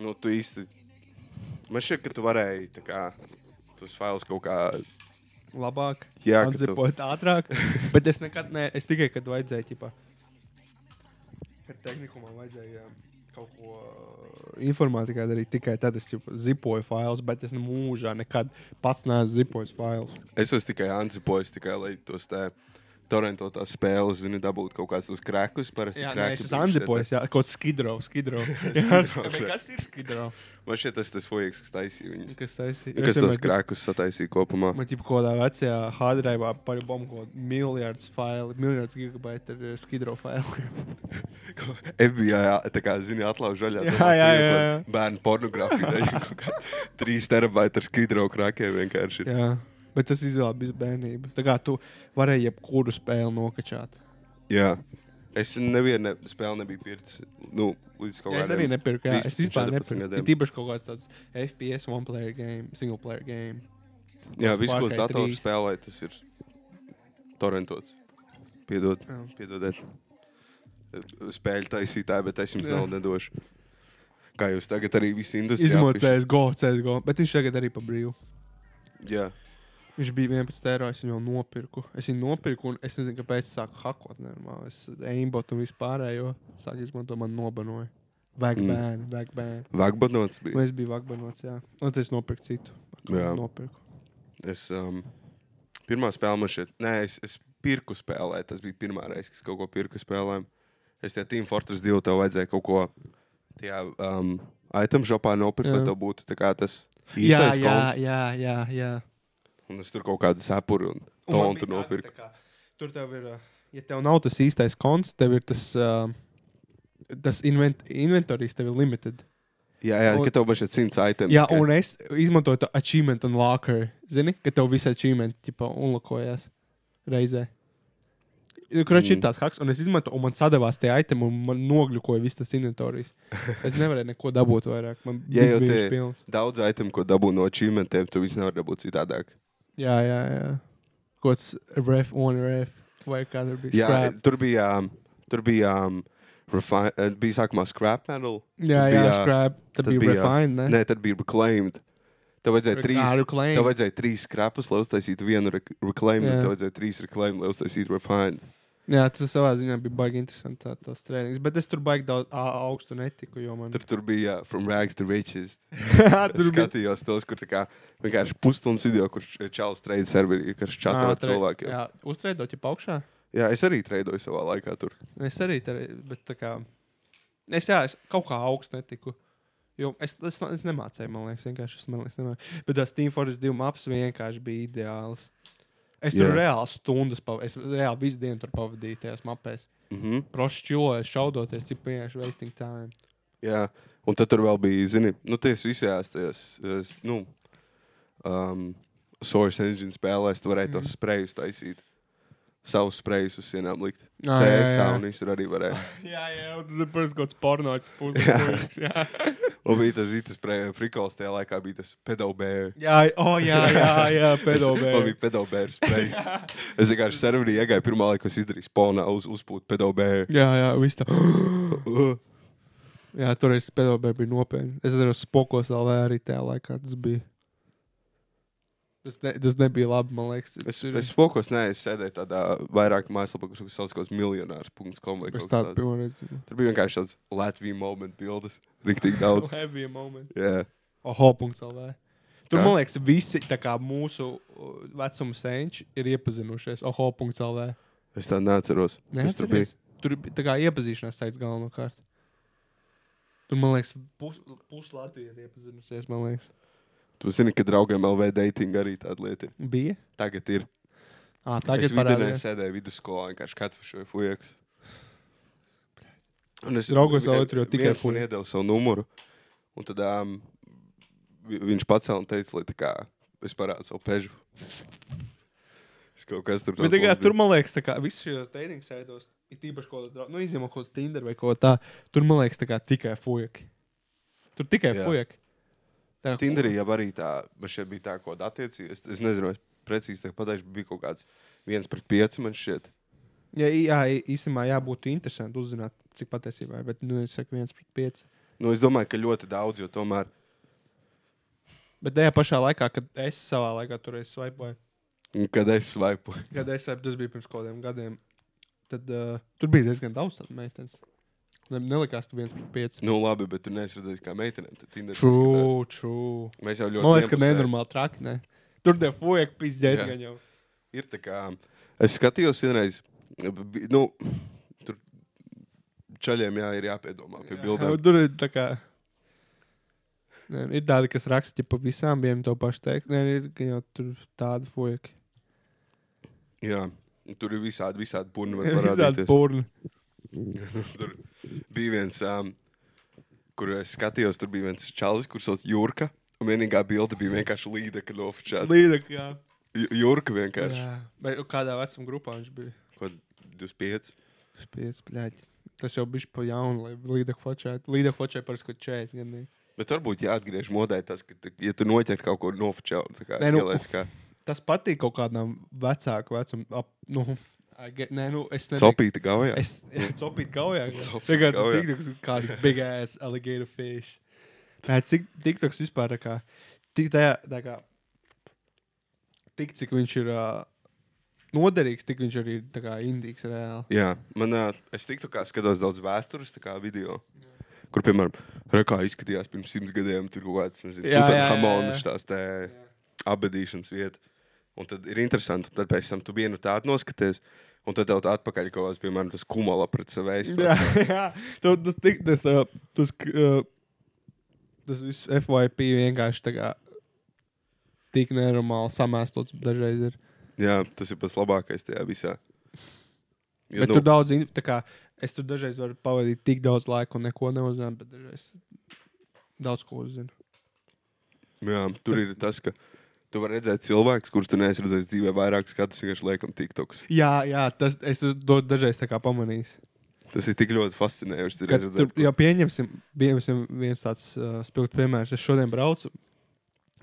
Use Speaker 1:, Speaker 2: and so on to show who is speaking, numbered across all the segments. Speaker 1: Nu, tu īsti. Man šķiet, ka tu varēji tā kā, tos failus kaut kā.
Speaker 2: labāk,
Speaker 1: Jā, ka tu-
Speaker 2: atzipot tu... ātrāk. Bet es nekad, ne, es tikai kad vajadzēja, tipā, kad tehnikumā vajadzēja kaut ko uh, informātikā darīt, tikai tad es ķipa, zipoju failus, bet es ne mūžā nekad pats neesmu zipojis failus.
Speaker 1: Es esmu tikai anticipojis, tikai lai tos tā. Torrento tā spēle, zini, dabūt kaut kādus tos krāklus.
Speaker 2: Jā, nē, es esmu anzipojis, jā, kaut skidro, skidro. jā,
Speaker 1: Skidro,
Speaker 2: bet
Speaker 1: jā.
Speaker 2: kas ir skidro?
Speaker 1: Man šķiet, tas tas fojiks, kas taisīja viņus.
Speaker 2: Kas taisīja?
Speaker 1: Kas tos krāklus sataisīja kopumā?
Speaker 2: Man jau kādā vecajā hardrāvā par bombu kaut kādu miljardu failu, miljardu gigabaitu ar eh, skidro failu.
Speaker 1: FBI, tā kā zini, atlauž žaļā.
Speaker 2: Jā,
Speaker 1: domā,
Speaker 2: jā,
Speaker 1: ka ir
Speaker 2: jā,
Speaker 1: par
Speaker 2: jā.
Speaker 1: Bērnu pornogrāfija. tā ir kaut kā Trīs terabaiti ar skidro krākiem vienkārši. ir.
Speaker 2: Jā, bet tas izvēlējās bija bērnība. Tā kā tu varēji jebkuru spēli nokačāt.
Speaker 1: Jā. Es nevienu ne, spēli nebiju pircis. Nu, līdz kaut
Speaker 2: Jā, es
Speaker 1: kādiem
Speaker 2: arī nepirku, jā, es
Speaker 1: 13,
Speaker 2: vispār
Speaker 1: 14
Speaker 2: nepirku.
Speaker 1: gadiem.
Speaker 2: Ir tīpaši kaut kāds tāds FPS, one player game, single player game.
Speaker 1: Jā, viss, ko es
Speaker 2: Far Cry
Speaker 1: datoru
Speaker 2: 3.
Speaker 1: spēlēju, tas ir torrentots. Piedod,
Speaker 2: Jā.
Speaker 1: piedodiet. Spēļu taisītāji, bet es jums
Speaker 2: Jā.
Speaker 1: naudu nedošu. Kā jūs tagad arī visi industrijā?
Speaker 2: Izmocējis GO, CSGO, bet viņš tagad arī pa brīvu.
Speaker 1: apviš- Jā,
Speaker 2: Viņš bija 11 eiro, es viņu jau nopirku. Es viņu nopirku, un es nezinu, kāpēc es sāku hakot. Normāli. Es aimbotu un vispārējo sāku izmantot, man nobanoja. Vag
Speaker 1: Mm.
Speaker 2: bērni, vag bērni.
Speaker 1: Vagbanots bija.
Speaker 2: Un es biju vagbanots, jā. Un tad es nopirku citu.
Speaker 1: Jā.
Speaker 2: Nopirku.
Speaker 1: Es, um, pirmā spēle man šeit, nē, es, es pirku spēlēju. Tas bija pirmā reize, kad es kaut ko pirku spēlēju. Es tajā Team Fortress 2 tev vajadzēja kaut ko tajā um, item shopā nopirkt, lai
Speaker 2: Jā.
Speaker 1: tev būtu tā kā tas
Speaker 2: Jā,
Speaker 1: īstais
Speaker 2: jā,
Speaker 1: konts.
Speaker 2: jā, jā, jā.
Speaker 1: Un es tur kaut kādu sapuru un
Speaker 2: Un man
Speaker 1: talantu
Speaker 2: bija tā,
Speaker 1: nopirku.
Speaker 2: ka tā kā Tur tev ir, uh, ja tev nav tas īstais konts, tev ir tas, uh, tas invent inventorijas, tev ir limited.
Speaker 1: Jā, jā,
Speaker 2: Un-
Speaker 1: ka tev bija šis simts items.
Speaker 2: Jā, un es izmantoju to achievement un locker. Zini, ka tev visi achievement tipa unlakojās reizē. Kroķis mm.
Speaker 1: Mm.
Speaker 2: ir tāds haks, un es izmantoju, un man sadavās tie itemi, un man nogļukoja viss tas inventorijas. Es nevarēju neko dabūt vairāk. Man
Speaker 1: Jā,
Speaker 2: viss
Speaker 1: jo
Speaker 2: bija
Speaker 1: tie-
Speaker 2: pilns.
Speaker 1: Daudz item, ko dabū no achievementiem, tu viss nevar dabūt citādāk.
Speaker 2: Jā, jā, jā. Kaut kāds ref, on ref, vai kāda bija.
Speaker 1: Jā,
Speaker 2: scrap.
Speaker 1: tur bija, um, tur bija, um, refi- eh, bija sākumā scrap metal.
Speaker 2: Jā,
Speaker 1: Tad
Speaker 2: jā,
Speaker 1: bija-
Speaker 2: skrap. Tad bija refined, ne?
Speaker 1: Nē, tad bija reclaimed. Tev vajadzēja
Speaker 2: Ah,
Speaker 1: trīs.
Speaker 2: reclaimed.
Speaker 1: Tev vajadzēja trīs skrapus, lai uztaisītu vienu rec- reclaimed, un
Speaker 2: Jā.
Speaker 1: tev vajadzēja trīs reclaimed, lai uztaisītu refined.
Speaker 2: Jā, tas savā ziņā bija baigi interesanti tā, tās treniņas. Bet es tur baigi daudz a- augstu netiku, jo man
Speaker 1: Tur, tur bija jā, from rags to riches.
Speaker 2: tur
Speaker 1: Es skatījos tos, kur tā kā vienkārši pusstundas video, kurš Čāles trade serveri, kas čatā ar
Speaker 2: Ā, tre-
Speaker 1: cilvēkiem.
Speaker 2: Jā, uztraidot, ja augšā.
Speaker 1: Jā, es arī traidoju savā laikā tur.
Speaker 2: Es arī tur, bet tā kā. Es, jā, es kaut kā augstu netiku. Jo es, es, ne- es nemācīju, man liekas, vienkārši es man liekas, nemācīju. Bet tās Team Fortress 2 maps vienkārši bija ideāls. Es tur
Speaker 1: Jā.
Speaker 2: reāli stundas pavadīju, es reāli visu dienu tur pavadīju tajās mapēs.
Speaker 1: Mhm.
Speaker 2: Prošķiloju, šaudoties, tik vienkārši wasting time.
Speaker 1: Jā, un tad tur vēl bija, zini, nu, tieši visās tajās, es, nu, um, source engine spēlēs, tu varēji mm.
Speaker 2: Mhm.
Speaker 1: tos sprejus taisīt. Savus sprejus uz sienām likt.
Speaker 2: Ā,
Speaker 1: Ah, CS
Speaker 2: jā, jā.
Speaker 1: un visur arī varēja.
Speaker 2: Jā, jā, un tur bija kaut kāds pornogrāfs puses. Jā,
Speaker 1: Un bija tas īstais frikols tajā laikā, bija tas pedobērs.
Speaker 2: jā, oh, jā, jā, jā
Speaker 1: Man
Speaker 2: pedofils.
Speaker 1: bija pedobērs sprejs. es vienkārši serverī iegāju pirmā laikā, kas izdarīja spawnā uz uzpūt pedobēru.
Speaker 2: Jā, jā, viss tā. Mm. Jā, tur es pedofils biju nopietni. Es atceros, spokos LV arī tajā laikā tas bija. Tas, ne, tas nebija labi, man liekas.
Speaker 1: Es,
Speaker 2: Tur-
Speaker 1: es spokos, nē, es sēdēju tādā vairāk mājaslapā, kas sauc kā miljonārs.com vai kaut
Speaker 2: es
Speaker 1: kas
Speaker 2: tādu
Speaker 1: tāds.
Speaker 2: pirmo reizi dzirdēju.
Speaker 1: Tur bija vienkārši tāds Latvijas moments, bildes. Riktīgi daudz.
Speaker 2: Heavy moment.
Speaker 1: Jā,
Speaker 2: Oho, punkts LV. Tur,
Speaker 1: Kā?
Speaker 2: man liekas, visi tā kā mūsu uh, vecuma senči ir iepazinušies. Oho, punkts LV.
Speaker 1: es tādu neatceros. Kas tur bija?
Speaker 2: Neatceries? Tur bija tā kā iepazīšanās saits galvenokārt. Tur, man liekas, pus, pus Latvija ir iepazinusies, man liekas.
Speaker 1: Tu zini, ka draugiem LV dating arī tāda lieta ir.
Speaker 2: Bija?
Speaker 1: Tagad ir.
Speaker 2: Ā,
Speaker 1: Tagad es vidēji
Speaker 2: tagad parādījās.
Speaker 1: sēdēju vidusskolā, vienkārši katru šo fujeku. Un es
Speaker 2: Draugos vēl tur jau tikai
Speaker 1: fujeku.
Speaker 2: fujeku.
Speaker 1: Viņš iedeva savu numuru. Un tad um, viņš pacēla un teica, lai tā kā es parādu savu pežu. Es kaut kas tur
Speaker 2: Bet, tā kā, tur, man liekas, tā kā visos šajos dating saitos, ir tīpaši kaut kāds, nu, izņemot kaut kādu Tinder vai ko tādu, tur, man liekas, tā kā tikai fujaki. Tur tikai
Speaker 1: Jā.
Speaker 2: fujaki. Tā kā-
Speaker 1: Tinderī jau arī tā, man šeit bija tā, ko attiecīgi. Es, es nezinu, es precīzi tā pateikšu, bet bija kaut kāds viens pret pieci man šeit.
Speaker 2: Jā, jā, īstenībā jābūt interesanti uzzināt, cik patiesībā ir. Bet, nu, es saku, viens pret pieci.
Speaker 1: Nu, es domāju, ka ļoti daudz, jo tomēr
Speaker 2: Bet tajā pašā laikā, kad es savā laikā tur aizsvaipoju,
Speaker 1: Un Kad es svaipu,
Speaker 2: kad es svaipoju, tas bija pirms kaut kādiem gadiem, tad uh, tur bija diezgan daudz tādu meitenes. Ne- Nelikās, ka viens pret pieci.
Speaker 1: nu labi, bet tu neesi redzējis, kā meitenēm tur Tinderī skatās.
Speaker 2: Čū, čū.
Speaker 1: Mēs jau ļoti
Speaker 2: Man liekas, ka
Speaker 1: vienpusēji.
Speaker 2: nenormāli traki. Ne? Tur tie fuck, pizdzēt,
Speaker 1: Jā.
Speaker 2: gan jau.
Speaker 1: Ir tā kā, es skatījos vienreiz, bi- nu, tur čaļiem jā, ir jāpiedomā pie
Speaker 2: Jā,
Speaker 1: bildēm.
Speaker 2: Tur ir tā kā. Nē, ir tādi, kas raksta par visām bijām to pašu teikt. Nē, ir gan jau tur tādi fuck.
Speaker 1: Jā, un tur ir visādi, visādi burni var
Speaker 2: Tādi
Speaker 1: parādīties.
Speaker 2: porni.
Speaker 1: tur bija viens, um, kur es skatījos, tur bija viens čalis, kurš sauc Jurka. Un vienīgā bilde bija vienkārši līde, kad nofočēta.
Speaker 2: Līdzekļi. Jā.
Speaker 1: Ju- Jurka vienkārši.
Speaker 2: jā. Vai kādā vecuma grupā viņš bija?
Speaker 1: Ko 25?
Speaker 2: Spiedz, bļaļ. Tas jau bija pa jaunu, lai līdzekļu fočētu. Līdzekļu fočēja par 40 gadiem.
Speaker 1: Bet varbūt jāatgriež modē tas, ka, tu- ja tu noķer kaut ko nofočēlu, tā kā
Speaker 2: Nē, nu,
Speaker 1: ieliec kā
Speaker 2: Tas patīk kaut kādam vecākam vecumam. ap- Nu, I get- nē, nu, es nedomāju.
Speaker 1: copīta gaujā.
Speaker 2: Es copīju gaujā.
Speaker 1: Copīt
Speaker 2: Tagad tas
Speaker 1: gaujā.
Speaker 2: tiktoks kā tāds big ass alligator fish. Tā cik tiktoks vispār tā kā. Tik tajā, tā kā. Tik cik viņš ir uh, noderīgs, tik viņš arī ir tā kā indīgs reāli.
Speaker 1: Jā, man ā, es tiktu kā skatos daudz vēstures tā kā video. Kur, piemēram, re, kā izskatījās pirms simts gadiem, tur kaut kāds
Speaker 2: Jā, jā, jā,
Speaker 1: Hamonas
Speaker 2: jā.
Speaker 1: tās tā abadīšanas vieta. Un tad ir interesanti, un tad pēc tam tu vienu tādu noskaties, un tad tev tā atpakaļ kaut kāds, piemēram, tas kumala pret sevi.
Speaker 2: Jā, jā. Tu, tas tik, tas, tā, tas, k- uh, tas viss FYP vienkārši tā kā tik nenormāli samēstots dažreiz ir.
Speaker 1: jā, tas ir pats labākais tajā visā. Jo,
Speaker 2: Bet nu, tur daudz, in- tā kā es tur dažreiz varu pavadīt tik daudz laika un neko neuzzinu, bet dažreiz daudz ko uzzinu.
Speaker 1: jā, tur ir tas, ka tu vari redzēt cilvēkus, kurus tu neesi redzējis dzīvē vairākus gadus, vienkārši liekam, tiktoks.
Speaker 2: Jā, jā, tas es tas do- dažreiz tā kā pamanīju.
Speaker 1: Tas ir tik ļoti fascinējoši.
Speaker 2: Kad Tur jau pieņemsim, pieņemsim viens tāds uh, spilgts piemērs. Es šodien braucu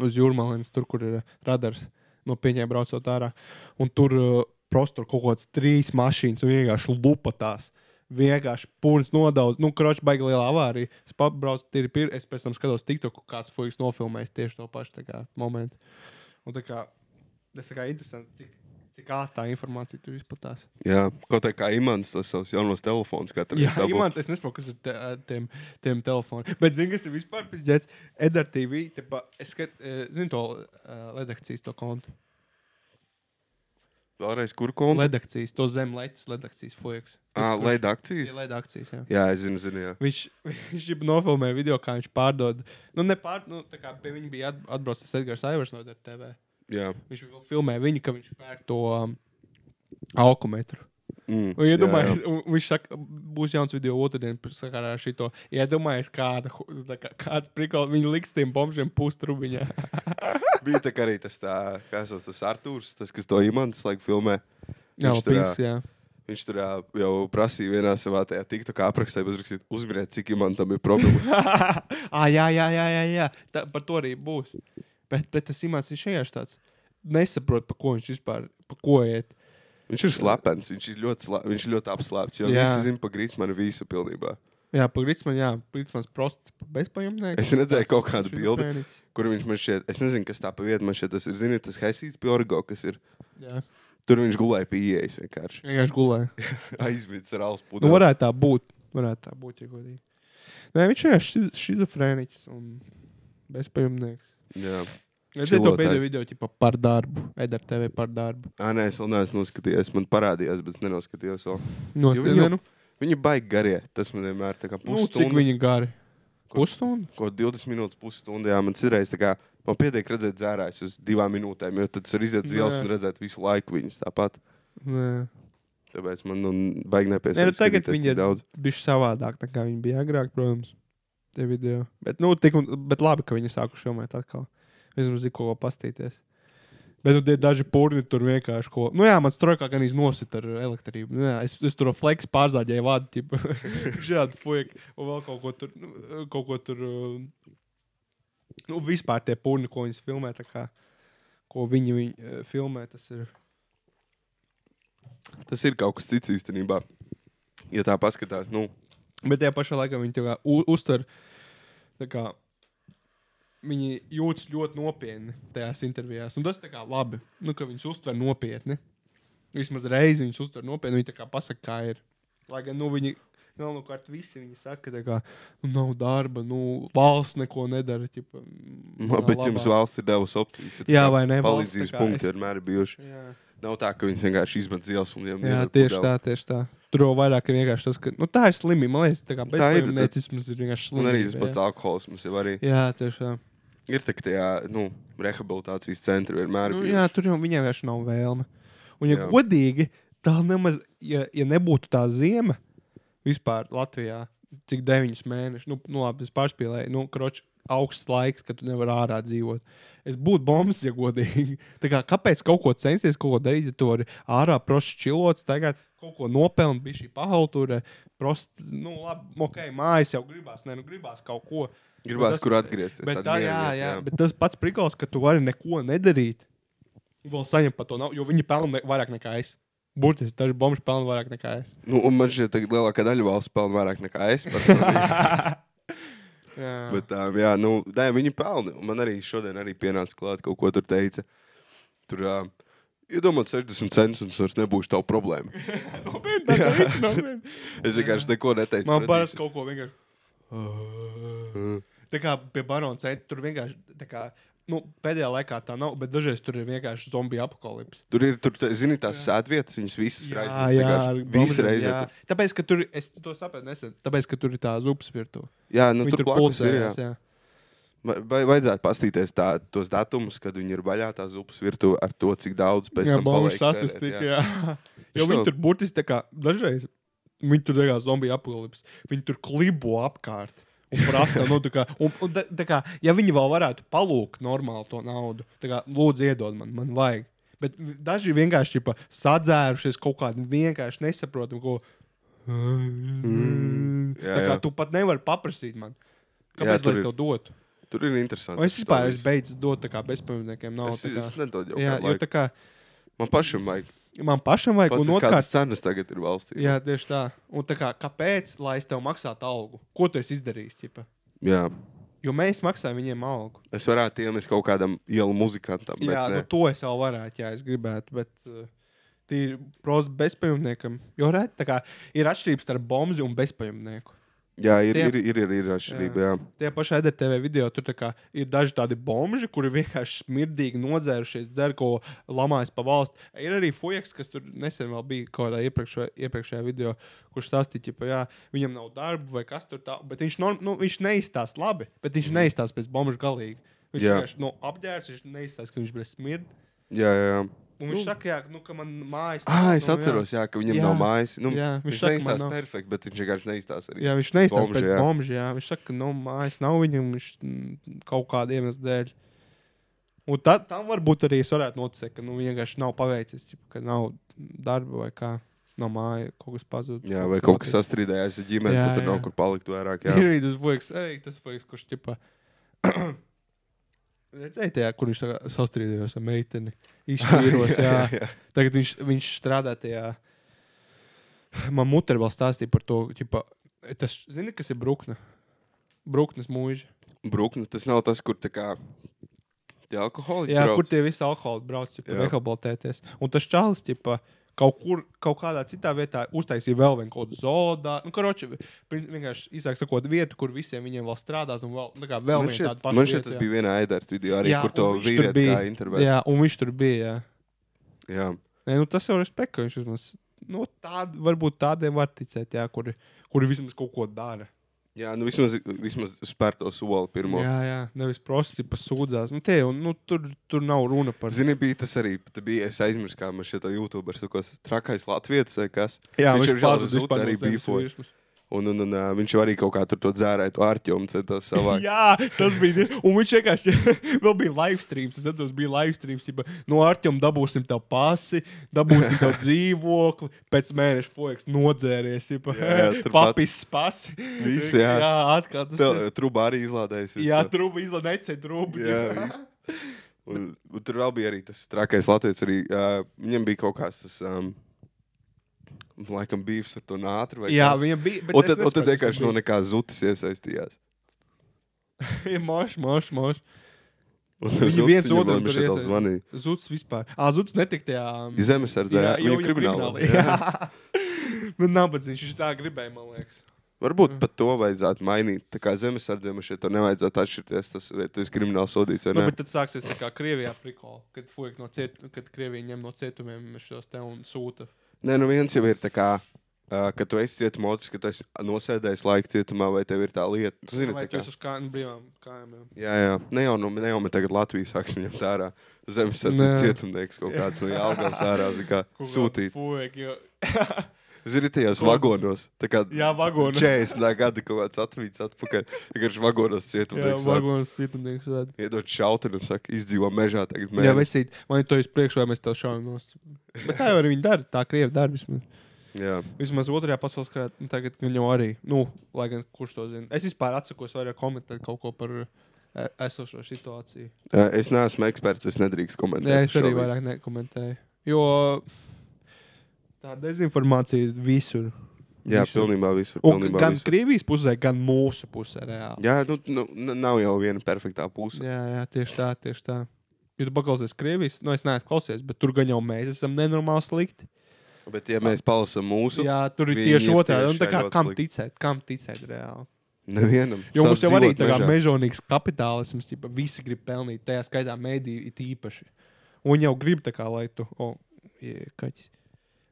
Speaker 2: uz jūrmālēnu, tur, kur ir uh, radars no pieņēma braucot ārā. Un tur uh, prostor kaut kāds trīs mašīnas un vienkārši lupatās. Vienkārši pūlis nodaudz, nu, kroķis baigi liela avārija. Es pabraucu, tīri pir, es pēc tam skatos, tiktu, kāds fuks nofilmējis tieši to pašu tā kā, momentu. Un tā kā, tas tā kā interesanti, cik, cik ātri tā informācija tur izplatās.
Speaker 1: Jā, kaut tā kā imants tos savus jaunos telefonus katru
Speaker 2: Jā,
Speaker 1: dabu.
Speaker 2: Imants, es nesaprotu, kas ir te- ar tiem, tiem telefoniem. Bet, zinu, kas ir vispār pizdzēts. Edgars TV, tepa, es skat, eh, zinu to eh, redakcijas to kontu.
Speaker 1: Vēlreiz, kur konta?
Speaker 2: Redakcijas, to zemlaicis redakcijas flujaks.
Speaker 1: Ah,
Speaker 2: Redakcijas.
Speaker 1: Leida akcijas.
Speaker 2: Jā.
Speaker 1: Jā, es zinu, zinu, jā.
Speaker 2: Viņš, viņš jau nofilmēja video, kā viņš pārdod. Nu, ne pār, nu, tā kā pie viņa bija at, atbraucis Edgars Aivars no Edgars TV.
Speaker 1: Jā,
Speaker 2: Viņš vēl filmēja viņu, ka viņš pērk to um, alkometru.
Speaker 1: mm,
Speaker 2: Un Iedomājies,
Speaker 1: jā,
Speaker 2: un viņš saka, būs jauns video otrdien, par- sakarā ar šo. Iedomājies, kāda, hu- tā kā, kāds prikals viņa liks tiem bombžiem pustrubiņā.
Speaker 1: jā. Bija tā kā arī tas tā, kā sauc tas Artūrs, tas, kas to imants laiku filmē.
Speaker 2: Jā,
Speaker 1: Viņš tur,
Speaker 2: pīs, jā.
Speaker 1: Viņš tur ā, jau prasīja vienā savā tajā tiktokā aprakstā, uzrakstīt, uzmiriet, cik imantam ir problēmas.
Speaker 2: ah, jā, jā, jā, jā, jā. Tā, par to arī būs. Bet, bet tas imants ir šajā tāds. Nesaprot, pa ko viņš vispār, pa ko iet.
Speaker 1: viņš ir slepens, viņš ir ļoti, slā, viņš ir ļoti apslēpts, jo
Speaker 2: Jā.
Speaker 1: visi zina pa grītsmanu visu pilnībā.
Speaker 2: Jā, pa grītsman, jā, grītsmans prosts bezpajumtnieks.
Speaker 1: Es redzēju kaut kādu bildi, kur viņš man šeit, es nezinu, kas tā pa vietu man šeit, tas ir, zini, tas Hesīts Piorgo, kas ir.
Speaker 2: Jā,
Speaker 1: Tur viņš gulēja pie ieejas vienkārši.
Speaker 2: vienkārši gulēja.
Speaker 1: aizmigs ar alus
Speaker 2: Nu,
Speaker 1: putekli.
Speaker 2: varētu tā būt. Varētu tā būt, ja godīgi. Nē, viņš ir šis- šizofrēniķis un bezpajumtnieks.
Speaker 1: Jā,
Speaker 2: Es redzēju to
Speaker 1: Čilotājs.
Speaker 2: pēdējo video ķipa, par darbu, Edgars TV par darbu.
Speaker 1: à, nē, es vēl neesmu noskatījies. Man parādījās, bet es nenoskatījos. Vēl.
Speaker 2: Nostiprini, nu,
Speaker 1: Viņa baigi garie. Tas man vienmēr ir
Speaker 2: nu, cik
Speaker 1: pusstunda.
Speaker 2: viņi gari. Pusstunda?
Speaker 1: Ko 20 minūtes, pusstunda. Jā, man citreiz tā kā man pietiek redzēt zērājus uz divām minūtēm, jo tad es varu iziet zils
Speaker 2: Nē.
Speaker 1: un redzēt visu laiku viņus tāpat.
Speaker 2: Nē,
Speaker 1: Tāpēc man nu, baigi
Speaker 2: Nē nu,
Speaker 1: nepiesaistīt.
Speaker 2: tagad viņi ir
Speaker 1: daudz.
Speaker 2: bijuši savādāk nekā viņi bija agrāk, protams. Tie video. Bet, nu, tik, un- bet labi, ka viņi sākuši filmēt atkal. Vismaz ir ko pastīties. Bet nu, tie daži pūri tur vienkārši ko. Nu, jā, man strokā gan iznosita ar elektrību. Nu, jā, es, es tur fleks pārzāģēju vādu, tipu, šādu fueku un vēl kaut ko tur. Nu, kaut ko tur uh, nu, vispār tie pūri, ko viņi filmē, tā kā, ko viņi, viņi uh, filmē, tas ir.
Speaker 1: Tas ir kaut kas cits īstenībā. Ja tā paskatās, nu,
Speaker 2: Bet tajā pašā laikā viņi tev uh, uztver tā kā, viņi jūtas ļoti nopietni tajās intervijās. Un tas ir labi, nu, ka viņas uztver nopietni. Vismaz reizi viņas uztver nopietni, viņi tā kā pasakā, kā ir. Lai gan nu, viņi galvenokārt visi viņi saka, ka nu, nav darba, nu, valsts neko nedara. mm, Ķipa,
Speaker 1: Man, bet jums valsts ir devusi opcijas. ir
Speaker 2: Nu, Jā,
Speaker 1: tā
Speaker 2: vai ne, valsts
Speaker 1: Palīdzības
Speaker 2: tā kā
Speaker 1: punkti
Speaker 2: es-
Speaker 1: vienmēr ir bijuši.
Speaker 2: Jā,
Speaker 1: Nav tā, ka viņi vienkārši izmet zils un viņiem
Speaker 2: jā
Speaker 1: nedod
Speaker 2: tieši
Speaker 1: pudeli.
Speaker 2: tā, tieši tā. Tur jau vairāk ir vienkārši tas, ka nu, tā ir slimība. Man liekas, tā kā
Speaker 1: Tā ir,
Speaker 2: bezpajumtniecisms ir vienkārši
Speaker 1: Un
Speaker 2: slimība.
Speaker 1: arī tas pats alkoholisms jau arī
Speaker 2: Jā, jā tieši tā.
Speaker 1: ir tā, ka tajā nu, rehabilitācijas centrā vienmēr ir.
Speaker 2: Nu,
Speaker 1: bijuši.
Speaker 2: jā, tur jau viņiem vienkārši nav vēlme. Un, ja jā.
Speaker 1: Jā.
Speaker 2: godīgi, tā nemaz, ja, ja nebūtu tā zima vispār Latvijā, cik 9 mēnešus, nu, nu labi, es pārspīlēju, nu, kroč, augsts laiks, kad tu nevari ārā dzīvot. Es būtu bombs, ja godīgi. Tā kā, kāpēc kaut ko censties, kaut ko darīt, ja tu vari ārā prosti čilots, tagad kaut ko nopelnīt, bija šī pahaltūra, prosti, nu, labi, ok, mājas jau gribās, ne, nu, gribās kaut ko.
Speaker 1: Gribās,
Speaker 2: Bet tas-
Speaker 1: kur atgriezties.
Speaker 2: Bet,
Speaker 1: tāda
Speaker 2: tā,
Speaker 1: miera
Speaker 2: jā,
Speaker 1: vieta,
Speaker 2: jā, bet tas pats prigals, ka tu vari neko nedarīt. un Vēl saņemt par to naudu, jo viņi pelna ne, vairāk nekā es. Burtiski daži bombuļi pelna vairāk nekā es.
Speaker 1: Nu, un man šķiet, ka lielākā daļa valsts pelna vairāk nekā es personīgi.
Speaker 2: Jā.
Speaker 1: bet, um, jā, nu, nē, viņi pelna. Un Man arī šodien arī pienāca klāt kaut ko tur teica. Tur, um, iedomājieties, 60 centus un tas vairs nebūs tavu problēmu.
Speaker 2: Nopietni, tā kā viņš nopietni.
Speaker 1: Es vienkārši neko neteicu.
Speaker 2: Man
Speaker 1: pretī.
Speaker 2: parasti kaut ko vienkārši. Tā kā pie Barona ceļa tur vienkārši. tā Kā, nu, pēdējā laikā tā nav, bet dažreiz tur ir vienkārši zombiju apakālips.
Speaker 1: Tur ir, tur, tā- zini, tās sēdvietas, viņas visas reizes. vienkārši Visas reizes.
Speaker 2: jā.
Speaker 1: tur-
Speaker 2: Tāpēc, ka tur, es to sapratu nesen, tāpēc, ka tur ir tā zupas virtuve.
Speaker 1: Jā, nu,
Speaker 2: Viņi
Speaker 1: tur blakus ir. Jā.
Speaker 2: pulcējās, jā.
Speaker 1: Ma- Vai vajadzētu paskatīties tā- tos datumus, kad viņi ir vaļā tā zupas virtuvē ar to, cik daudz pēc
Speaker 2: Jā,
Speaker 1: tam
Speaker 2: balvu
Speaker 1: paliek sēdēt,
Speaker 2: statistika.
Speaker 1: jā.
Speaker 2: Jā. Jo
Speaker 1: Šo-
Speaker 2: viņi tur burtiski tā kā dažreiz, viņi tur degā zombiju apgabalips, viņi tur klibo apkārt. Un prasa, nu, tā kā, un, un, tā, tā kā, ja viņi vēl varētu palūkt normāli to naudu, tad lūdzu iedod man, man vajag. Bet vi- daži vienkārši ķipa, sadzērušies kaut kādu vienkārši nesaprotamu, ko.
Speaker 1: Mm.
Speaker 2: "Mm."
Speaker 1: jā,
Speaker 2: tā kā
Speaker 1: jā.
Speaker 2: tu pat nevari paprasīt man,
Speaker 1: Jā,
Speaker 2: kāpēc
Speaker 1: tur
Speaker 2: jā, lai
Speaker 1: ir
Speaker 2: es tev dotu.
Speaker 1: Tur ir interesanti.
Speaker 2: Un es vispār esmu beidzis dot tā kā bezpajumtniekiem naudu.
Speaker 1: Es,
Speaker 2: tā kā.
Speaker 1: es nedodu jau
Speaker 2: Jā, jo
Speaker 1: tādu.
Speaker 2: tā kā
Speaker 1: Man pašam vajag.
Speaker 2: man pašam vajag, un
Speaker 1: Pastāst,
Speaker 2: otrkārt,
Speaker 1: kādas cenas tagad ir valstī.
Speaker 2: Jā, tieši tā. Un tā kā, kāpēc, lai es tev maksātu algu? Ko tu esi izdarījis? Ķipa?
Speaker 1: jā.
Speaker 2: Jo mēs maksājam viņiem algu.
Speaker 1: Es varētu iemest kaut kādam ielu muzikantam.
Speaker 2: Bet, jā,
Speaker 1: bet,
Speaker 2: nu,
Speaker 1: nē.
Speaker 2: to es vēl varētu, ja es gribētu. Bet, uh, Tīri prosti bezpajumtniekam. Jo redz, tā kā ir atšķirība starp bombu un bezpajumtnieku.
Speaker 1: jā ir,
Speaker 2: tie-
Speaker 1: ir, ir, ir, ir atšķirība. Jā.
Speaker 2: Tie pašā EDTV video tur tā kā ir daži tādi bomži, kuri vienkārši smirdīgi nodzērušies, dzer ko lamājas pa valsts. Ir arī fujaks, kas tur nesen vēl bija kaut kādā iepriekšējā, iepriekšējā video, kurš stāstīja, ka jā, viņam nav darba vai kas tur tā, bet viņš, norm, nu, viņš neizstāsta labi, bet viņš mm. neizstāsta pēc bomžu galīgi.
Speaker 1: Mhm.
Speaker 2: Viņš
Speaker 1: Jā.
Speaker 2: vienkārši no apģērbs, viņš neizstāsta, ka viņš bez smird.
Speaker 1: Jā, jā, jā.
Speaker 2: Un viņš saka, jā, nu, ka man mājas.
Speaker 1: Ah,
Speaker 2: nav,
Speaker 1: es
Speaker 2: nu,
Speaker 1: atceros, jā, ka viņam jā.
Speaker 2: Jā.
Speaker 1: nav mājas. Nu, jā,
Speaker 2: Jā,
Speaker 1: viņš
Speaker 2: viņš
Speaker 1: viņš
Speaker 2: saka, man
Speaker 1: neizstāsta
Speaker 2: nav.
Speaker 1: perfekti, bet viņš vienkārši neizstāsta arī.
Speaker 2: Jā, viņš neizstāsta
Speaker 1: Bomži,
Speaker 2: pēc
Speaker 1: jā.
Speaker 2: bombža. jā. Viņš saka, ka no mājas nav viņam viņš, mm, kaut kāda iemesla dēļ. Un tā, tam varbūt arī es varētu noteikt, ka nu, vienkārši nav paveicis, tipa, ka nav darba vai kā no mājas kaut kas pazudis.
Speaker 1: Jā, vai kaut kas sastrādājās ar ģimeni,
Speaker 2: Jā,
Speaker 1: tad tur nav
Speaker 2: jā.
Speaker 1: kur palikt vairāk.
Speaker 2: Jā.
Speaker 1: Jā,
Speaker 2: Ir arī tas voiks, arī tas voiks, kurš tipā. Redzēju, tajā, kur viņš tā kā sastrādījās ar meiteni. Izšķīros, jā, jā, jā. Tagad viņš, viņš strādā tajā. Man mutē vēl stāstīja par to, ķipa, tas, zini, kas ir brūkna. Brūknes mūža.
Speaker 1: brūkni tas nav tas, kur tā kā tie alkoholiķi.
Speaker 2: Jā,
Speaker 1: brauc.
Speaker 2: kur tie visi alkoholi brauc, jau
Speaker 1: Jā.
Speaker 2: rehabilitēties. Un tas čalis, ķipa, kaut kur, kaut kādā citā vietā uztaisīja vēl vienu kaut kādu zodā. Nu, karoči, prin- vienkārši īsāk sakot, vietu, kur visiem viņiem vēl strādāt. Un vēl, tā kā vēl
Speaker 1: Man
Speaker 2: viena
Speaker 1: šķiet,
Speaker 2: tāda paša
Speaker 1: man šķiet,
Speaker 2: vieta,
Speaker 1: tas
Speaker 2: jā.
Speaker 1: bija viena aidara video, arī, jā, kur
Speaker 2: un
Speaker 1: to
Speaker 2: viņš tur
Speaker 1: vīrieti
Speaker 2: bija.
Speaker 1: kā intervēja.
Speaker 2: Jā, un viņš tur bija. Jā.
Speaker 1: Jā.
Speaker 2: Nē, nu, tas jau ir respekts, ka viņš vismaz nu, tād, varbūt tādiem var ticēt, jā, kuri, kuri vismaz kaut ko dara.
Speaker 1: jā, nu vismaz, vismaz spēr to soli pirmo.
Speaker 2: Jā, jā, nevis prosti pasūdzās. Nu, tie, jau, nu, tur, tur nav runa par
Speaker 1: Zini, bija tas arī. tā Bija, es aizmirsu, kā man šeit YouTube ir tas trakais Latvijas vai kas.
Speaker 2: Jā,
Speaker 1: viņš
Speaker 2: viņš
Speaker 1: ir
Speaker 2: pazuda
Speaker 1: žēl, ka
Speaker 2: vispār no
Speaker 1: arī
Speaker 2: zemes
Speaker 1: bija foja.
Speaker 2: virsmas.
Speaker 1: Un, un, un uh, viņš jau arī kaut kā tur to dzērēju ārķumu centās savākt.
Speaker 2: Jā, tas bija. di- Un viņš vienkārši vēl bija live streams. Es atceros, bija live streams. Tipa, no Artiņa dabūsim tev pasi, dabūsim tev dzīvokli. Pēc mēneša foks nodzēries. tipa,
Speaker 1: Jā, jā, turpat.
Speaker 2: Papis pasi.
Speaker 1: Viss, jā.
Speaker 2: jā atkal tas
Speaker 1: Tev,
Speaker 2: ir.
Speaker 1: eh, Trubā arī izlādējis.
Speaker 2: Jā, trūka izlaiž necēla trūku.
Speaker 1: Jā, viss. Un, un tur vēl bija arī tas trakais Latvijas. Arī, uh, viņam bija kaut kāds tas, um, laikam, bijis ar to nātru. vai
Speaker 2: jā
Speaker 1: kas.
Speaker 2: viņam bija. bet
Speaker 1: Un
Speaker 2: es
Speaker 1: tad, un tad
Speaker 2: nesapratu, kas
Speaker 1: vienkārši no
Speaker 2: bija.
Speaker 1: nekā zutis iesaistījās.
Speaker 2: Ir mošs, mošs, mošs.
Speaker 1: Un
Speaker 2: Viņi
Speaker 1: tas
Speaker 2: viens
Speaker 1: viens
Speaker 2: otram
Speaker 1: otram
Speaker 2: tur
Speaker 1: viņš atkal
Speaker 2: iesa-
Speaker 1: zvanīja.
Speaker 2: Zuds vispār. Ā, Zuds netika tajā. um,
Speaker 1: Zemesardze, jā,
Speaker 2: jau-
Speaker 1: viņa
Speaker 2: jau
Speaker 1: krimināla.
Speaker 2: krimināli,
Speaker 1: Jā.
Speaker 2: jā. Nu, nabadzīgs, viņš tā gribēja, man liekas.
Speaker 1: Varbūt pat to vajadzētu mainīt. Tā kā zemesardzēm šeit to nevajadzētu atšķirties. Tas, vai tu esi krimināls sodīts vai
Speaker 2: Nu,
Speaker 1: nē.
Speaker 2: bet tad sāksies tā kā Krievijā prikola, kad, fuek no ciet, kad Krievija ņem no cietumiem šos te un sūta.
Speaker 1: Nē, nu viens jau ir tā kā. Uh, kad tu esi cietumā, otrs, ka tu esi nosēdējis laiku cietumā, vai tev ir tā lieta. Tu zini,
Speaker 2: Vai
Speaker 1: tā kā.
Speaker 2: tas uz kājām brīvām kājām? jā.
Speaker 1: Jā, jā. Ne jau, nu, ne jau man tagad Latvijas sāks viņam tā ārā.
Speaker 2: Nē.
Speaker 1: Zemesardze cietumnieks kaut kāds no Jālgavas ārā, zin kā
Speaker 2: Kaut kādu
Speaker 1: sūtīt.
Speaker 2: Fuek, jo...
Speaker 1: Zini, tajos
Speaker 2: Ko?
Speaker 1: vagonos. Tā kā
Speaker 2: Jā, vagonos.
Speaker 1: 40 gadi kaut kāds atvīts atpakaļ. Vienkārši vagonos
Speaker 2: Jā,
Speaker 1: cietumnieks. vada.
Speaker 2: vagonas cietumnieks. vēl.
Speaker 1: Iedod šautenu un saka, izdzīvo mežā tagad.
Speaker 2: Jā,
Speaker 1: mēnesi."
Speaker 2: vesīt, man ir to izpriekš, vai mēs tev šaujam nost. Bet tā jau arī viņi dara, tā Krievi dara vismaz.
Speaker 1: Jā.
Speaker 2: Vismaz otrajā pasaules karā, nu, tagad viņi jau arī, nu, lai gan kurš to zina. Es vispār atsakos vairāk komentēt kaut ko par e, esošo situāciju.
Speaker 1: Ē, Es neesmu eksperts, es nedrīkstu komentēt.
Speaker 2: Jā, es arī
Speaker 1: šobrīd.
Speaker 2: vairāk nekomentēju. Jo tā dezinformācija ir visur.
Speaker 1: Jā,
Speaker 2: Visur.
Speaker 1: pilnībā visur.
Speaker 2: Un
Speaker 1: Pilnībā
Speaker 2: gan
Speaker 1: visur.
Speaker 2: Krievijas pusē, gan mūsu pusē. Reāli.
Speaker 1: Jā, nu, nu, n- nav jau viena perfektā puse.
Speaker 2: Jā, jā, tieši tā, tieši tā. Jo tu paklausies Krievijas, nu es neesmu klausies, bet tur gan jau mēs esam nenormāli slikti.
Speaker 1: Bet, ja mēs palasām mūsu,
Speaker 2: Jā, tur ir
Speaker 1: Viņi
Speaker 2: tieši
Speaker 1: ir
Speaker 2: otrādi.
Speaker 1: tieši
Speaker 2: Un tā kā
Speaker 1: ļoti
Speaker 2: kam
Speaker 1: slikti.
Speaker 2: ticēt, kam ticēt reāli?
Speaker 1: nevienam.
Speaker 2: Jo mums
Speaker 1: Sāc
Speaker 2: jau arī
Speaker 1: dzīvot
Speaker 2: tā kā
Speaker 1: mežā.
Speaker 2: mežonīgs kapitālisms, ja visi grib pelnīt, tajā skaitā mēdīji it īpaši. Un jau grib tā kā, lai tu, o, jē, kaķis.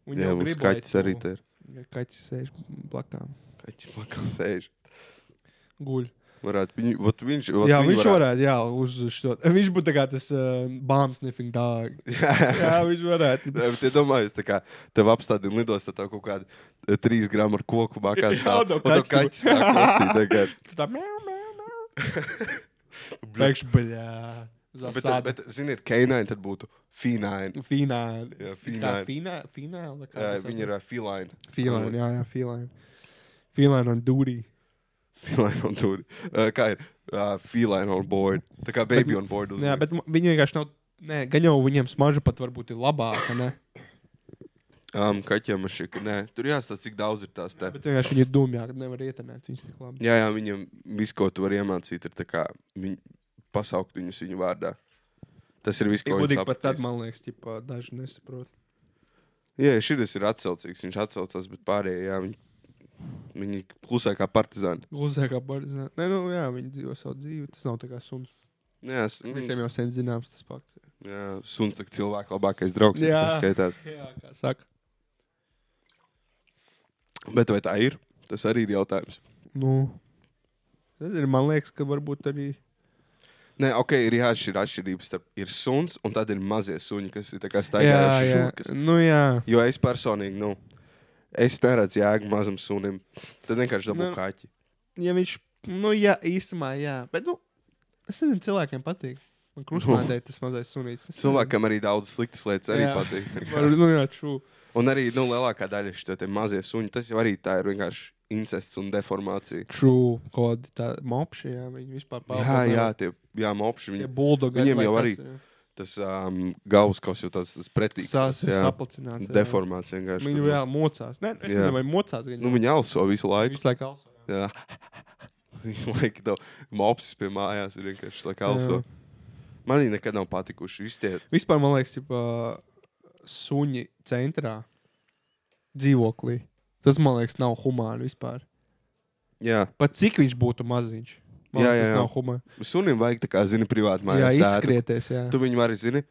Speaker 2: Un
Speaker 1: Jā,
Speaker 2: jau
Speaker 1: mums
Speaker 2: grib, lai
Speaker 1: kaķis arī
Speaker 2: tu-
Speaker 1: te ir.
Speaker 2: Ja Kaķis sēž blakām.
Speaker 1: Kaķis pakal sēž.
Speaker 2: Guļ.
Speaker 1: Varētu, viņu, vat viņš, vat
Speaker 2: Jā,
Speaker 1: viņi
Speaker 2: viņš varētu, jā, uz šo. Viņš būtu tā kā tas uh, bombs sniffing dog.
Speaker 1: Jā,
Speaker 2: Jā, viņš varētu.
Speaker 1: Nē, bet, ja domāju, tā kā tev apstādina lidostā tā kaut kāda eh, trīs gramu ar koku bakā
Speaker 2: Jā,
Speaker 1: stāv.
Speaker 2: no
Speaker 1: un tev
Speaker 2: kaķis.
Speaker 1: kaķis nāk kustī vienkārši.
Speaker 2: Tu Tā mēr, mēr, mēr. Pēkšņi, bļā.
Speaker 1: Bet, eh, bet, zini, ir canine, tad būtu feline.
Speaker 2: Fināli.
Speaker 1: Jā, feline.
Speaker 2: Fināli. Fināli.
Speaker 1: Jā, Viņa ir eh, feline.
Speaker 2: Fīlaini, jā, jā, fīlaini. Fīlaini un dūrī.
Speaker 1: Feline on tour. Eh, Kā ir? Uh, feline on board. Tā kā baby
Speaker 2: Bet-
Speaker 1: on board. Uz,
Speaker 2: Jā, bet mu- viņi vienkārši nav. Nē, gan jau viņiem smarža pat varbūt ir labāka. Ne?
Speaker 1: um, kaķiem šī, nē, tur jāstāsta, cik daudz ir tās. Te.
Speaker 2: Bet vienkārši viņi ir dumjāki, nevar ietekmēt viņus tik labi.
Speaker 1: Jā, jā, viņam viss, ko tu vari iemācīt, ir tā kā viņ, pasaukt viņus viņu vārdā. Tas ir viss,
Speaker 2: Ir
Speaker 1: ko viņš
Speaker 2: gudīgi pat tad,
Speaker 1: sapratīs.
Speaker 2: man liekas, ķipa, daži nesaprot.
Speaker 1: Jā, šis ir atcaucīgs. Viņš atcaucās, bet pārējie jā, viņi, viņi klusē kā partizāni.
Speaker 2: Gluzē kā barzā. Nē, nu jā, viņi dzīvo savu dzīvi. Tas nav tā kā suns.
Speaker 1: Jā, s-
Speaker 2: Visiem
Speaker 1: mm,
Speaker 2: jau sen zināms tas fakts.
Speaker 1: jā suns ir cilvēks labākais draugs.
Speaker 2: Jā.
Speaker 1: Jā, skaitās.
Speaker 2: Jā, kā saka.
Speaker 1: Bet vai tā ir? Tas arī ir jautājums.
Speaker 2: Nu, tas ir, man liekas, ka varbūt arī.
Speaker 1: Nē, ok, ir jāatšķir atšķirības starp ir suns un tad ir mazie suņi, kas ir tā kā staigājuši šūkas.
Speaker 2: Nu jā.
Speaker 1: Jo es personīgi, nu, es neredzu jēgu mazam sunim. Tad vienkārši dabūju
Speaker 2: Nu.
Speaker 1: kaķi.
Speaker 2: Ja viņš, nu jā, īsumā jā. Bet, nu, es nezinu, cilvēkiem patīk. Man krustmāte ir tas mazais sunītis. Es
Speaker 1: Nu. Cilvēkam arī daudz sliktas lietas arī
Speaker 2: Jā. nezinu. Var,
Speaker 1: patīk.
Speaker 2: nu jā, true.
Speaker 1: Un arī nu, lielākā daļa šo te mazie suņi, tas jau arī tā ir vienkārši incests un deformācija.
Speaker 2: True, kaut kādi tā mopši, jā, viņi vispār
Speaker 1: Jā, jā, tie jā, mopši.
Speaker 2: Tie
Speaker 1: Viņi,
Speaker 2: buldogi.
Speaker 1: viņiem jau arī
Speaker 2: eh,
Speaker 1: tas um, gauskos jau tāds, tas pretīgs.
Speaker 2: sās,
Speaker 1: tas, jā,
Speaker 2: saplicināts. jā.
Speaker 1: deformāts vienkārši.
Speaker 2: Viņi
Speaker 1: tur,
Speaker 2: jau mocās. Nē, es
Speaker 1: Jā.
Speaker 2: nezinu, vai mocās. Viņi
Speaker 1: Nu, viņi also visu laiku.
Speaker 2: visu laiku also. jā.
Speaker 1: Jā. Visu laiku to mopsis pie mājās ir vienkārši tā kā also.
Speaker 2: Jā.
Speaker 1: Man viņi nekad nav patikuši. Visi tie
Speaker 2: Vispār man liekas, ka suņi centrā dzīvoklī. Tas man liekas, nav humāni vispār.
Speaker 1: jā,
Speaker 2: Pat cik viņš būtu maziņš. Man
Speaker 1: Jā,
Speaker 2: liekas,
Speaker 1: jā,
Speaker 2: tas
Speaker 1: jā.
Speaker 2: nav humāni.
Speaker 1: sunim vajag tā kā zini privāti
Speaker 2: Jā,
Speaker 1: mājās. sēdu.
Speaker 2: izskrieties. Jā,
Speaker 1: Tu viņu vari, zini,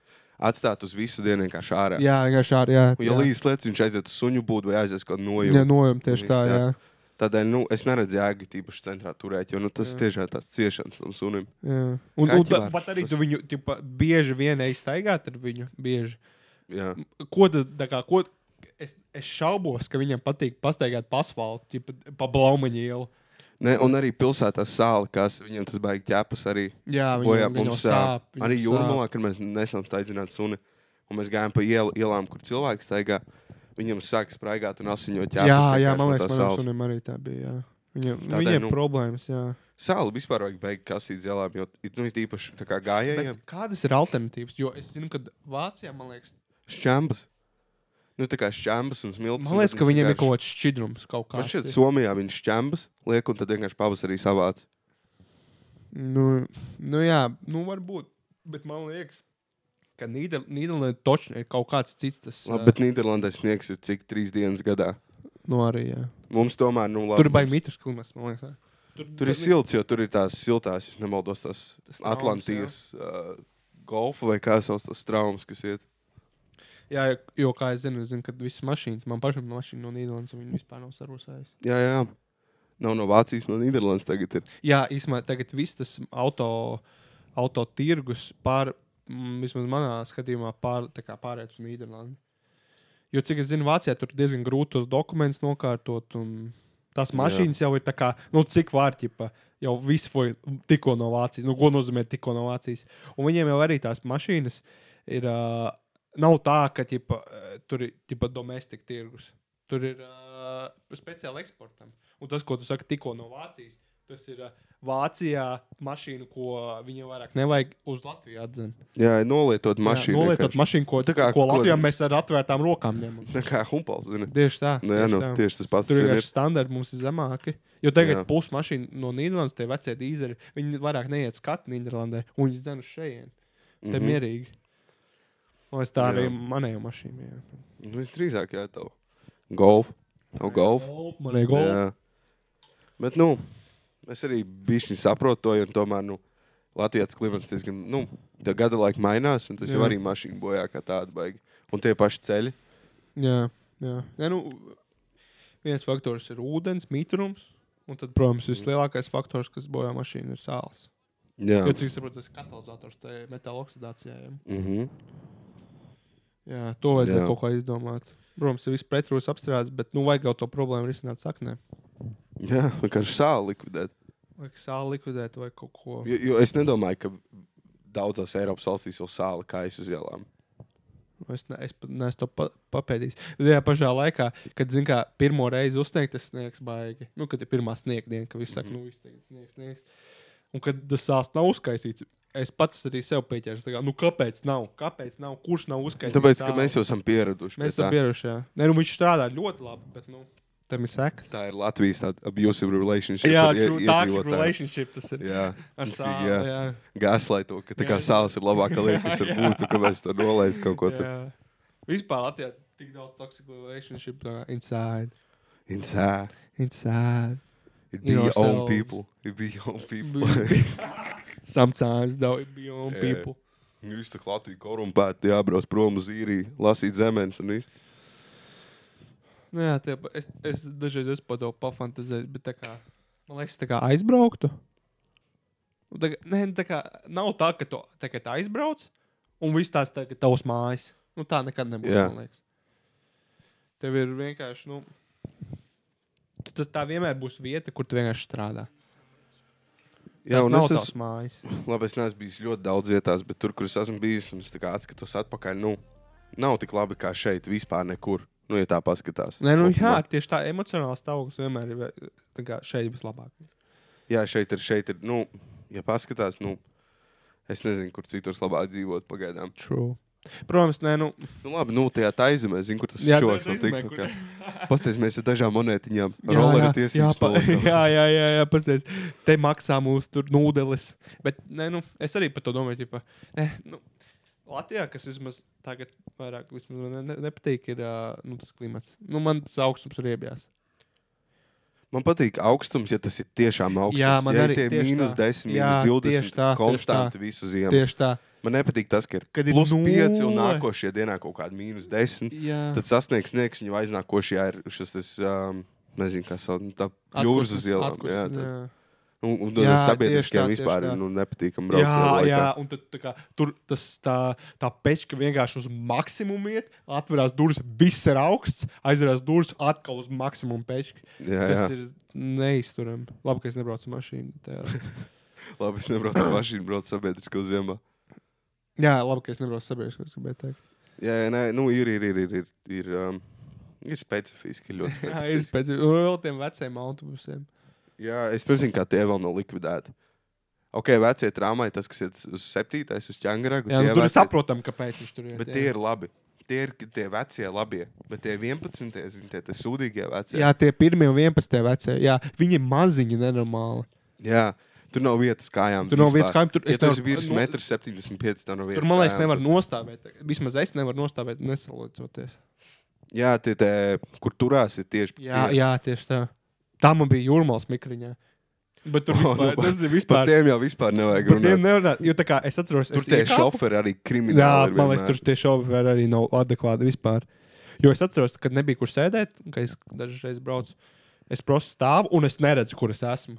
Speaker 1: atstāt uz visu dienu vienkārši ārā.
Speaker 2: jā vienkārši ārā. Jā, nu-
Speaker 1: Un, Ja līdz lietas viņš aiziet uz suņu būdu vai aiziet kaut
Speaker 2: jā
Speaker 1: nojumu.
Speaker 2: nojām tieši tā. Jā.
Speaker 1: Viss, Tādēļ, nu, es neredzu jēgu tīpaši centrā turēt, jo nu, tas
Speaker 2: Jā.
Speaker 1: tiešām tāds ciešanas tam sunim.
Speaker 2: Jā. Un, un
Speaker 1: Kaķi
Speaker 2: tā,
Speaker 1: var.
Speaker 2: pat arī
Speaker 1: Tas-
Speaker 2: tu viņu tipa, bieži vien aiztaigāt ar viņu. Bieži.
Speaker 1: Jā.
Speaker 2: Ko tas tā kā? Ko, es, es šaubos, ka viņam patīk pastaigāt pa asfaltam, tipa pa blaumaņu ielu.
Speaker 1: Ne, un arī pilsētā sāla, kas viņam tas baigi ķēpas arī.
Speaker 2: Jā,
Speaker 1: Bojā,
Speaker 2: viņam, viņam
Speaker 1: mums,
Speaker 2: sāp,
Speaker 1: sāp,
Speaker 2: viņam
Speaker 1: arī
Speaker 2: sāp.
Speaker 1: jūrmalā, kad mēs nesenam staigājām suni, un mēs gājām pa ielu, ielām, kur cilvēks staigā, viņam sāk spraigāt un asiņot ķēpas.
Speaker 2: Jā, jā,
Speaker 1: vienkārši
Speaker 2: man
Speaker 1: no
Speaker 2: liekas,
Speaker 1: tās
Speaker 2: manam
Speaker 1: sāls.
Speaker 2: sunim arī tā bija. Jā. Viņam,
Speaker 1: Tādēļ,
Speaker 2: viņiem
Speaker 1: nu,
Speaker 2: nu, problēmas, jā.
Speaker 1: Sāli vispār vajag beigt kasīt zilām, jo it- nu, it īpaši tā kā gājējiem
Speaker 2: Bet kādas ir alternatīvas? Jo es zinu, ka Vācijā, man liekas,
Speaker 1: šķembas. Nu, tā kā šķembas un smilts.
Speaker 2: man liekas ka viņiem ir kaut kāds šķidrums. Kaut
Speaker 1: Man
Speaker 2: kāds
Speaker 1: šķiet,
Speaker 2: ir.
Speaker 1: Somijā viņš šķembas liek, un tad vienkārši pavasarī savāc.
Speaker 2: Nu, nu jā, nu varbūt. Bet man liekas, ka Nīder- Nīderlandē točni ir kaut kāds cits. Tas,
Speaker 1: Labi, bet Nīderlandē sniegs ir cik trīs dienas gadā.
Speaker 2: nu, arī, jā.
Speaker 1: Mums tomēr, nu, labi.
Speaker 2: Tur bija
Speaker 1: mums-
Speaker 2: mītisks klimats, man liekas. tā.
Speaker 1: Tur ir silts, jo tur ir tās siltās, ja nemaldos, tās
Speaker 2: traumas,
Speaker 1: Atlantijas uh, golfa vai kā sauc tās traumas, kas iet.
Speaker 2: Jā, jo, kā es zinu, es zinu, kad visas mašīnas, man pašam mašīna no Nīderlandes, viņa vispār nav sarūsējusi.
Speaker 1: Jā, jā. Nav no Vācijas, no Nīderlandes tagad ir.
Speaker 2: Jā, īstenībā tagad viss tas auto, auto tirgus pār, mm, vismaz manā skatījumā, pār, tā kā pāriet uz Nīderlandi. Jo, cik es zinu, Vācijā tur diezgan grūti tos dokumentus nokārtot. un Tās mašīnas Jā. jau ir tā kā, nu, cik vārķipa. Jau viss bija tikko no Vācijas. Nu, ko nozīmē tikko no Vācijas? Un viņiem jau arī tās mašīnas ir. Uh, nav tā, ka ķipa, eh, tur ir tikai domestika tirgus. Tur ir uh, speciāli eksportam. Un tas, ko tu saki, tikko no Vācijas, tas ir uh, Vācijā mašīna, ko viņiem vairāk nevajag uz Latviju atzīt.
Speaker 1: Jā, ir nolietot mašīnu.
Speaker 2: Nolietot
Speaker 1: vienkārši.
Speaker 2: mašīnu, ko,
Speaker 1: Tā
Speaker 2: kā,
Speaker 1: kā
Speaker 2: ko
Speaker 1: ko-
Speaker 2: Latvijā mēs ar atvērtām rokām ņemam.
Speaker 1: Tā kā humpals, zini.
Speaker 2: Tieši tā.
Speaker 1: Nu, jā, nu, tieši tas pats.
Speaker 2: Tur
Speaker 1: zini,
Speaker 2: ir standarti, mums ir zemāki. Jo tagad
Speaker 1: Jā.
Speaker 2: pusi mašīnu no Nīderlandes, tie vecie dīzeļi, viņi vairāk neiet skatu Nīderlandē, un viņi zina šeit. Te mm -hmm. mierīgi. Man liekas, tā arī
Speaker 1: Mhm. Jā.
Speaker 2: manējā mašīnā. Jā.
Speaker 1: Nu, visdrīzāk, jā, tev. Golf. Tev golf.
Speaker 2: Man ir golf.
Speaker 1: Jā. Bet, nu, es arī bišķi saprotu to, jo tomēr, nu, Latvijas klimats diezgan, nu, tā gada laika mainās, un tas
Speaker 2: Jā.
Speaker 1: jau arī mašīna bojā kā tāda baigi. Un tie paši ceļi.
Speaker 2: Jā, jā. Ja, nu, viens faktors ir ūdens, mitrums. Un tad, protams, vislielākais faktors, kas bojā mašīnu, ir sāls.
Speaker 1: Jā.
Speaker 2: Jo, cik es saprotu, tas ir katalizators tajā metāla oksidācijā. Jā,
Speaker 1: Mhm.
Speaker 2: jā to vajadzēja
Speaker 1: Jā.
Speaker 2: kaut kā izdomāt. Protams, ir viss pretrūs apstrādes, bet nu vajag jau to problēmu risināt saknē.
Speaker 1: Jā, vienkārši sāli likvidēt.
Speaker 2: Vajag sāli likvidēt vai kaut ko.
Speaker 1: Jo, jo es nedomāju, ka daudzās Eiropas valstīs jau sāli kājas uz ielām.
Speaker 2: Nu, Es, ne, es pat neesmu to pa, papētījis. Bet tajā pašā laikā, kad zin, kā, pirmo reizi uzsniegts tas sniegs, baigi. Nu, kad ir pirmā sniegdiena, ka viss saka,
Speaker 1: Mhm.
Speaker 2: nu, izteikts sniegs, sniegs. Un kad tas sāls nav uzkaisīts, es pats arī sev pieķēru. tā kā, Nu, kāpēc nav? Kāpēc nav? Kurš nav uzkaisīts?
Speaker 1: Tāpēc, ka
Speaker 2: sāls?
Speaker 1: mēs jau esam pieraduši. pie
Speaker 2: Mēs
Speaker 1: tā.
Speaker 2: esam pieraduši. jā. Nē, nu, viņš strādā ļoti labi, bet nu, tam ir seka.
Speaker 1: Tā ir Latvijas tāda abusive relationship.
Speaker 2: Jā,
Speaker 1: ar ie-
Speaker 2: tāds ir
Speaker 1: iedzīvotājiem.
Speaker 2: relationship. Tas ir
Speaker 1: Jā,
Speaker 2: ar sāli.
Speaker 1: jā.
Speaker 2: Jā.
Speaker 1: Gāzlai to, ka tā kā
Speaker 2: Jā, jā.
Speaker 1: sāls ir labākā lieta, kas var
Speaker 2: Jā.
Speaker 1: būt, ka mēs to nolaidām kaut ko tādu.
Speaker 2: jā. Vispār Latvijā tik daudz toksiku relationship uh, inside.
Speaker 1: Inside.
Speaker 2: Inside.
Speaker 1: It be your own
Speaker 2: Yourselves.
Speaker 1: people. It be your own people.
Speaker 2: Sometimes, though, it be on
Speaker 1: Yeah.
Speaker 2: people.
Speaker 1: Jūs tā kā Latvija korumpēta, jābrauc prom uz īriju, lasīt zemes un viss.
Speaker 2: Nu, jā, tie, pa- es, es dažreiz esmu par to pafantazējis, bet tā kā, man liekas, tā kā aizbrauktu. Nu, Tā, kā- nē, nu, tā kā, nav tā, ka tu tagad aizbrauc un viss tās tā, kā tavs mājas. Nu, tā nekad nebūs.
Speaker 1: Jā.
Speaker 2: man liekas. Tev ir vienkārši, nu, tu- tas tā vienmēr būs vieta, kur tu vienkārši strādā.
Speaker 1: Jā,
Speaker 2: tas
Speaker 1: un
Speaker 2: nav
Speaker 1: es
Speaker 2: es
Speaker 1: esmu
Speaker 2: tavs mājas.
Speaker 1: Labi, es neesmu bijis ļoti daudz vietās, bet tur, kur es esmu bijis, un es tā kā atskatos atpakaļ, nu, nav tik labi kā šeit vispār nekur. Nu, ja tā paskatās.
Speaker 2: Nē, nu, jā,
Speaker 1: Kopumā.
Speaker 2: tieši tā emocionāla stāvoklis vienmēr ir vē- tā kā šeit vislabākais.
Speaker 1: jā, šeit ir, šeit ir, nu, ja paskatās, nu, es nezinu, kur citur labāk dzīvot pagaidām.
Speaker 2: True. Protams, nē, nu,
Speaker 1: Nu, labi, nu, tajā tā izmē, zinu, kur tas
Speaker 2: Jā,
Speaker 1: čoks
Speaker 2: tajā
Speaker 1: no
Speaker 2: taizemē,
Speaker 1: TikToka.
Speaker 2: kur-
Speaker 1: Pastāstiet, mēs ar dažām monētiņām
Speaker 2: Jā, jā,
Speaker 1: rolera
Speaker 2: jā,
Speaker 1: tiesības.
Speaker 2: pa,
Speaker 1: noliekam.
Speaker 2: jā, jā, jā, jā pazies. Te maksā mūsu tur nūdeles. Bet nē, nu, es arī par to domāju. Ķipa, nē, nu, Latvijā, kas vismaz tagad vairāk vismaz man ne, nepatīk, ir ā, nu, tas klimats. Nu, man tas augstums ir iebjās.
Speaker 1: Man patīk augstums, ja tas ir tiešām augsts.
Speaker 2: Jā, man
Speaker 1: ja
Speaker 2: arī
Speaker 1: tie
Speaker 2: tieši
Speaker 1: mīnus
Speaker 2: tā.
Speaker 1: 10,
Speaker 2: Jā,
Speaker 1: mīnus
Speaker 2: tieši
Speaker 1: 20
Speaker 2: tā, tieši
Speaker 1: konstanti
Speaker 2: tā.
Speaker 1: visu ziemu.
Speaker 2: Tieši tā.
Speaker 1: Man nepatīk tas, ka ir,
Speaker 2: Kad ir
Speaker 1: plus 5 un
Speaker 2: nulle.
Speaker 1: nākošajā dienā kaut kāda mīnus 10.
Speaker 2: Jā,
Speaker 1: Tad sasniegs sniegs, viņa aiznākošajā ir šis, tas, um, nezinu, kā sauc, nu, tā jūras uz ielām.
Speaker 2: atpūsmes,
Speaker 1: Jā, tas,
Speaker 2: jā.
Speaker 1: un, un, un
Speaker 2: Jā,
Speaker 1: jā,
Speaker 2: tieši tā,
Speaker 1: sabiedriskajām
Speaker 2: tieši
Speaker 1: vispār
Speaker 2: tā.
Speaker 1: ir nu, nepatīkami braukt.
Speaker 2: Jā,
Speaker 1: lielā laikā.
Speaker 2: jā, un tad, tā kā, tur tas tā, tā pečka vienkārši uz maksimumu iet, atverās durvis, viss ir augsts, aizverās durvis atkal uz maksimumu pečka.
Speaker 1: jā, jā.
Speaker 2: Tas ir neizturami. Labi, ka es nebraucu ar mašīnu. tajā.
Speaker 1: Labi, es nebraucu ar mašīnu, braucu sabiedrisko ziemā.
Speaker 2: Jā, labi, ka es nebraucu sabiedriskos, ko gribēju teikt.
Speaker 1: Jā, jā, nē, nu, ir, ir, ir, ir, ir, ir, um, ir specifiski, ļoti
Speaker 2: Jā,
Speaker 1: specifiski.
Speaker 2: ir pēc tam vēl tiem veciem autobusiem.
Speaker 1: Jā, es nezinu, kā tie vēl nav likvidēti. Ok, vecie trāmai, tas, kas ir uz septītais, uz ķēngaragu.
Speaker 2: Jā,
Speaker 1: tie
Speaker 2: nu, tur ir
Speaker 1: vecie-
Speaker 2: saprotami, kāpēc viņš tur ir.
Speaker 1: Bet tie ir labi. Tie ir k- tie vecie labie, bet tie 11, zini, tie, tie sūdīgie vecie.
Speaker 2: Jā, tie pirmie un 11. vecie. Jā, viņi ir maziņi, nenormāli.
Speaker 1: Jā. Tur nav vietas kājām.
Speaker 2: Tur nav
Speaker 1: vispār.
Speaker 2: vietas kājām, tur-
Speaker 1: ja
Speaker 2: es
Speaker 1: tu
Speaker 2: nevaru-
Speaker 1: esi vīrs
Speaker 2: nu-
Speaker 1: 1,75 m. Tur nav vietas.
Speaker 2: Tur, man liekas,
Speaker 1: kājām,
Speaker 2: nevar
Speaker 1: tur-
Speaker 2: nostāvēt. Vismaz es nevaru nostāvēt, nesalocoties.
Speaker 1: Jā, tie, tie, kur turās, ir tieši
Speaker 2: Jā, jā, tieši tā. Tā man bija jūrmālas mikriņā. Bet tur
Speaker 1: O,
Speaker 2: vispār,
Speaker 1: nu,
Speaker 2: oh, tas ir
Speaker 1: Par
Speaker 2: vispār.
Speaker 1: tiem jau vispār nevajag
Speaker 2: Par tiem
Speaker 1: runāt.
Speaker 2: nevarētu, jo tā kā es atceros,
Speaker 1: Tur
Speaker 2: es
Speaker 1: tie
Speaker 2: iekāpu-
Speaker 1: šoferi arī krimināli.
Speaker 2: Jā,
Speaker 1: ir
Speaker 2: man liekas,
Speaker 1: vienmēr.
Speaker 2: tur tie šovi arī nav adekvāti vispār. Jo es atceros, kad nebija kur sēdēt, kad es dažreiz braucu. Es prosu stāvu un es neredzu, kur es esmu.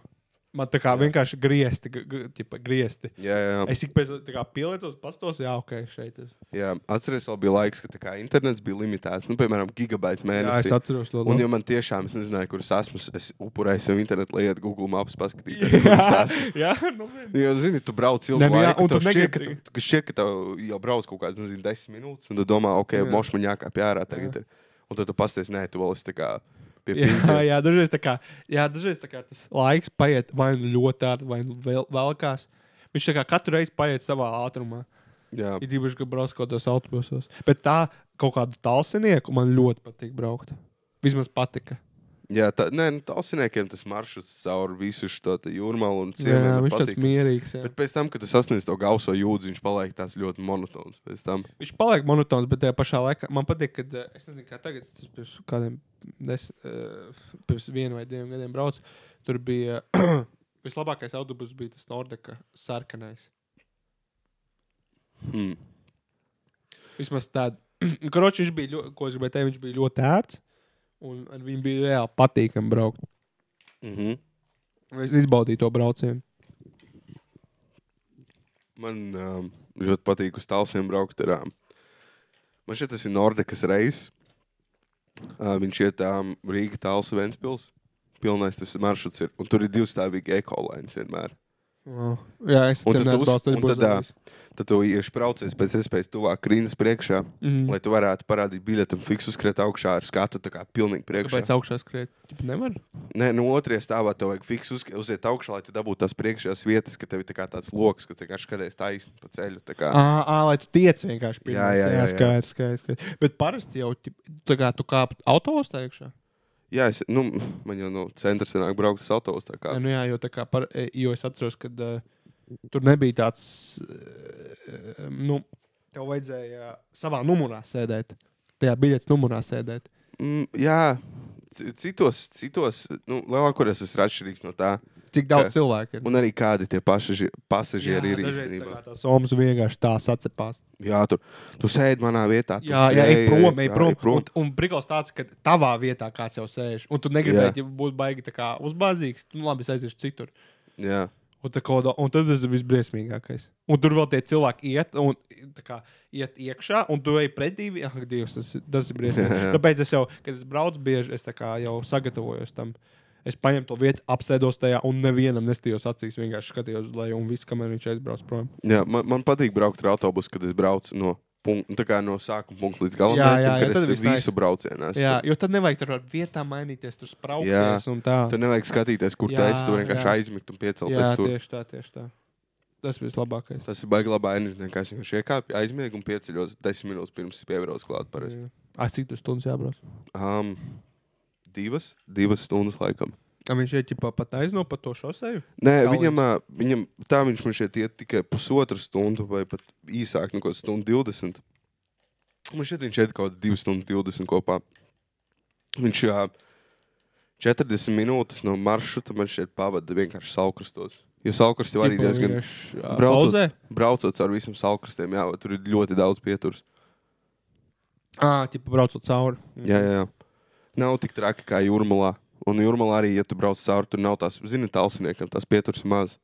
Speaker 2: Man tā kā jā. vienkārši griezti, g- g- tipa, griezti.
Speaker 1: Jā, jā, jā.
Speaker 2: Es ik pēc tam pielietos, pastos, jā, ok, šeit es.
Speaker 1: jā. atceries, vēl bija laiks, kad tā kā internets bija limitēts. Nu, piemēram, gigabaits
Speaker 2: Jā, es
Speaker 1: mēnesī.
Speaker 2: atceros to
Speaker 1: Un, ja man tiešām es nezināju, kur es esmu, es upurēju sev internetu, lai iet Google maps paskatīties, kur es esmu.
Speaker 2: jā, nu, vien.
Speaker 1: Jo, zini, tu brauc ilgi.
Speaker 2: Nē, nu jā,
Speaker 1: Jā,
Speaker 2: un
Speaker 1: un tu
Speaker 2: tu
Speaker 1: šķiet, ka,
Speaker 2: negribi.
Speaker 1: tu- ka šķiet, ka tev jau brauc kaut kāds, nezinu, desmit minūtes. Un tu domā, ok,
Speaker 2: Jā.
Speaker 1: moš man jākāpj ārā tagad. ir. Un tad tu pasties, nē, tu vēl esi tā kā pie
Speaker 2: jā,
Speaker 1: pīņķa.
Speaker 2: jā, dažreiz tā kā, jā, dažreiz tā kā tas laiks paiet vai nu ļoti ātri, vai nu vēl, velkās. Viņš tā kā katru reizi paiet savā ātrumā.
Speaker 1: Jā,
Speaker 2: Ir īpaši, ka brauc kaut kādos autobusos. Bet tā kaut kādu tālsinieku man ļoti patīk braukt. Vismaz patika.
Speaker 1: jā tā, nē, nu, tālsiniekiem tas maršruts cauri visu šo te jūrmalu un
Speaker 2: Jā, jā,
Speaker 1: ciemiem ir
Speaker 2: viņš tāds
Speaker 1: patīkams.
Speaker 2: mierīgs. Jā.
Speaker 1: Bet pēc tam, kad tu sasniedz to gauso jūdzi, viņš paliek tāds ļoti monotons. Pēc tam
Speaker 2: Viņš paliek monotons, bet tajā pašā laikā man patīk, kad eh, es nezinu, kā tagad, tas pirms kādiem des, eh, pirms vienu vai diviem gadiem braucu. Tur bija vislabākais autobus, bija tas Nordeka sarkanais.
Speaker 1: hmm.
Speaker 2: Vismaz tādu. Kroči, viņš bija, ļo, ko es gribēju teikt, viņš bija ļoti ērts. Un ar viņu bija reāli patīkami braukt.
Speaker 1: mm -hmm.
Speaker 2: Es izbaudīju to braucienu.
Speaker 1: man um, ļoti patīk uz tālsiem braukt ar ām. Man šeit tas ir Nordekas reizes. Uh, viņš iet um, Rīga tāls Ventspils. Pilnais tas maršruts ir. Un tur ir divstāvīgi ekoloģijas vienmēr.
Speaker 2: Oh. Jā, es
Speaker 1: Un
Speaker 2: tam
Speaker 1: tad
Speaker 2: neesmu
Speaker 1: uz-
Speaker 2: braucis, tad
Speaker 1: un
Speaker 2: būs
Speaker 1: tad, ā,
Speaker 2: labs.
Speaker 1: Tad tu ieši braucies pēc iespējas tuvāk krīnas priekšā,
Speaker 2: Mhm.
Speaker 1: mm. lai tu varētu parādīt biļeti un fiksu skriet augšā ar skatu tā kā pilnīgi priekšā.
Speaker 2: Kāpēc augšā skriet? Tipa, Nevar.
Speaker 1: Nē, nu otrajā stāvā tev vajag fiksu uz, uziet augšā, lai tu dabūtu tās priekšējās vietas, ka tev ir tā kā tāds loks, ka tu vienkārši skaties taisni pa ceļu. tā kā.
Speaker 2: Ah, ah, lai tu tiec vienkārši pie
Speaker 1: Jā, jā, jā, jā.
Speaker 2: skaidrs, skaidrs, skaidrs. Bet parasti jau tip- tā kā tu kāp autosā iekšā.
Speaker 1: Jā, es, nu, man jau no centra senāk braukt uz autobusu. tā kā.
Speaker 2: Jā, nu jā, jo, tā kā par, e, jo es atceros, ka uh, tur nebija tāds, uh, nu, tev vajadzēja savā numurā sēdēt. Tajā biļetes numurā sēdēt.
Speaker 1: Mm, jā, ci- citos, citos nu, lielākoties es esmu atšķirīgs no tā.
Speaker 2: Cik
Speaker 1: Ka-
Speaker 2: daudz cilvēku ir?
Speaker 1: Un arī kādi tie paši pasažieri ir
Speaker 2: dažreiz tā
Speaker 1: īstenībā.
Speaker 2: kā tās omas vienkārši tā sacepās.
Speaker 1: Jā, tur tu sēdi manā vietā. Tu,
Speaker 2: Jā, jā, ej prom, ej prom.
Speaker 1: ej prom.
Speaker 2: Un, un brīnās tāds, ka tavā vietā kāds jau sēž. Un tu negribēji ja būt baigi tā kā uzbāzīgs. Tu nu, labi, es aiziešu citur.
Speaker 1: Jā,
Speaker 2: Un, tā kā, un tad tas ir visbriesmīgākais. Un tur vēl tie cilvēki iet, un, tā kā, iet iekšā, un tu ej pretī. vi- Ak, Dievs, tas, ir- tas ir briesmīgi.
Speaker 1: Jā, jā.
Speaker 2: Tāpēc es jau, kad es braucu bieži, es tā kā jau sagatavojos tam. Es paņēmu to vietu, apsēdos tajā un nevienam nestījos acīs. Vienkārši skatījos uz leju un viss, kamēr viņš aizbrauc prom.
Speaker 1: jā man, man patīk braukt ar autobusu, kad es braucu no, punk nu, tā kā no sākuma punkta līdz galam.
Speaker 2: Jā, jā, jā,
Speaker 1: kad
Speaker 2: tad
Speaker 1: es
Speaker 2: viss
Speaker 1: visu
Speaker 2: nice.
Speaker 1: braucienu esmu.
Speaker 2: Jā, jo tad nevajag tur ar vietām mainīties, tur spraukties un tā.
Speaker 1: Tur nevajag skatīties, kur
Speaker 2: Jā,
Speaker 1: tas ir. Tur vienkārši
Speaker 2: jā.
Speaker 1: aizmigt un piecelties
Speaker 2: Jā,
Speaker 1: tur.
Speaker 2: tieši tā, tieši tā. Tas bija vislabākais.
Speaker 1: Tas ir baigi labā enerģija, kā es vienkārši iekāpu, aizmiegu un pieceļos desmit minūtes pirms es pievēros klāt. parasti.
Speaker 2: Ai, cik tur stundas jābrauc?
Speaker 1: Um, divas, divas stundas laikam.
Speaker 2: A, viņš šeit jau pat aizno pa to šoseju.
Speaker 1: Nē,
Speaker 2: Tālāk.
Speaker 1: viņam, ā, viņam tā viņš man šeit iet tikai pusotru stundu vai pat īsāk, nu, kaut stundu 20. Man šeit viņš iet kaut kāda 2 stundu 20 kopā. Viņš jā, 40 minūtes no maršruta man šeit pavada vienkārši saukrastos. Jo saukrasti var arī
Speaker 2: Tipa
Speaker 1: diezgan.
Speaker 2: vienkārši, ā,
Speaker 1: Braucot,
Speaker 2: pauzē?
Speaker 1: braucot ar visiem saukrastiem, jā, tur ir ļoti daudz pieturs.
Speaker 2: Ā, tipa braucot cauri.
Speaker 1: Jā, jā, jā. Nav tik traki kā jūrmalā. Un jūrmalā arī, ja tu brauc cauri, tur nav tās, zini, tālsiniekam tās pieturas maz.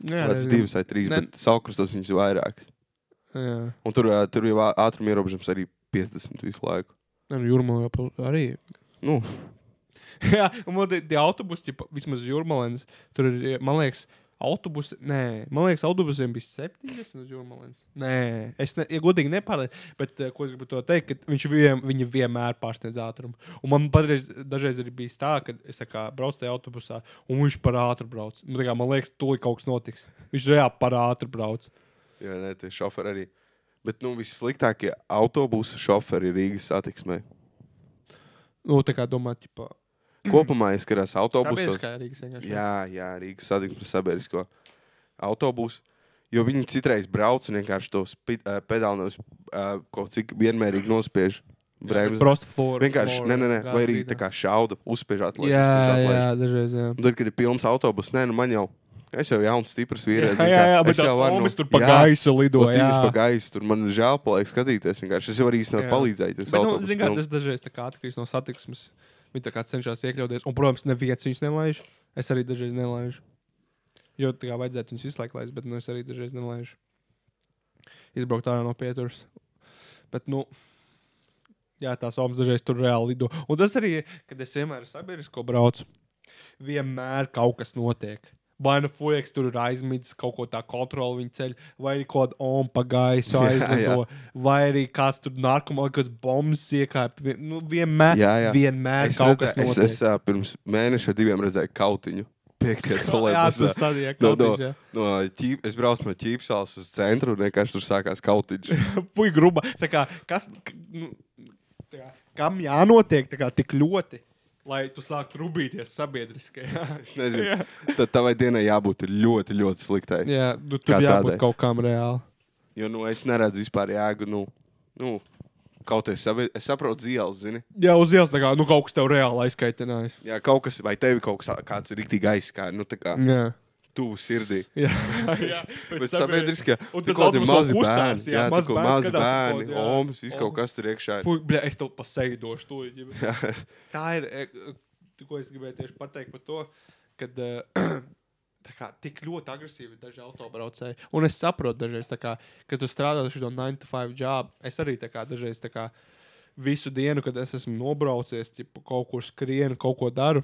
Speaker 2: jā
Speaker 1: Kādas
Speaker 2: diezgan-
Speaker 1: divas vai trīs,
Speaker 2: Ne.
Speaker 1: ne. bet saukrustos viņas ir vairākas.
Speaker 2: Jā,
Speaker 1: Un tur, ā, tur jau ā- ātruma ierobežams arī 50 visu laiku.
Speaker 2: Nē, nu, jūrmalā jau pa- arī.
Speaker 1: Nu,
Speaker 2: jā, un man tie, tie autobusi, tipa, vismaz jūrmalēns, tur ir, man liekas, autobusi, nē, man liekas, autobusiem bija 70 uz jūrmalēns. Nē, es ne, ja godīgi nepārlieku, bet eh, ko es gribu to teikt, ka viņš viem, viņi vienmēr pārsniedz ātrumu. Un man padreiz, dažreiz arī bija tā, ka es tā kā, braucu tajā autobusā, un viņš par ātru brauc. Man, tā kā, man liekas, tūlīt kaut kas notiks. Viņš reāli par ātru brauc.
Speaker 1: jā, nē, tie šoferi arī. Bet nu, vissliktākie autobusu šoferi Rīgas satiksmē.
Speaker 2: Nu, tā kā domā, tipā,
Speaker 1: Mhm. Kopumā ieskarās autobusos.
Speaker 2: sabiedriskajā Rīgas vienkārši.
Speaker 1: Jā, jā, Rīgas satiksmes sabiedrisko. autobusu. Jo viņi citreiz brauc un vienkārši to spi- eh, pedāli nevis eh, kaut cik vienmērīgi nospiež. Bremzi.
Speaker 2: Prosta flora.
Speaker 1: Vienkārši, nē, nē, nē, vai arī tā kā šauda, uzspiež atlaiž.
Speaker 2: Jā,
Speaker 1: uzspiež, atlaiž.
Speaker 2: jā, dažreiz. Jā.
Speaker 1: Un Tad, kad ir pilns autobus, nē, nu man jau, es jau jauns, stiprs vīrietis.
Speaker 2: Jā,
Speaker 1: zini
Speaker 2: jā,
Speaker 1: kā,
Speaker 2: jā, bet
Speaker 1: es jau
Speaker 2: tās
Speaker 1: varu
Speaker 2: omas
Speaker 1: no-
Speaker 2: tur pa gaisu lido,
Speaker 1: no tīras
Speaker 2: jā.
Speaker 1: pa gaisu, tur man žēl paliek skatīties. vienkārši. Es jau arī īstenībā
Speaker 2: Jā.
Speaker 1: palīdzēju. Tas
Speaker 2: Bet, nu,
Speaker 1: autobuss
Speaker 2: zini, kā,
Speaker 1: pilns.
Speaker 2: tas dažreiz tā kā atkarīgs no satiksmes. Viņi tā kā cenšas iekļauties. Un, protams, nevienas viņus nelaiž. Es arī dažreiz nelaižu. Jo tā kā vajadzētu viņus visu laiku laist, bet nu, es arī dažreiz nelaižu. Izbraukt ārā no pieturas. Bet, nu, jā, tās omas dažreiz tur reāli lido. Un tas arī, kad es vienmēr ar sabiedrisko braucu, vienmēr kaut kas notiek. Vai nu fuljaks tur ir aizmidzis, kaut ko tā kontroli viņa ceļ, vai arī kaut kāda ompa gaisa
Speaker 1: Jā,
Speaker 2: aizlido, vai arī kāds tur narkomāns, kāds bombas iekāpa. Nu, vienmēr,
Speaker 1: Jā, jā.
Speaker 2: vienmēr
Speaker 1: Es,
Speaker 2: kaut kas
Speaker 1: redzēju, es,
Speaker 2: notiek.
Speaker 1: es ā, pirms mēneša diviem redzēju kautiņu. Piektajā
Speaker 2: jā,
Speaker 1: trolēļ.
Speaker 2: tas arī ir
Speaker 1: No,
Speaker 2: kaut
Speaker 1: no,
Speaker 2: kas.
Speaker 1: no, ķīp, es braucu no ķīpsāles uz centru un vienkārši tur sākās kautiņš.
Speaker 2: Puika gruba. Tā kā, kas, k- nu, tā kā, kam jānotiek tā kā, tik ļoti, lai tu sāktu rūpīties sabiedriskajā?
Speaker 1: Es nezinu, tad tavai dienai jābūt ļoti, ļoti sliktai.
Speaker 2: Jā, nu,
Speaker 1: Kā
Speaker 2: tur jābūt
Speaker 1: tādai.
Speaker 2: kaut kam reāli.
Speaker 1: Jo nu, es neredzu vispār jēgu. Nu, nu, kaut kā es, savi- es saprotu, zils, zini.
Speaker 2: Jā, uz ielas tā kā, nu, kaut kas tev reāli aizkaitinājis.
Speaker 1: Jā, kaut kas, vai tev kaut kas tāds ir rīktīgi aizskāris, nu, tā kā
Speaker 2: Jā.
Speaker 1: tuvu sirdī.
Speaker 2: Jā, jā.
Speaker 1: Bet sabiedriskajā
Speaker 2: Un
Speaker 1: tur
Speaker 2: tas
Speaker 1: kaut kādi
Speaker 2: autobusos
Speaker 1: mazi
Speaker 2: kustās,
Speaker 1: bērni,
Speaker 2: jā,
Speaker 1: jā,
Speaker 2: maz
Speaker 1: tur kaut
Speaker 2: bērni
Speaker 1: mazi
Speaker 2: skatās un
Speaker 1: bērni,
Speaker 2: kaut- jā.
Speaker 1: omas, viss kaut kas tur iekšā. ir.
Speaker 2: Puika, bļa, es tev pasaidošu to. ģibe. Tā ir, e, e, ko es gribēju tieši pateikt par to, kad e, tā kā tik ļoti agresīvi ir daži autobraucēji. Un es saprotu, dažreiz, tā kā, kad tu strādā pie šo 9 to 5 jobu, es arī tā kā dažreiz tā kā visu dienu, kad es esmu nobraucies, tipu, kaut kur skrienu, kaut ko daru.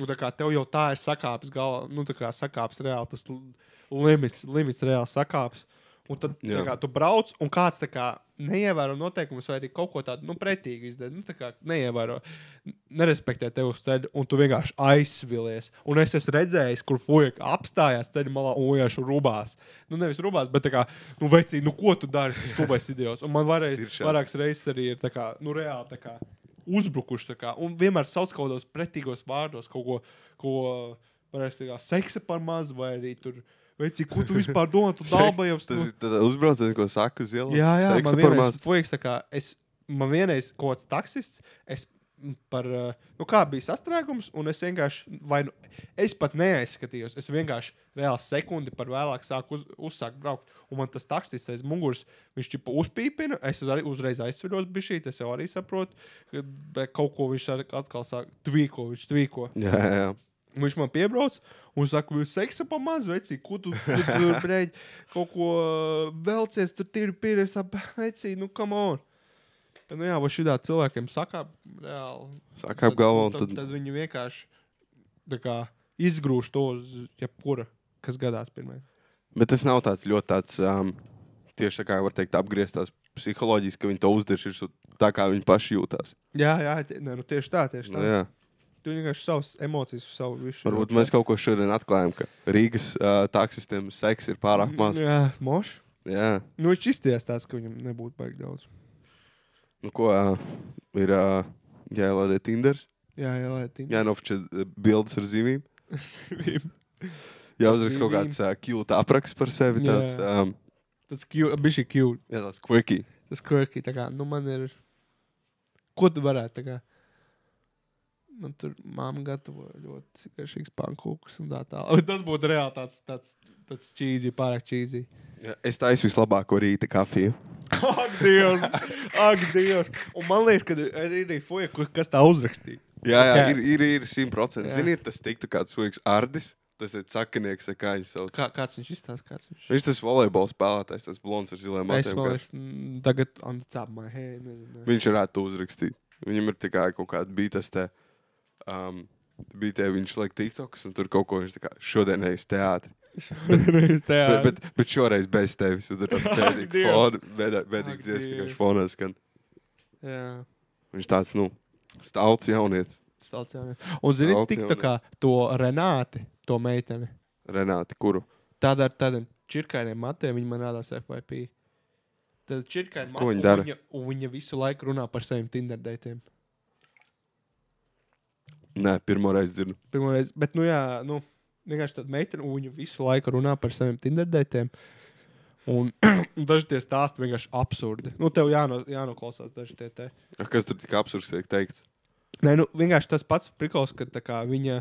Speaker 2: Nu, tā kā tev jau tā ir sakāpes, galvā, nu, tā kā sakāpes reāli, tas l- limits, limits reāli sakāpes. Un tad, tā
Speaker 1: Jā.
Speaker 2: kā tu brauc, un kāds tā kā neievēro noteikumus, vai arī kaut ko tādu nu, pretīgu izdara, nu, tā kā neievēro, n- nerespektē tevi uz ceļa, un tu vienkārši aizsvilies. Un es esmu redzējis, kur fuck apstājās ceļa malā, un vienkārši rūbās. Nu, nevis rūbās, bet tā kā, nu, vecī, nu, ko tu dari, tas stulbais idiots. Un man varēja,
Speaker 1: Tiršās.
Speaker 2: vairākas reizes arī ir tā kā, nu, reāli tā kā, uzbrukuši. tā Kā, un vienmēr sauc kaut kādos pretīgos vārdos, kaut ko, ko varēs teikt, seksa par mazu, vai arī tur, veci, ko tu vispār domā, tu dalbājums.
Speaker 1: Tas ir tāds uzbraucējs, ko saka uz ielas.
Speaker 2: Jā, jā,
Speaker 1: Seksa
Speaker 2: man
Speaker 1: par
Speaker 2: vienreiz,
Speaker 1: maz.
Speaker 2: puiks, tā kā, es, man vienreiz kaut kāds taksists, es m, par, uh, nu kā bija sastrēgums, un es vienkārši, vai nu, es pat neaizskatījos, es vienkārši reāli sekundi par vēlāk sāku uz, uzsākt braukt, un man tas taksists aiz muguras, viņš čipa uzpīpina, es uz- arī uzreiz aizsviļos bišīt, es jau arī saprotu, ka- bet kaut ko viņš ar- atkal sāk tvīko, viņš tvīko.
Speaker 1: Jā, jā, jā.
Speaker 2: Un Nu, Viņš man piebrauc un saka, ka seksa pa maz, veci, ko tu tur tu, blēģi, kaut ko vēlcies, tur ir pieredzējis, apēci, nu, come on. Nu, jā, vai šitā cilvēkiem sakā, reāli.
Speaker 1: Saka ap galvu, un
Speaker 2: tad, tad...
Speaker 1: tad
Speaker 2: tad viņi vienkārši tā kā, izgrūž to uz jebkura, kas gadās pirmajā.
Speaker 1: Bet tas nav tāds ļoti tāds, um, tieši tā kā var teikt, apgrieztās psiholoģiski, ka viņi to uzdiršas tā, kā viņi paši jūtas.
Speaker 2: Jā, jā, tie- nē, nu, tieši tā, tieši
Speaker 1: Nu,
Speaker 2: tā.
Speaker 1: jā.
Speaker 2: Tu vienkārši savas emocijas, savu visu.
Speaker 1: Varbūt mēs kaut ko šodien atklājām, ka Rīgas uh, taksistiem seks ir pārāk maz.
Speaker 2: Mm, Jā, moš.
Speaker 1: Jā.
Speaker 2: Nu, viņš izties tāds, ka viņam nebūtu baigi daudz.
Speaker 1: Nu, ko uh, ir uh, jāielādē Tinders,
Speaker 2: Jā, jā, lai tīk.
Speaker 1: jānofočē uh, bildes ar zīmīm,
Speaker 2: Jā.
Speaker 1: jāuzraksta kaut
Speaker 2: zīmīm.
Speaker 1: kāds uh, kilta apraksts par sevi,
Speaker 2: Jā.
Speaker 1: tāds, um,
Speaker 2: Tas bija šī cute.
Speaker 1: jā, tāds quickie.
Speaker 2: Tas quirky, tā kā, nu man ir. Ko tu varētu? tā Kā, man tur māma gatavoja ļoti garšīgs pankūks un tā tālāk. Tas būtu reāli tāds, tāds, tāds čīzi, pārāk čīzi.
Speaker 1: Jā, es taisu vislabāko rīta kafiju.
Speaker 2: Ak, Dievs! Ak, Dievs! Un man liekas, ka arī ir foja, kur- kas tā uzrakstīja.
Speaker 1: Jā, jā,
Speaker 2: Jā.
Speaker 1: ir, ir, ir 100%.
Speaker 2: Jā.
Speaker 1: Ziniet, tas tiktu kāds svaigs Ardis, tas ir cakanieks, vai kā viņš sauc.
Speaker 2: Kā, kāds viņš izstāsta? Kāds viņš?
Speaker 1: Viņš tas volejbola spēlētājs, tas blonds ar zilām
Speaker 2: Es
Speaker 1: matiem.
Speaker 2: man
Speaker 1: karš.
Speaker 2: liekas, mm, tagad on the top of my head. Nezinu.
Speaker 1: Viņš varētu uzrakstīt. Viņam ir tikai kaut kāda bija tas te. Um, Bija te viņš laik TikToks, un tur kaut ko viņš tā kā šodien ejas teātrī.
Speaker 2: Reiz tajā-
Speaker 1: Bet, bet, bet šoreiz bez tevis. Tur tur tur
Speaker 2: Ak,
Speaker 1: bēdīgi
Speaker 2: Dievs.
Speaker 1: fonu, bēdā- bēdīgi
Speaker 2: Ak,
Speaker 1: dziesmi,
Speaker 2: Dievs.
Speaker 1: vienkārši fonā skan.
Speaker 2: Jā.
Speaker 1: Viņš tāds, nu, stalts jaunietis.
Speaker 2: Stalts jaunieks. Un zini,
Speaker 1: Stalts
Speaker 2: tik tā kā to Renāti, to meiteni.
Speaker 1: Renāti, kuru?
Speaker 2: tādā ar tādiem čirkainiem matiem viņi man rādās FYP. Tad čirkaini
Speaker 1: Ko viņi
Speaker 2: mati, un
Speaker 1: dara?
Speaker 2: Viņa, un viņa visu laiku runā par saviem Tinder datiem.
Speaker 1: Nē, pirmo reizi dzirdu.
Speaker 2: Pirmoreiz, bet, nu, jā, nu, vienkārši tāda meitene, un viņa visu laiku runā par saviem tinderdētiem. Un daži tie stāsti vienkārši absurdi. Nu, tev jāno, jānoklausās daži tie te.
Speaker 1: Kas tur tik absurds tiek teikts?
Speaker 2: Nē, nu, vienkārši tas pats prikals, ka tā kā viņa,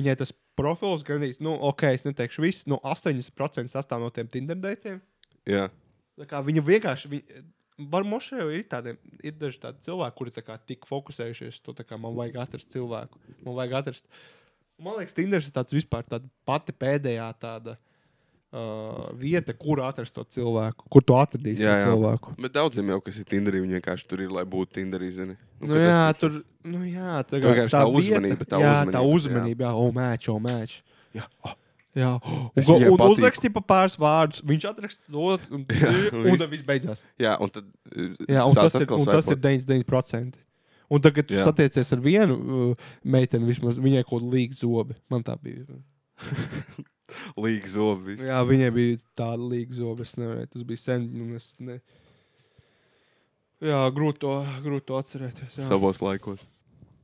Speaker 2: viņai tas profils gandrīz, nu, ok, es neteikšu viss, no 80% sastāv no tiem tinderdētiem.
Speaker 1: Jā,
Speaker 2: Tā kā Viņa vienkārši. Viņa, Varbūt jau ir tādi, ir daži tādi cilvēki, kuri tā kā tik fokusējušies uz to, ka man vajag atrast cilvēku. Man vajag atrast. Man liekas, Tinders ir tāds vispār tāda pati pēdējā tāda uh, vieta, kur atrast to cilvēku, kur tu atradīsi
Speaker 1: Jā,
Speaker 2: to
Speaker 1: jā.
Speaker 2: cilvēku.
Speaker 1: bet daudziem jau, kas ir Tinderī, viņi vienkārši tur ir, lai būtu Tinderī, zini.
Speaker 2: Nu,
Speaker 1: kad
Speaker 2: jā,
Speaker 1: es-
Speaker 2: tur nu, jā, tā, kā
Speaker 1: Vienkārši tā uzmanība, tā
Speaker 2: jā,
Speaker 1: uzmanība,
Speaker 2: tā uzmanība, jā, oh, match, oh, match.
Speaker 1: Jā. Oh,
Speaker 2: Jā, un,
Speaker 1: Es viņai
Speaker 2: un
Speaker 1: patīku.
Speaker 2: uzrakstīja pa pāris vārdus. Viņš atrakstīja to, un,
Speaker 1: Jā,
Speaker 2: un,
Speaker 1: viss.
Speaker 2: un tad viss beidzās.
Speaker 1: jā, un tad. e,
Speaker 2: Jā, un tas, ir, un tas ir 99%. Un tagad tu
Speaker 1: Jā.
Speaker 2: satiecies ar vienu uh, meiteni, vismaz viņai kaut kāda līga zobe. Man tā bija.
Speaker 1: Līgas zobi. viss.
Speaker 2: Jā, viņai bija tāda līga zobe. Es nevarēju, tas bija sen. un es Ne... Jā, grūti to, grūti to atcerēties. Jā,
Speaker 1: Savos laikos.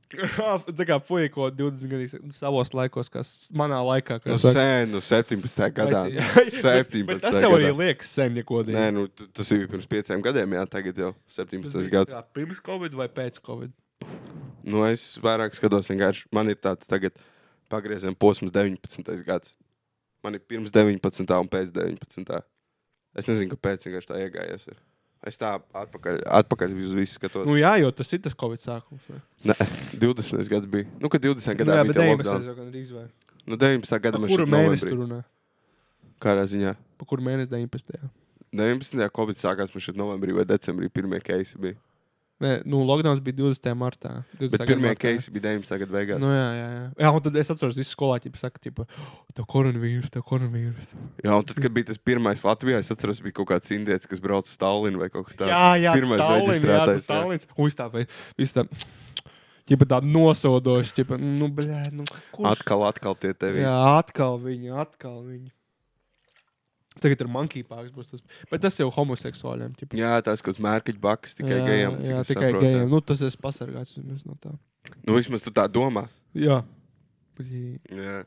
Speaker 2: tā kā puika, ko 20 gadus savos laikos, kas manā laikā,
Speaker 1: Nu,
Speaker 2: kas
Speaker 1: sen, nu, 17. gadā. 17.
Speaker 2: Tas jau arī
Speaker 1: gadā.
Speaker 2: liekas sen, ja godīgi.
Speaker 1: Nē, nu, tu- tas bija pirms pieciem gadiem, jā, tagad jau 17. gads.
Speaker 2: Jā, pirms Covid vai pēc Covid?
Speaker 1: Nu, es vairāk skatos, vienkārši man ir tāds tagad pagrieziena posms, 19. gads. Man ir pirms 19. un pēc 19. Es nezinu, kāpēc vienkārši tā iegājies. Ir. Es tā atpakaļ, atpakaļ uz visu skatos.
Speaker 2: Nu, jā, jo tas ir tas Covid sākums. vai?
Speaker 1: Nē, 20. gads bija. Nu, kad 20.
Speaker 2: Nu,
Speaker 1: gadā
Speaker 2: jā,
Speaker 1: bija
Speaker 2: bet
Speaker 1: tā
Speaker 2: 19.
Speaker 1: lockdown.
Speaker 2: jau gandrīz vai.
Speaker 1: Nu, 19. gadā
Speaker 2: Pa
Speaker 1: man
Speaker 2: kuru
Speaker 1: šeit
Speaker 2: mēnesi
Speaker 1: novembrī.
Speaker 2: tur runā?
Speaker 1: Kādā ziņā?
Speaker 2: Pa kuru mēnesi 19.
Speaker 1: 19. Covid sākās man šeit novembrī vai decembrī pirmie keisi bija.
Speaker 2: Nē, nu, lockdown bija 20. martā. 20.
Speaker 1: Bet pirmie keisi bija 19. gada beigās.
Speaker 2: Nu, jā, jā, jā. jā, un tad es atceros, ka visi skolēni saka, ka tev koronavīruss, tev koronavīruss.
Speaker 1: Jā, un tad, kad bija tas pirmais Latvijā, es atceros, bija kaut kāds indietis, kas brauca uz Stalinu vai kaut kas tāds.
Speaker 2: Jā, jā,
Speaker 1: pirmais
Speaker 2: Stalin, jā, tas
Speaker 1: reģistrētais. jā.
Speaker 2: Stalins. Un viss tā, vai viss tā, ķipa tā nosodoši, ķipa, nu, blē, nu, kurš?
Speaker 1: Atkal, atkal tie tevi.
Speaker 2: jā, atkal viņi, atkal viņi. Tagad ir monkey pārks būs tas. Bet tas jau homoseksuāļiem, ķipa.
Speaker 1: jā tas kaut kāds mērķis baks tikai
Speaker 2: Jā,
Speaker 1: gejiem.
Speaker 2: Jā, tikai gejiem. Nu, tas esmu pasargāts vismaz no tā.
Speaker 1: Nu, vismaz tu tā domā.
Speaker 2: Jā. Blī.
Speaker 1: Jā.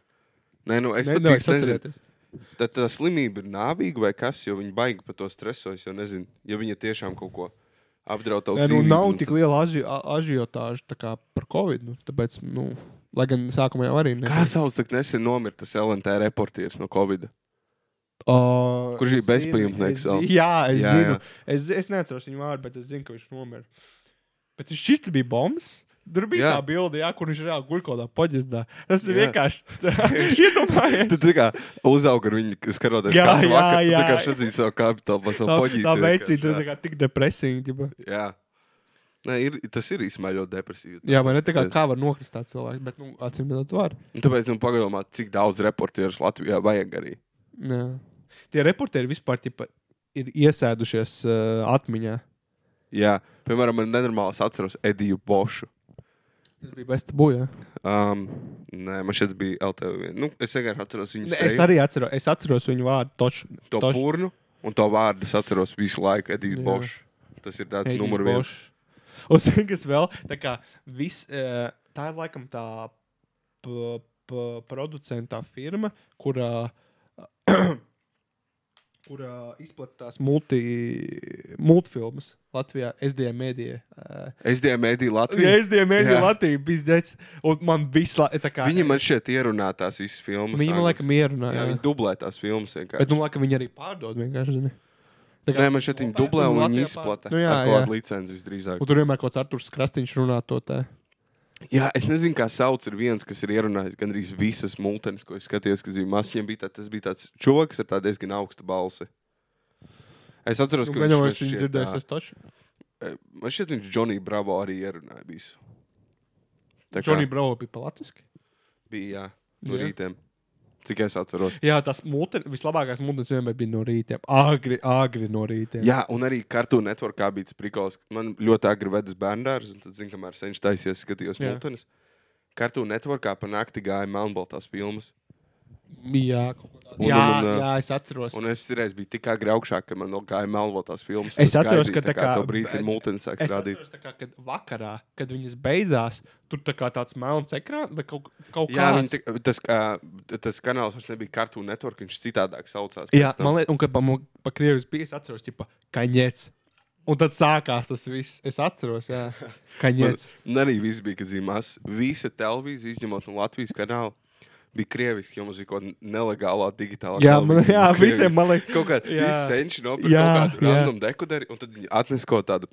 Speaker 1: Nē, nu, es
Speaker 2: Nē,
Speaker 1: pat
Speaker 2: nē,
Speaker 1: īsti nezinu,
Speaker 2: atcerēties.
Speaker 1: tā, tā slimība ir nāvīga vai kas, jo viņi baigi par to stresojas. Jo nezinu, ja viņi tiešām kaut ko apdraud tavu
Speaker 2: Nē, nu,
Speaker 1: dzīvību.
Speaker 2: nav
Speaker 1: nu,
Speaker 2: tik
Speaker 1: tad-
Speaker 2: liela aži, a- ažiotāža tā kā par covid. Nu, tāpēc, nu, lai gan sākumā jau arī
Speaker 1: Kā sauc, tad nesen nomira tas LNT reportieris no Covid?
Speaker 2: Uh,
Speaker 1: Kurš bija bezpajumtnieks vēl?
Speaker 2: Jā, es
Speaker 1: Jā,
Speaker 2: jā, zinu. Jā.
Speaker 1: jā.
Speaker 2: Es, es neatceros viņu vārdu, bet es zinu, ka viņš nomira. Bet viņš šis te bija bombs. Tur bija jā.
Speaker 1: Jā.
Speaker 2: tā bilde, jā, kur viņš reāli gulkodā poģizdā. Tas
Speaker 1: Jā.
Speaker 2: ir vienkārši iedomājies.
Speaker 1: Tu tā kā uzaugi ar viņu, skatoties,
Speaker 2: Jā,
Speaker 1: kā
Speaker 2: jā,
Speaker 1: viņš vakar, tu
Speaker 2: jā.
Speaker 1: tā kā redzēji savu kapitālu, pa savu
Speaker 2: Tā,
Speaker 1: poģīti.
Speaker 2: tā
Speaker 1: vienkārši, jā.
Speaker 2: veicina, tas ir tik depresīvi. ģipa.
Speaker 1: Jā, Nē, ir, tas ir īstenībā ļoti depresīvi.
Speaker 2: Jā, vai ne? Tā kā, kā var nokrist tāds cilvēks, bet, nu, acīm redzot, var.
Speaker 1: Un Tāpēc man padomā, cik daudz reportierus Latvijā vajag arī.
Speaker 2: Jā. Tie reportieri vispār ķipa, ir iesēdušies uh, atmiņā.
Speaker 1: Jā, piemēram, man nenormāli es atceros Ediju Bošu.
Speaker 2: Tas bija bez tabūja.
Speaker 1: Um, nē, man šeit bija LTV. Nu, es vienkārši atceros viņu
Speaker 2: Es
Speaker 1: seju,
Speaker 2: arī atceros, es atceros viņu vārdu. Toč,
Speaker 1: to
Speaker 2: toč,
Speaker 1: pūrnu un to vārdu. Es atceros visu laiku Ediju
Speaker 2: Jā.
Speaker 1: Bošu. Tas ir tāds
Speaker 2: Edijs
Speaker 1: numurs viens.
Speaker 2: Bošs. Un zini, kas vēl? Tā, kā, vis, uh, tā ir laikam tā p- p- producentā firma, kurā. kurā izplatās multi, multfilmas Latvijā, SDM mēdīja. Uh,
Speaker 1: SDM Edija
Speaker 2: ja
Speaker 1: Latvijā.
Speaker 2: SDM mēdīja
Speaker 1: Jā.
Speaker 2: Latvija bija dzirdēts, un man visu laiku.
Speaker 1: Viņi man šeit ierunā tās visas filmas.
Speaker 2: Viņa man
Speaker 1: angļuiski.
Speaker 2: laikam ierunāja.
Speaker 1: Jā, viņi dublē tās filmas vienkārši.
Speaker 2: Bet, nu, laikam, viņi arī pārdod vienkārši. Zini. Tā kā-
Speaker 1: Nē, man šeit viņi
Speaker 2: Nopērk
Speaker 1: dublē
Speaker 2: un
Speaker 1: un viņi
Speaker 2: Latvijā pār-
Speaker 1: izplata.
Speaker 2: Nu, jā,
Speaker 1: Ar kaut
Speaker 2: jā.
Speaker 1: kādu licenci visdrīzāk.
Speaker 2: Un tur vienmēr kaut kāds Arthurs Krastīņš runā to tā.
Speaker 1: Jā, es nezinu, kā sauc, ir viens, kas ir ierunājis gandrīz visas mūtens, ko es skatījos, kas bija mazs. Viņam bija tā, tas bija tāds čoks ar tādu diezgan augstu balsi. Es atceros,
Speaker 2: Nu,
Speaker 1: ka
Speaker 2: Gan jau es
Speaker 1: viņš
Speaker 2: viņu dzirdēju, tas taču.
Speaker 1: ir. Eh, Man šķiet, viņš Johnny Bravo arī ierunāja visu. Tā kā
Speaker 2: Džonija Bravo bija palatviski.
Speaker 1: bija jā, no
Speaker 2: Jā.
Speaker 1: rītiem. Cik es atceros.
Speaker 2: Jā, tas muten, vislabākais mūtens vienmēr bija no rīta. Agri, agri no rīta.
Speaker 1: Jā, un arī Cartoon Networkā bija tas prikals. Man ļoti agri vedas bērnās, un tad, zinu, kamēr senčs taisies, skatījos
Speaker 2: Jā.
Speaker 1: mūtenes. Cartoon Networkā pa nakti gāja melnbaltās filmas.
Speaker 2: Jā, kaut ko tādu.
Speaker 1: Un-
Speaker 2: jā,
Speaker 1: un, un,
Speaker 2: jā, es atceros.
Speaker 1: Un es reiz biju tik agri augšā, ka man vēl gāja melot tās filmas.
Speaker 2: Es atceros, ka tā
Speaker 1: tā kā
Speaker 2: kā-
Speaker 1: to brīdi
Speaker 2: bet-
Speaker 1: ir mūtens sāks
Speaker 2: Es
Speaker 1: rādīt.
Speaker 2: atceros, tā kā, kad vakarā, kad viņas beidzās, tur tā kā tāds melns ekrāns, bet kaut, kaut
Speaker 1: Jā,
Speaker 2: nu kāds.
Speaker 1: viņi tik, tas, kā, tas kanāls vairs nebija Cartoon Network, viņš citādāk saucās. pēc
Speaker 2: Jā,
Speaker 1: tam.
Speaker 2: man liekas, un kad pa, mu- pa krievis bija, es atceros, ka kaņģēts. Un tad sākās tas viss. Es atceros, jā, kaņģēts.
Speaker 1: Un arī viss bija, kad zīmēs. Visa televīzija, izņemot no Latvijas kanāla, bija krieviski. Jums bija kaut kāda nelegālā, digitālā
Speaker 2: Jā, man-
Speaker 1: televīzija
Speaker 2: jā,
Speaker 1: no Krievijas.
Speaker 2: visiem, man liekas,
Speaker 1: kaut kāda
Speaker 2: jā.
Speaker 1: senča
Speaker 2: Jā,
Speaker 1: nopirka kaut kādu
Speaker 2: jā.
Speaker 1: random dekuderi, un tad viņi atnes kaut tādu.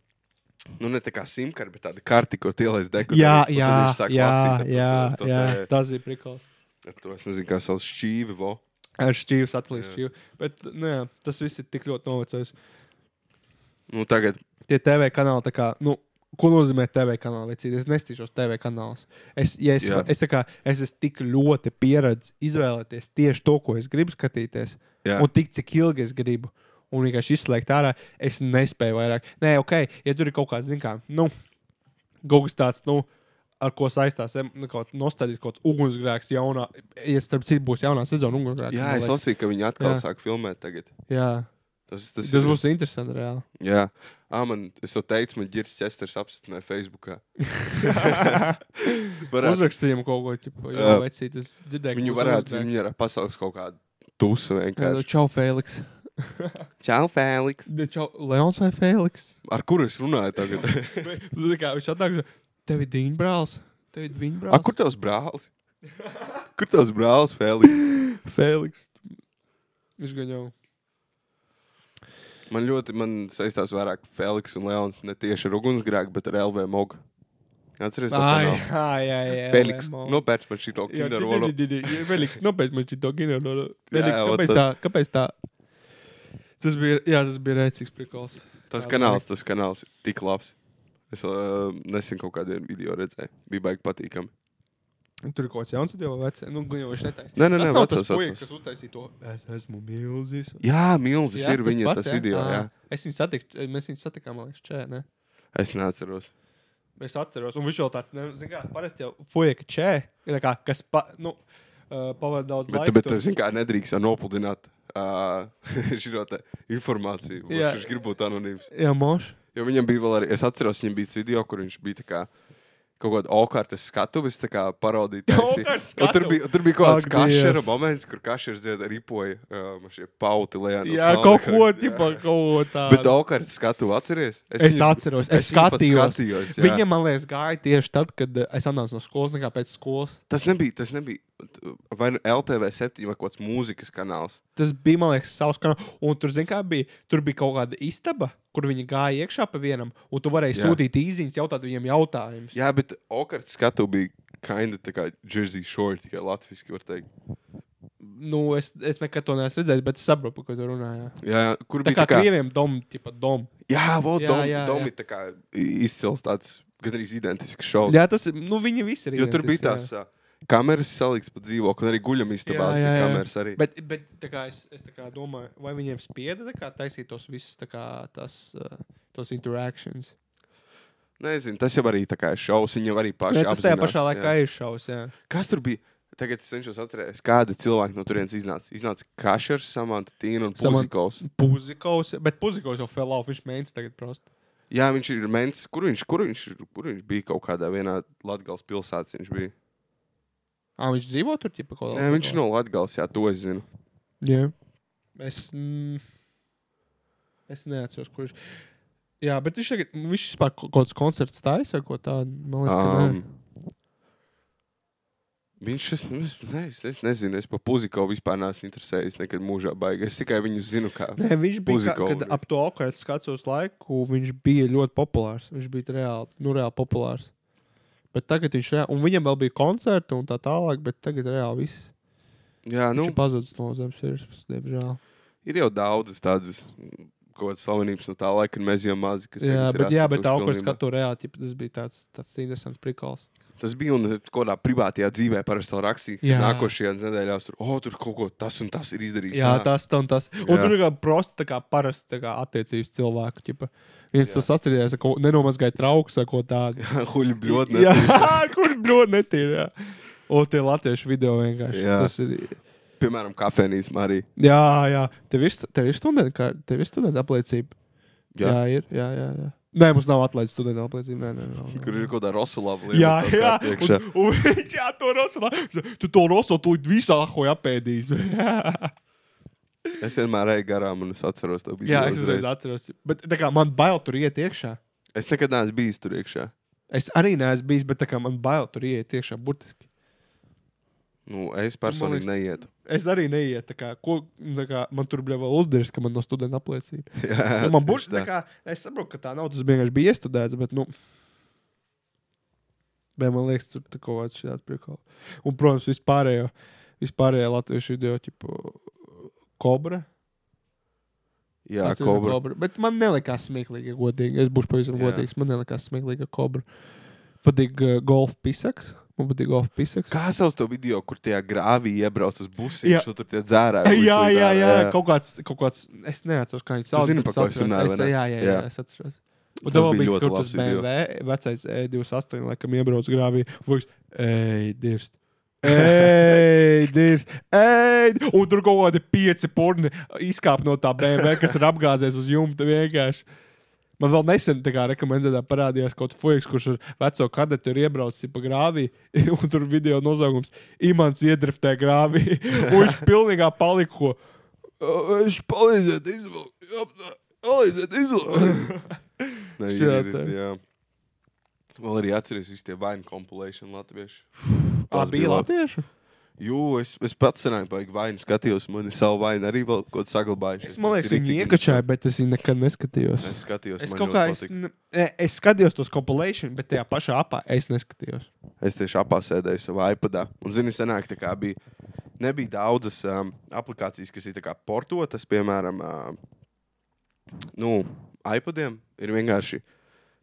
Speaker 1: Nu, ne tā kā simkara, bet tāda karti, kur ielaist dekuderi.
Speaker 2: Jā,
Speaker 1: un tad
Speaker 2: jā,
Speaker 1: viņš sāk
Speaker 2: jā,
Speaker 1: lasīt ar to
Speaker 2: jā,
Speaker 1: savu- to
Speaker 2: jā,
Speaker 1: te-
Speaker 2: tas bija prikals.
Speaker 1: ar To es nezinu, kā sauc šķīvi. Vo.
Speaker 2: Ar šķīvi, atlīdz šķīvi. Bet, nu jā, tas viss ir tik ļoti novecojis.
Speaker 1: Nu, tagad
Speaker 2: Tie TV kanāli, tā kā, nu, ko nozīmē TV kanāli? Vecīt? Es nestīšos TV kanālus. Es, ja es,
Speaker 1: Jā.
Speaker 2: es, tā kā, es esmu tik ļoti pieredzējis izvēlēties tieši to, ko es gribu skatīties.
Speaker 1: Jā.
Speaker 2: Un tik cik ilgi es gribu. Un vienkārši izslēgt ārā, es nespēju vairāk. Nē, ok, ja tur ir kaut kāds, zināms, kā, nu, kaut kas tāds, nu, ar ko saistās, em- nu, kaut kāds nostādīts, kaut kāds ugunsgrēks, jaunā, ja starp citu būs jaunā sezona ugunsgrēks.
Speaker 1: jā, es lasīju, ka viņi atkal
Speaker 2: Jā.
Speaker 1: jā. sāk filmēt. Tagad.
Speaker 2: Jā,
Speaker 1: Tas,
Speaker 2: tas,
Speaker 1: tas,
Speaker 2: tas
Speaker 1: ir-
Speaker 2: būs interesanti reāli.
Speaker 1: Jā, ah, man, es jau teicu, man ģērbs Česters apstiprināja Facebookā. Varētu-
Speaker 2: Uzrakstījām kaut ko tādu, jau
Speaker 1: Jā.
Speaker 2: vecīt, es dzirdēju,
Speaker 1: Viņu varētu, viņu varētu pasaukt kaut kādu tusu vienkārši.
Speaker 2: Čau, Fēliks.
Speaker 1: Čau, Fēliks.
Speaker 2: Ne, Čau, Leons vai Fēliks?
Speaker 1: Ar kuru es runāju tagad?
Speaker 2: Tu tā kā Viņš atnāk, tev ir diņa brālis. Tev ir diņa
Speaker 1: A,
Speaker 2: brālis.
Speaker 1: kur tavs brālis? Kur tavs brālis, Fēliks?
Speaker 2: Fēliks? Viņš gan jau.
Speaker 1: Man ļoti man saistās vairāk Fēliks un Leons ne tieši ar ugunsgrēku, bet ar LV mogu. Atceries, to
Speaker 2: Ai,
Speaker 1: kanālu?
Speaker 2: ai, ai, ai.
Speaker 1: Fēliks,
Speaker 2: Lemo.
Speaker 1: nopērts man šī to
Speaker 2: Jā,
Speaker 1: kinder rolu.
Speaker 2: di- di- di- di- jā, Feliks, Nopēc man šī to ginero.
Speaker 1: Jā, vot
Speaker 2: Kāpēc
Speaker 1: tas-
Speaker 2: tā? Kāpēc tā? Tas bija, jā, tas bija rēcīgs prikols.
Speaker 1: Tas
Speaker 2: Jā,
Speaker 1: kanāls, tas kanāls ir tik labs. Es uh, nesen kaut kādā video redzēju. Bija baigi patīkami.
Speaker 2: Tur ir kaut kāds jauns, jau vecais. Nu, gan jau viņš netaisīja.
Speaker 1: Nē, nē,
Speaker 2: tas
Speaker 1: nē,
Speaker 2: nav
Speaker 1: vecais,
Speaker 2: tas puisis,
Speaker 1: vecais.
Speaker 2: kas uztaisīja to. Es esmu milzīgs.
Speaker 1: Jā, milzis jā, ir
Speaker 2: tas
Speaker 1: viņa
Speaker 2: pats,
Speaker 1: pats, tas video. Jā.
Speaker 2: Ā, Es viņu satiku, mēs viņu satikām, man liekas, čē. Ne?
Speaker 1: Jā. Es neatceros.
Speaker 2: Es atceros, un viņš jau tāds, ne, zin kā, parasti jau fueka čē, ir tā kā, kas, pa, nu, uh, pavada daudz
Speaker 1: Bet,
Speaker 2: laika.
Speaker 1: bet
Speaker 2: tur.
Speaker 1: tas kā nedrīkst jau nopludināt uh, šo te informāciju.
Speaker 2: Jā.
Speaker 1: Jā. Viņš grib būt anonīms.
Speaker 2: Jā, moš.
Speaker 1: Jo viņam bija vēl arī, es atceros, viņam bija tas video, kur viņš bija tā kā kaut kāda okārtas skatuves tā kā parodīja. taisīja.
Speaker 2: Okartas
Speaker 1: Un Tur
Speaker 2: skatuve!
Speaker 1: bija, tur bija kaut kāds
Speaker 2: Ak,
Speaker 1: kašera
Speaker 2: Dievs!
Speaker 1: moments, kur kašers dzied ripoja um, šie pauti lejā. no
Speaker 2: Jā,
Speaker 1: kalna.
Speaker 2: kaut ko,
Speaker 1: Jā.
Speaker 2: tipa, kaut ko tādu.
Speaker 1: Bet okārtas skatuve atceries?
Speaker 2: Es
Speaker 1: viņu-
Speaker 2: atceros,
Speaker 1: viņu pat
Speaker 2: es skatījos.
Speaker 1: skatījos jā.
Speaker 2: Viņam, man liekas, gāja tieši tad, kad eh, es atnācu no skolas, nekā pēc skolas.
Speaker 1: Tas nebija, tas nebija t- vai nu LTV septiņi vai kaut kāds mūzikas kanāls.
Speaker 2: Tas bija, man liekas, savs kanāls. Un tur, zin, kā, bija, tur bija kaut kāda istaba, kur viņi gāja iekšā pa vienam, un tu varēji
Speaker 1: Jā.
Speaker 2: sūtīt īsiņas, jautāt viņiem jautājumus.
Speaker 1: Jā, bet okārtas skatuve bija kinda tā kā Jersey Shore, tikai latviski var teikt.
Speaker 2: Nu, es, es nekad to neesmu redzējis, bet es saprotu, par ko tu runā. jā.
Speaker 1: Jā, jā, kur
Speaker 2: Tā
Speaker 1: bija
Speaker 2: kā krieviem doma, tipa doma.
Speaker 1: Jā, vot,
Speaker 2: Jā,
Speaker 1: dom,
Speaker 2: jā, jā.
Speaker 1: dom ir tā kā izcils tāds gandrīz identisks šovs.
Speaker 2: Jā, tas ir, nu, viņi visi ir.
Speaker 1: jo tur bija tās
Speaker 2: identiski,
Speaker 1: jā. kameras salikts pa dzīvokli, un arī guļamistabās bija kameras arī.
Speaker 2: Bet, bet tā kā es, es tā kā domāju, vai viņiem spieda tā kā taisīt tos visus, tā kā tas, uh, tos interakcijas.
Speaker 1: Nezinu, tas jau arī tā kā ir šovs, viņi jau arī paši
Speaker 2: Nē, tas tajā
Speaker 1: apzinās,
Speaker 2: pašā laikā
Speaker 1: jā.
Speaker 2: jā. ir šausmas, jā.
Speaker 1: Kas tur bija? Tagad es cenšos atcerēties, kādi cilvēki no turienes iznāca. Iznāca Kašers, Samants, Tīna un
Speaker 2: Saman-
Speaker 1: Puzikovs.
Speaker 2: Puzikovs, bet Puzikovs jau fell off, viņš mēģina tagad prost.
Speaker 1: Jā, viņš ir mens, kur viņš, kur viņš, kur viņš bija kaut kādā vienā Latgals pilsētas viņš bija.
Speaker 2: Ah, viņš dzīvo tur, tipa, kaut
Speaker 1: Nē, viņš no Latgals, jā, to es zinu.
Speaker 2: Jā. Es, mm, es neatceros, kurš. Jā, bet viņš tagad, viņš vispār kaut kāds koncerts taisa, ko tādu, man liekas, ka nē.
Speaker 1: Um, Viņš es, es, ne, es, es nezinu, es par puziku vispār neesmu interesējies. Nekad mūžā baigās. Es tikai viņu zinu, kā.
Speaker 2: Nē, viņš bija
Speaker 1: Puzikovs.
Speaker 2: kā, kad ap to okru skatos laiku, viņš bija ļoti populārs. Viņš bija reāli, nu, reāli populārs. Bet tagad viņš reāli, un viņam vēl bija koncerti un tā tālāk, bet tagad reāli viss.
Speaker 1: Jā,
Speaker 2: Nu,
Speaker 1: nu,
Speaker 2: viņš ir pazudis no zemes sirds, diemžēl.
Speaker 1: ir jau daudzas tādas mm, kaut kādas slavenības no tā laika, kad mēs bijām mazi. kas tagad ir
Speaker 2: Jā, bet, jā,
Speaker 1: atkrituši
Speaker 2: bet okru
Speaker 1: pilnībā.
Speaker 2: skatu reāli, tipa, tas bija tāds, tāds interesants prikols.
Speaker 1: Tas bija un kaut kādā privātajā dzīvē parasti vēl rakstīja.
Speaker 2: Jā.
Speaker 1: ka Nākošajā nedēļā tur, oh, tur kaut ko tas un tas ir izdarījis.
Speaker 2: Jā,
Speaker 1: tā."
Speaker 2: tas tā un tas. Un
Speaker 1: Jā.
Speaker 2: tur ir kā prosta, tā kā parasta tā kā attiecības cilvēku. Ķipa. Viens tas sastrādājās, ko nenomazgāja trauks vai ko tādu.
Speaker 1: Huļi bļodni.
Speaker 2: Jā, kur ļoti netīra. O, tie latviešu video vienkārši.
Speaker 1: Jā.
Speaker 2: Tas ir
Speaker 1: Piemēram, kafejnīcā arī.
Speaker 2: Jā, jā. Tev ir, stu- tev ir studenta, kā, tev ir studenta apliecība. Jā,
Speaker 1: Jā.
Speaker 2: jā ir. Jā, jā, jā. Nē, mums nav atlaista studenta apliecība. Nē, nē, nē, nē.
Speaker 1: Kur ir kaut kāda rosalava
Speaker 2: Jā,
Speaker 1: lieta.
Speaker 2: jā.
Speaker 1: iekšā.
Speaker 2: Un, un viņš jā, to rosa. Tu to rosa, tu visā hoja apēdīs.
Speaker 1: Es vienmēr eju garām un es atceros to video.
Speaker 2: jā, es uzreiz atceros. Bet tā kā man bail tur iet iekšā.
Speaker 1: es nekad neesmu bijis tur iekšā.
Speaker 2: Es arī neesmu bijis, bet tā kā man bail tur iet iekšā burtiski.
Speaker 1: Nu, es personīgi
Speaker 2: Man
Speaker 1: neietu.
Speaker 2: Es arī neietu. tā kā, Ko, nu, tā kā, man tur bija vēl uzdevis, ka man no studenta apliecība.
Speaker 1: Jā,
Speaker 2: Nu, man
Speaker 1: tieši
Speaker 2: būs tā, kā, es saprotu, ka tā nav. Tas vienkārši bija iestudēts, bet, nu, bet man liekas, tur tā kaut kāds tāds priekals. Un, protams, vispārējo, vispārējo latviešu video, tipo, kobra.
Speaker 1: Jā,
Speaker 2: Atceros,
Speaker 1: kobra.
Speaker 2: kobra. Bet man nelikās smieklīgi, ja godīgi. Es būšu pavisam
Speaker 1: Jā.
Speaker 2: godīgs. Man nelikās smieklīgi, ka kobra. Patīk uh, golf pisaks. Man patīk golf pisaks.
Speaker 1: Kā sauc to video, kur tajā grāvī iebrauc uz busīm,
Speaker 2: Jā.
Speaker 1: jau tur tie dzērāji?
Speaker 2: Jā, jā,
Speaker 1: visi
Speaker 2: jā,
Speaker 1: tā,
Speaker 2: jā. Kaut, kāds, kaut kāds. Es neatceros, kā viņš
Speaker 1: Tu
Speaker 2: sauc.
Speaker 1: zini, par
Speaker 2: bet
Speaker 1: ko es
Speaker 2: atceros.
Speaker 1: runāju, vai
Speaker 2: Es,
Speaker 1: ne?
Speaker 2: jā, jā, jā,
Speaker 1: Jā.
Speaker 2: es atceros. Un
Speaker 1: Tas
Speaker 2: tam
Speaker 1: bija
Speaker 2: bija
Speaker 1: ļoti
Speaker 2: ļoti
Speaker 1: labs
Speaker 2: labi. BMW, vecais E28, laikam, iebrauc grāvī. Vajag, ej, dievs! Ej, dievs! Ej! Un tur kaut kādi pieci porni izkāpa no tā BMW, kas ir apgāzies uz jumta vienkārši. Man vēl nesen tā kā rekomendētā parādījās kaut kāds fuks, kurš ar veco kadetu ir iebraucis pa grāvī, un tur video nozaugums - imants iedriftē grāvī, un viņš pilnībā paliko. Viņš palīdzēja izvilkt, palīdzēja izvilkt.
Speaker 1: Nē, ir,
Speaker 2: Šitā
Speaker 1: ir,
Speaker 2: tā.
Speaker 1: ir, jā. Man arī atceries visi tie vainu kompilēšana latviešu.
Speaker 2: Tā
Speaker 1: Tās
Speaker 2: bija
Speaker 1: labi.
Speaker 2: latviešu.
Speaker 1: Jū, es, es pats senāk baigi vainu skatījos, man ir savu vainu arī vēl kaut ko saglabājuši.
Speaker 2: Man liekas, viņi iekačāja, bet es viņu nekad neskatījos.
Speaker 1: Es skatījos,
Speaker 2: Es
Speaker 1: man
Speaker 2: kaut
Speaker 1: ļoti
Speaker 2: kā es,
Speaker 1: patika.
Speaker 2: ne, es skatījos tos kompilācijas, bet tajā pašā apā es neskatījos.
Speaker 1: Es tieši apsēdēju savā iPadā. Un, zini, senāk tā kā bija. Nebija daudzas um, aplikācijas, kas ir tā kā portotas, piemēram, uh, nu, iPadiem. Ir vienkārši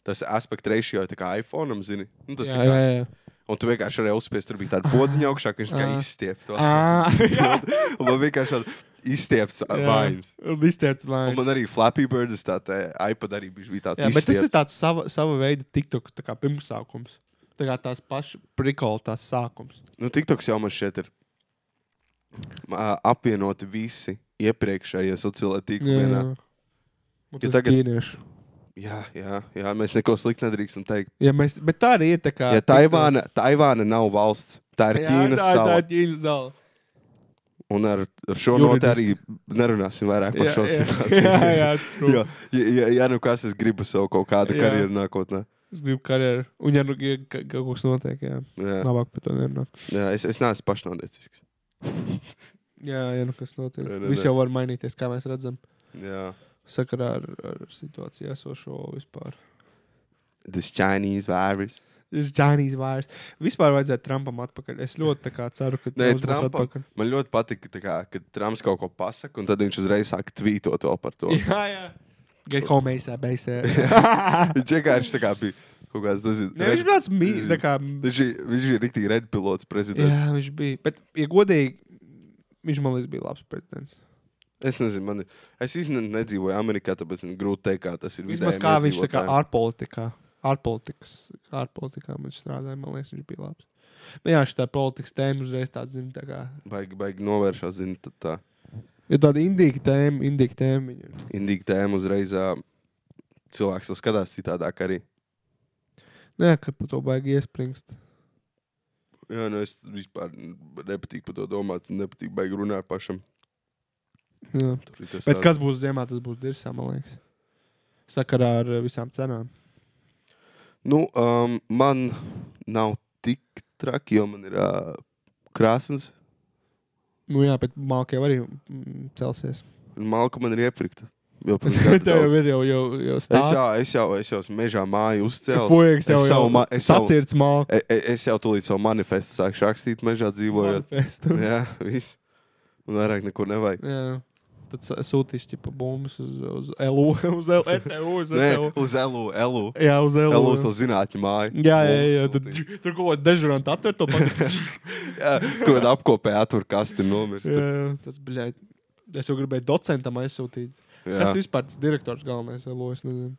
Speaker 1: tas aspekts ratio, tā kā iPhone, zini. Nu, tas,
Speaker 2: jā,
Speaker 1: tā kā,
Speaker 2: jā, jā.
Speaker 1: Un tu vienkārši arī uzspiesti, tur bija tāda podziņa augšā, ka viņš kā
Speaker 2: Ah.
Speaker 1: izstiepta to.
Speaker 2: Ā, jā.
Speaker 1: Un man vienkārši tāds izstiepts ā, vainas.
Speaker 2: Izstiepts
Speaker 1: Un
Speaker 2: vainas.
Speaker 1: man arī Flappy Birds, tā tā iPad arī bija bija tāds.
Speaker 2: Jā, bet tas ir tāds sava, sava veida TikTok tā kā pirmsākums. Tā kā tās pašas prikola, tās sākums.
Speaker 1: Nu, TikToks jau man šeit ir mā, apvienoti visi iepriekšējie sociālai tīkli vienā.
Speaker 2: Un
Speaker 1: Ja
Speaker 2: tas
Speaker 1: tagad-
Speaker 2: tagad... ķīniešu.
Speaker 1: Jā, jā, jā, mēs neko sliktu nedrīkstam teikt.
Speaker 2: Ja mēs, bet tā arī ir tā kā...
Speaker 1: Ja Taivāna, Taivāna nav valsts, tā ir
Speaker 2: Jā,
Speaker 1: Ķīnas
Speaker 2: tā, tā
Speaker 1: sala.
Speaker 2: ir Ķīnas sala.
Speaker 1: Un ar, ar šo notu arī
Speaker 2: Juridiski.
Speaker 1: nerunāsim vairāk par
Speaker 2: Jā,
Speaker 1: šo
Speaker 2: jā.
Speaker 1: situāciju.
Speaker 2: Jā, jā, true.
Speaker 1: jā, ja, ja, ja nu kas, es gribu savu kaut kādu
Speaker 2: Jā.
Speaker 1: karjeru nākotnē.
Speaker 2: Es gribu karjeru. Un ja nu ja ka- kaut kas notiek, jā.
Speaker 1: Jā,
Speaker 2: Labāk par to nerunāt.
Speaker 1: jā, es, es neesmu pašnodēcisks.
Speaker 2: Jā, ja nu kas notiek.
Speaker 1: Nē, nē,
Speaker 2: Viss
Speaker 1: nē.
Speaker 2: jau var mainīties, kā mēs redzam.
Speaker 1: Jā.
Speaker 2: Sakarā ar, ar situāciju esošo vispār.
Speaker 1: This Chinese virus.
Speaker 2: Tas Džanijs vairs. Vispār vajadzētu Trumpam atpakaļ. Es ļoti tā kā ceru, ka
Speaker 1: Nē,
Speaker 2: Trumps būs
Speaker 1: Trumpam,
Speaker 2: atpakaļ.
Speaker 1: man ļoti patīk, ka Trumps kaut ko pasaka, un tad viņš uzreiz sāk tvītot vēl par to.
Speaker 2: Jā, jā. Gan komēdijā, beisē.
Speaker 1: Viņš vienkārši tā kā bija kaut kāds. Tas,
Speaker 2: Ne, viņš bija tāds mīļš, tā kā.
Speaker 1: Viņš ir, viņš ir rīktīgi redpilots prezidents.
Speaker 2: Jā, viņš bija. Bet, ja godīgi, viņš man liekas, bija labs pretendents.
Speaker 1: Es nezinu, man, es īstenībā nedzīvoju Amerikā, tāpēc man grūti teikt, kā tas ir.
Speaker 2: Vismaz
Speaker 1: vidējiem
Speaker 2: kā viņš tā kā
Speaker 1: iedzīvotājiem.
Speaker 2: ārpolitikā, ārpolitikas, ārpolitikā viņš strādāja, man liekas, viņš bija labs. Nu, jā, šī tā politikas tēma uzreiz tāda, zina, tā kā.
Speaker 1: Baigi, baigi novēršās, zina, tā, tā
Speaker 2: Ir tāda indīga tēma, indīga tēma. Viņa.
Speaker 1: indīga tēma uzreiz. ā, Cilvēks to skatās citādāk arī.
Speaker 2: Nē, Nu ka par to baigi iespringst.
Speaker 1: Jā, nu es vispār nepatīk par to domāt, nepatīk baigi runāt pašam.
Speaker 2: Nu Jā.
Speaker 1: Tur ir tas
Speaker 2: Bet
Speaker 1: tāds-
Speaker 2: kas būs ziemā, tas būs dirsā, man liekas. Sakarā ar eh, visām cenām.
Speaker 1: Nu, um, man nav tik traki, jo man ir uh, krāsns.
Speaker 2: Nu jā, bet mākslinieki arī mm, celsies.
Speaker 1: Malka man ir iepirkta. Jau pirms
Speaker 2: Tev
Speaker 1: gada
Speaker 2: jau
Speaker 1: daudz.
Speaker 2: ir jau, jau, jau
Speaker 1: Es
Speaker 2: stāsts.
Speaker 1: jau, es jau, es jau esmu mežā māju uzcēlu.
Speaker 2: Fujaks jau
Speaker 1: es
Speaker 2: jau
Speaker 1: savu, ma- es, savu,
Speaker 2: sacirts māku.
Speaker 1: e- e- es jau tūlīt savu manifestu sāku rakstīt mežā dzīvojot.
Speaker 2: Manifestu.
Speaker 1: Jā, viss. Un vairāk neko nevajag.
Speaker 2: Jā. Tad sa- sūtīs ķipa bumbas uz, uz LU, uz LU, E uz
Speaker 1: Nē,
Speaker 2: LU.
Speaker 1: uz elu, elu.
Speaker 2: Jā, uz LU.
Speaker 1: Elu uz zinātņu māju.
Speaker 2: Jā, jā, jā, jā.
Speaker 1: Mums
Speaker 2: Tad,
Speaker 1: sūtīja.
Speaker 2: tur kaut ko dežurant atver to pat.
Speaker 1: Jā, kaut kāda apkopē atver kasti nomirst.
Speaker 2: jā, jā. tas, bļēt, es jau gribēju docentam aizsūtīt. Jā.
Speaker 1: Jā.
Speaker 2: Kas vispār tas direktors galvenais LU, es nezinu.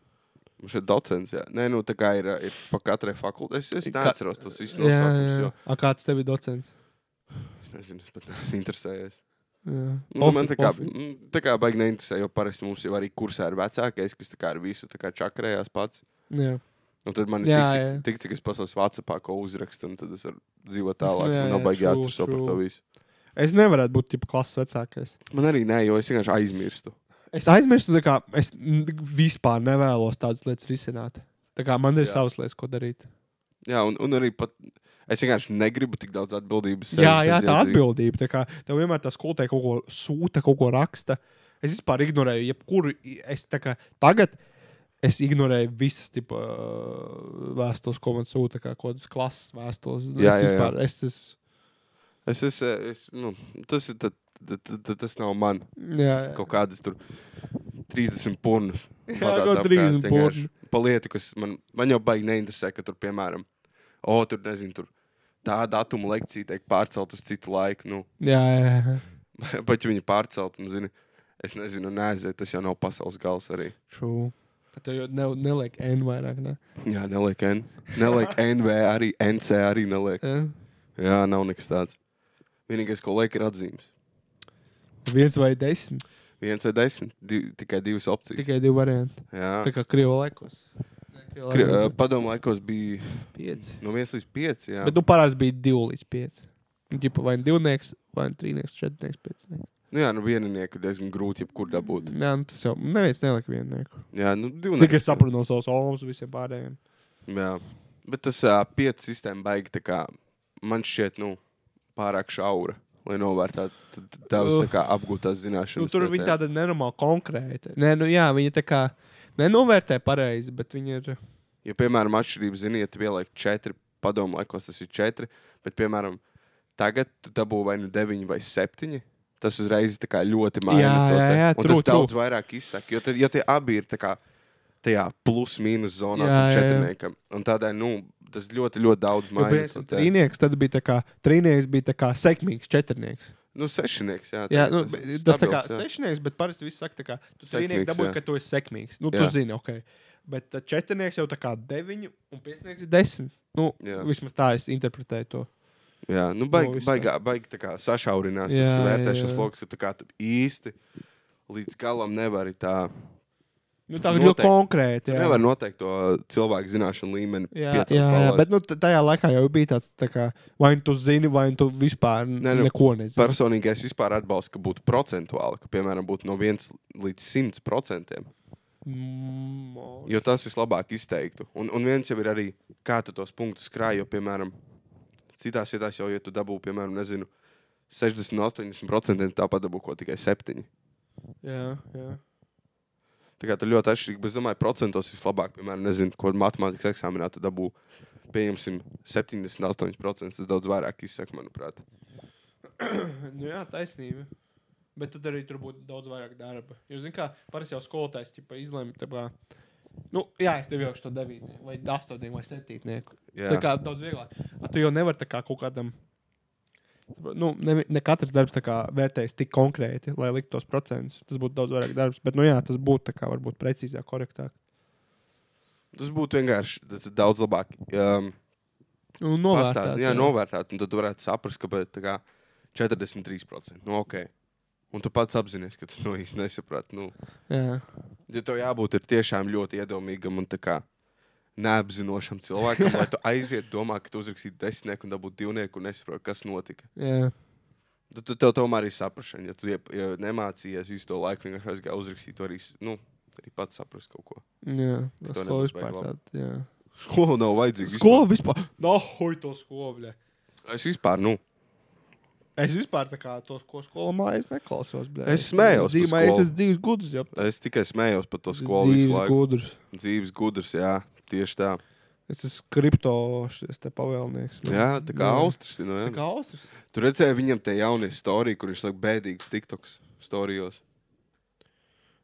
Speaker 1: Mums ir docents, jā. Nē, nu tā kā ir, ir pa katrai fakultātei. Es, es
Speaker 2: Ka-
Speaker 1: neatceros tos visus
Speaker 2: Jā, jā,
Speaker 1: nosaukumus,
Speaker 2: jā.
Speaker 1: jo
Speaker 2: A, kāds tev ir docents?
Speaker 1: Es nezinu, es pat neesmu interesējies.
Speaker 2: Jā,
Speaker 1: Nu, man tā kā, mm, tā kā baigi neinteresē, jo parasti mums jau arī kursā ir vecākais, kas tā kā ar visu tā kā čakarējās pats.
Speaker 2: Jā,
Speaker 1: Un tad man ir
Speaker 2: Jā,
Speaker 1: tik, cik-
Speaker 2: jā.
Speaker 1: tik, cik es pasaku, Vācijā ko uzrakstu, un tad es varu dzīvot tālāk.
Speaker 2: Jā,
Speaker 1: Man
Speaker 2: jā,
Speaker 1: nav baigi
Speaker 2: true,
Speaker 1: jāatcerās par
Speaker 2: true.
Speaker 1: to visu.
Speaker 2: es nevaru būt tipa, klases vecākais.
Speaker 1: Man arī nē, jo es vienkārši aizmirstu.
Speaker 2: Es aizmirstu, tā kā es n- vispār nevēlos tādas lietas risināt. Tā kā man ir
Speaker 1: Jā.
Speaker 2: savas lietas, ko darīt.
Speaker 1: Jā, un, un arī pat es vienkārši negribu tik daudz atbildības. sevis
Speaker 2: Jā, jā, tā
Speaker 1: bezjēdzīgi.
Speaker 2: atbildība. Tā kā tev vienmēr tas skolotē kaut ko sūta, kaut ko raksta. Es vispār ignorēju, jebkuru. Es tā kā tagad. Es ignorēju visas tipa, ā, vēstules, ko man sūta, kā kaut kādas klases vēstules.
Speaker 1: Jā,
Speaker 2: es
Speaker 1: jā, jā.
Speaker 2: vispār, es, es,
Speaker 1: Es, es, es, nu, tas, ir, tad, tad, tad, tad, tas nav man
Speaker 2: jā, jā.
Speaker 1: kaut kādas tur 30 punus.
Speaker 2: no 30 putnu.
Speaker 1: Palietu, kas man, man jau baigi neinteresē, ka tur, piemēram, o, tur nezinu, tur tā datuma lekcija tiek pārcelt uz citu laiku. Nu,
Speaker 2: jā, jā, jā.
Speaker 1: pat ja viņi pārcelt, un, zini, es nezinu, neaiziet, tas jau nav pasaules gals arī.
Speaker 2: True. Tev jau ne, neliek N vairāk. Ne?
Speaker 1: Jā, neliek N. Neliek NV, arī NC arī neliek.
Speaker 2: Jā.
Speaker 1: Jā, nav nekas tāds. Vienīgais, ko liek, ir atzīmes.
Speaker 2: Viens vai desmit.
Speaker 1: Viens vai desmit, div, tikai divas opcijas.
Speaker 2: Tikai divi varianti.
Speaker 1: Jā,
Speaker 2: Tā kā krievu laikos. Ne, Krievu
Speaker 1: Kri,
Speaker 2: laikos
Speaker 1: uh, padomu laikos bija
Speaker 2: pieci.
Speaker 1: no 1 līdz 5. Jā,
Speaker 2: Bet nu, parasti bija divi līdz pieci. Gribu vai nu divnieks, vai nu trīnieks, četrnieks, piecnieks.
Speaker 1: nu, jā, nu vienīnieku diezgan grūti jebkur dabūt.
Speaker 2: Nē, nu, tas jau neviens nelika viennieku.
Speaker 1: Jā, nu divi.
Speaker 2: Tikai es sapratu no savas olmas visiem pārējiem.
Speaker 1: Jā, bet tas uh, 5 sistēma baigi tā kā man šķiet, nu, pārāk šaura, lai novērtētu t- t- tavas tā kā apgūtās
Speaker 2: Nu,
Speaker 1: zināšanas.
Speaker 2: tur
Speaker 1: tā
Speaker 2: viņi
Speaker 1: tā.
Speaker 2: tāda nenormāli konkrēta. Nē, nu jā, viņi tā kā nenovērtē pareizi, bet viņi ir.
Speaker 1: Ja, piemēram, atšķirība ziniet, ieliek 4, padomu laikos tas ir 4, bet, piemēram, tagad tu dabū vai nu 9 vai 7. Tas uzreiz tā kā ļoti maina.
Speaker 2: Jā,
Speaker 1: to,
Speaker 2: jā,
Speaker 1: te.
Speaker 2: jā,
Speaker 1: Un
Speaker 2: true,
Speaker 1: tas daudz vairāk izsaka. Jo, tad, jo tie abi ir tā kā tajā plus-minus zonā,
Speaker 2: Jā,
Speaker 1: tad
Speaker 2: jā, jā.
Speaker 1: četrniekam. Un tādēļ, nu, tas ļoti, ļoti daudz
Speaker 2: Jo,
Speaker 1: maina.
Speaker 2: piemēram,
Speaker 1: to te.
Speaker 2: Trīnieks tad bija tā kā trīnieks, bija tā kā sekmīgs četrnieks.
Speaker 1: Nu, sešnieks, jā.
Speaker 2: Jā, nu,
Speaker 1: ir
Speaker 2: tas, tas tā kā
Speaker 1: stabils, jā.
Speaker 2: sešnieks, bet parasti viss saka, tā kā tu
Speaker 1: Sekmīgs,
Speaker 2: trīnieks dabūji,
Speaker 1: jā.
Speaker 2: ka tu esi sekmīgs. Nu, tu
Speaker 1: Jā.
Speaker 2: zini, ok. Bet uh, četrnieks jau tā kā deviņi un piecnieks ir desmit. Nu,
Speaker 1: Jā.
Speaker 2: vismaz tā es interpretēju to.
Speaker 1: Jā, nu,
Speaker 2: No
Speaker 1: baigi,
Speaker 2: visā.
Speaker 1: baigā, baigi tā kā sašaurinās jā,
Speaker 2: Jā,
Speaker 1: tas
Speaker 2: jā,
Speaker 1: vērtēšanas
Speaker 2: jā.
Speaker 1: lokus, ka tu kā tu īsti līdz galam nevari tā.
Speaker 2: Nu, tā ir
Speaker 1: Noteikti.
Speaker 2: ļoti konkrēti.
Speaker 1: Jā.
Speaker 2: Jā,
Speaker 1: Nevar noteikt to cilvēku zināšanu līmeni.
Speaker 2: jā,
Speaker 1: piecās
Speaker 2: jā, jā.
Speaker 1: balvās.
Speaker 2: bet nu, t- tajā laikā jau bija tāds, tā kā, vai nu tu zini, vai nu tu vispār ne,
Speaker 1: Nē, nu,
Speaker 2: neko nezini.
Speaker 1: Personīgi es vispār atbalstu, ka būtu procentuāli, ka, piemēram, būtu no 1 līdz 100 procentiem.
Speaker 2: Mm, o-
Speaker 1: Jo tas vislabāk izteiktu. Un, un viens jau ir arī, kā tu tos punktus krāj, jo, piemēram, citās vietās jau, ja tu dabū, piemēram, nezinu, 60, 80%, tāpat dabū ko tikai 7.
Speaker 2: jā, jā.
Speaker 1: Tā kā tur ļoti atšķirīgi, bet es domāju, procentos vislabāk, piemēram, nezinu, ko matemātikas eksāmenā tu dabū. Pieņemsim, 78%. Tas daudz vairāk izsaka, manuprāt.
Speaker 2: nu, jā, taisnība. Bet tad arī tur būtu daudz vairāk darba. Jo, zināmā mērā, parasti jau skolotājs tipa, izlemj, tā kā, nu, jā, es tev jau šo devītnieku, vai astotnieku, vai septītnieku.
Speaker 1: Jā,
Speaker 2: Tā kā daudz vieglāk. A, tu jau nevari tā kā kaut kādam. Nu, ne, ne katrs darbs tā kā vērtējas tik konkrēti, lai liktu tos procentus. Tas būtu daudz vairāk darbs, bet, nu, jā, tas būtu tā kā varbūt precīzāk, korektāk.
Speaker 1: tas būtu vienkārši tas ir daudz labāk. Um,
Speaker 2: Nu,
Speaker 1: Pastāst,
Speaker 2: novērtēt,
Speaker 1: jā, novērtēt, un tad tu varētu saprast, ka bet, tā kā, 43% no Nu, ok. Un tu pats apzinājies, ka tu to īsti nesaprati. Nu,
Speaker 2: jā.
Speaker 1: ja tev jābūt ir tiešām ļoti iedomīgam un tā kā neapzinošam cilvēkam, lai tu aizietu, domā, ka tu uzrakstīji desmitnieku un dabūtu divnieku un nesaproti, kas notika.
Speaker 2: jā.
Speaker 1: Tad tu, tev tomēr ir saprāšana. Ja tu ja, ja nemācījies visu to laiku, vienkārši aizgāji uzrakstīt, tu arī, s- nu, arī pats saprast kaut ko.
Speaker 2: Jā,
Speaker 1: Ka to
Speaker 2: tas skola
Speaker 1: nebūs
Speaker 2: vispār
Speaker 1: baigi labi.
Speaker 2: tāda. jā.
Speaker 1: Skola nav vajadzīga.
Speaker 2: Skola vispār. Nav hoja to skolu. bļa.
Speaker 1: vispār. Es vispār, nu,
Speaker 2: Es vispār tā kā tos, ko skolā mājās neklausos. Bļa.
Speaker 1: Es smējos par
Speaker 2: Dzīvumā es
Speaker 1: skolu.
Speaker 2: esmu dzīves gudrs. Jā,
Speaker 1: es tikai smējos par to
Speaker 2: Es
Speaker 1: skolu visu
Speaker 2: dzīves
Speaker 1: laiku.
Speaker 2: gudrs.
Speaker 1: Dzīves gudrs, jā, tieši tā.
Speaker 2: Es esmu kripto šis te pavēlnieks.
Speaker 1: Jā, tā kā
Speaker 2: Jā.
Speaker 1: Austrijas no,
Speaker 2: Tā
Speaker 1: jā.
Speaker 2: kā austrs.
Speaker 1: Tur redzēja viņam tie jaunie stāstījumi, kur viņš saka bēdīgus TikToks stāstījos.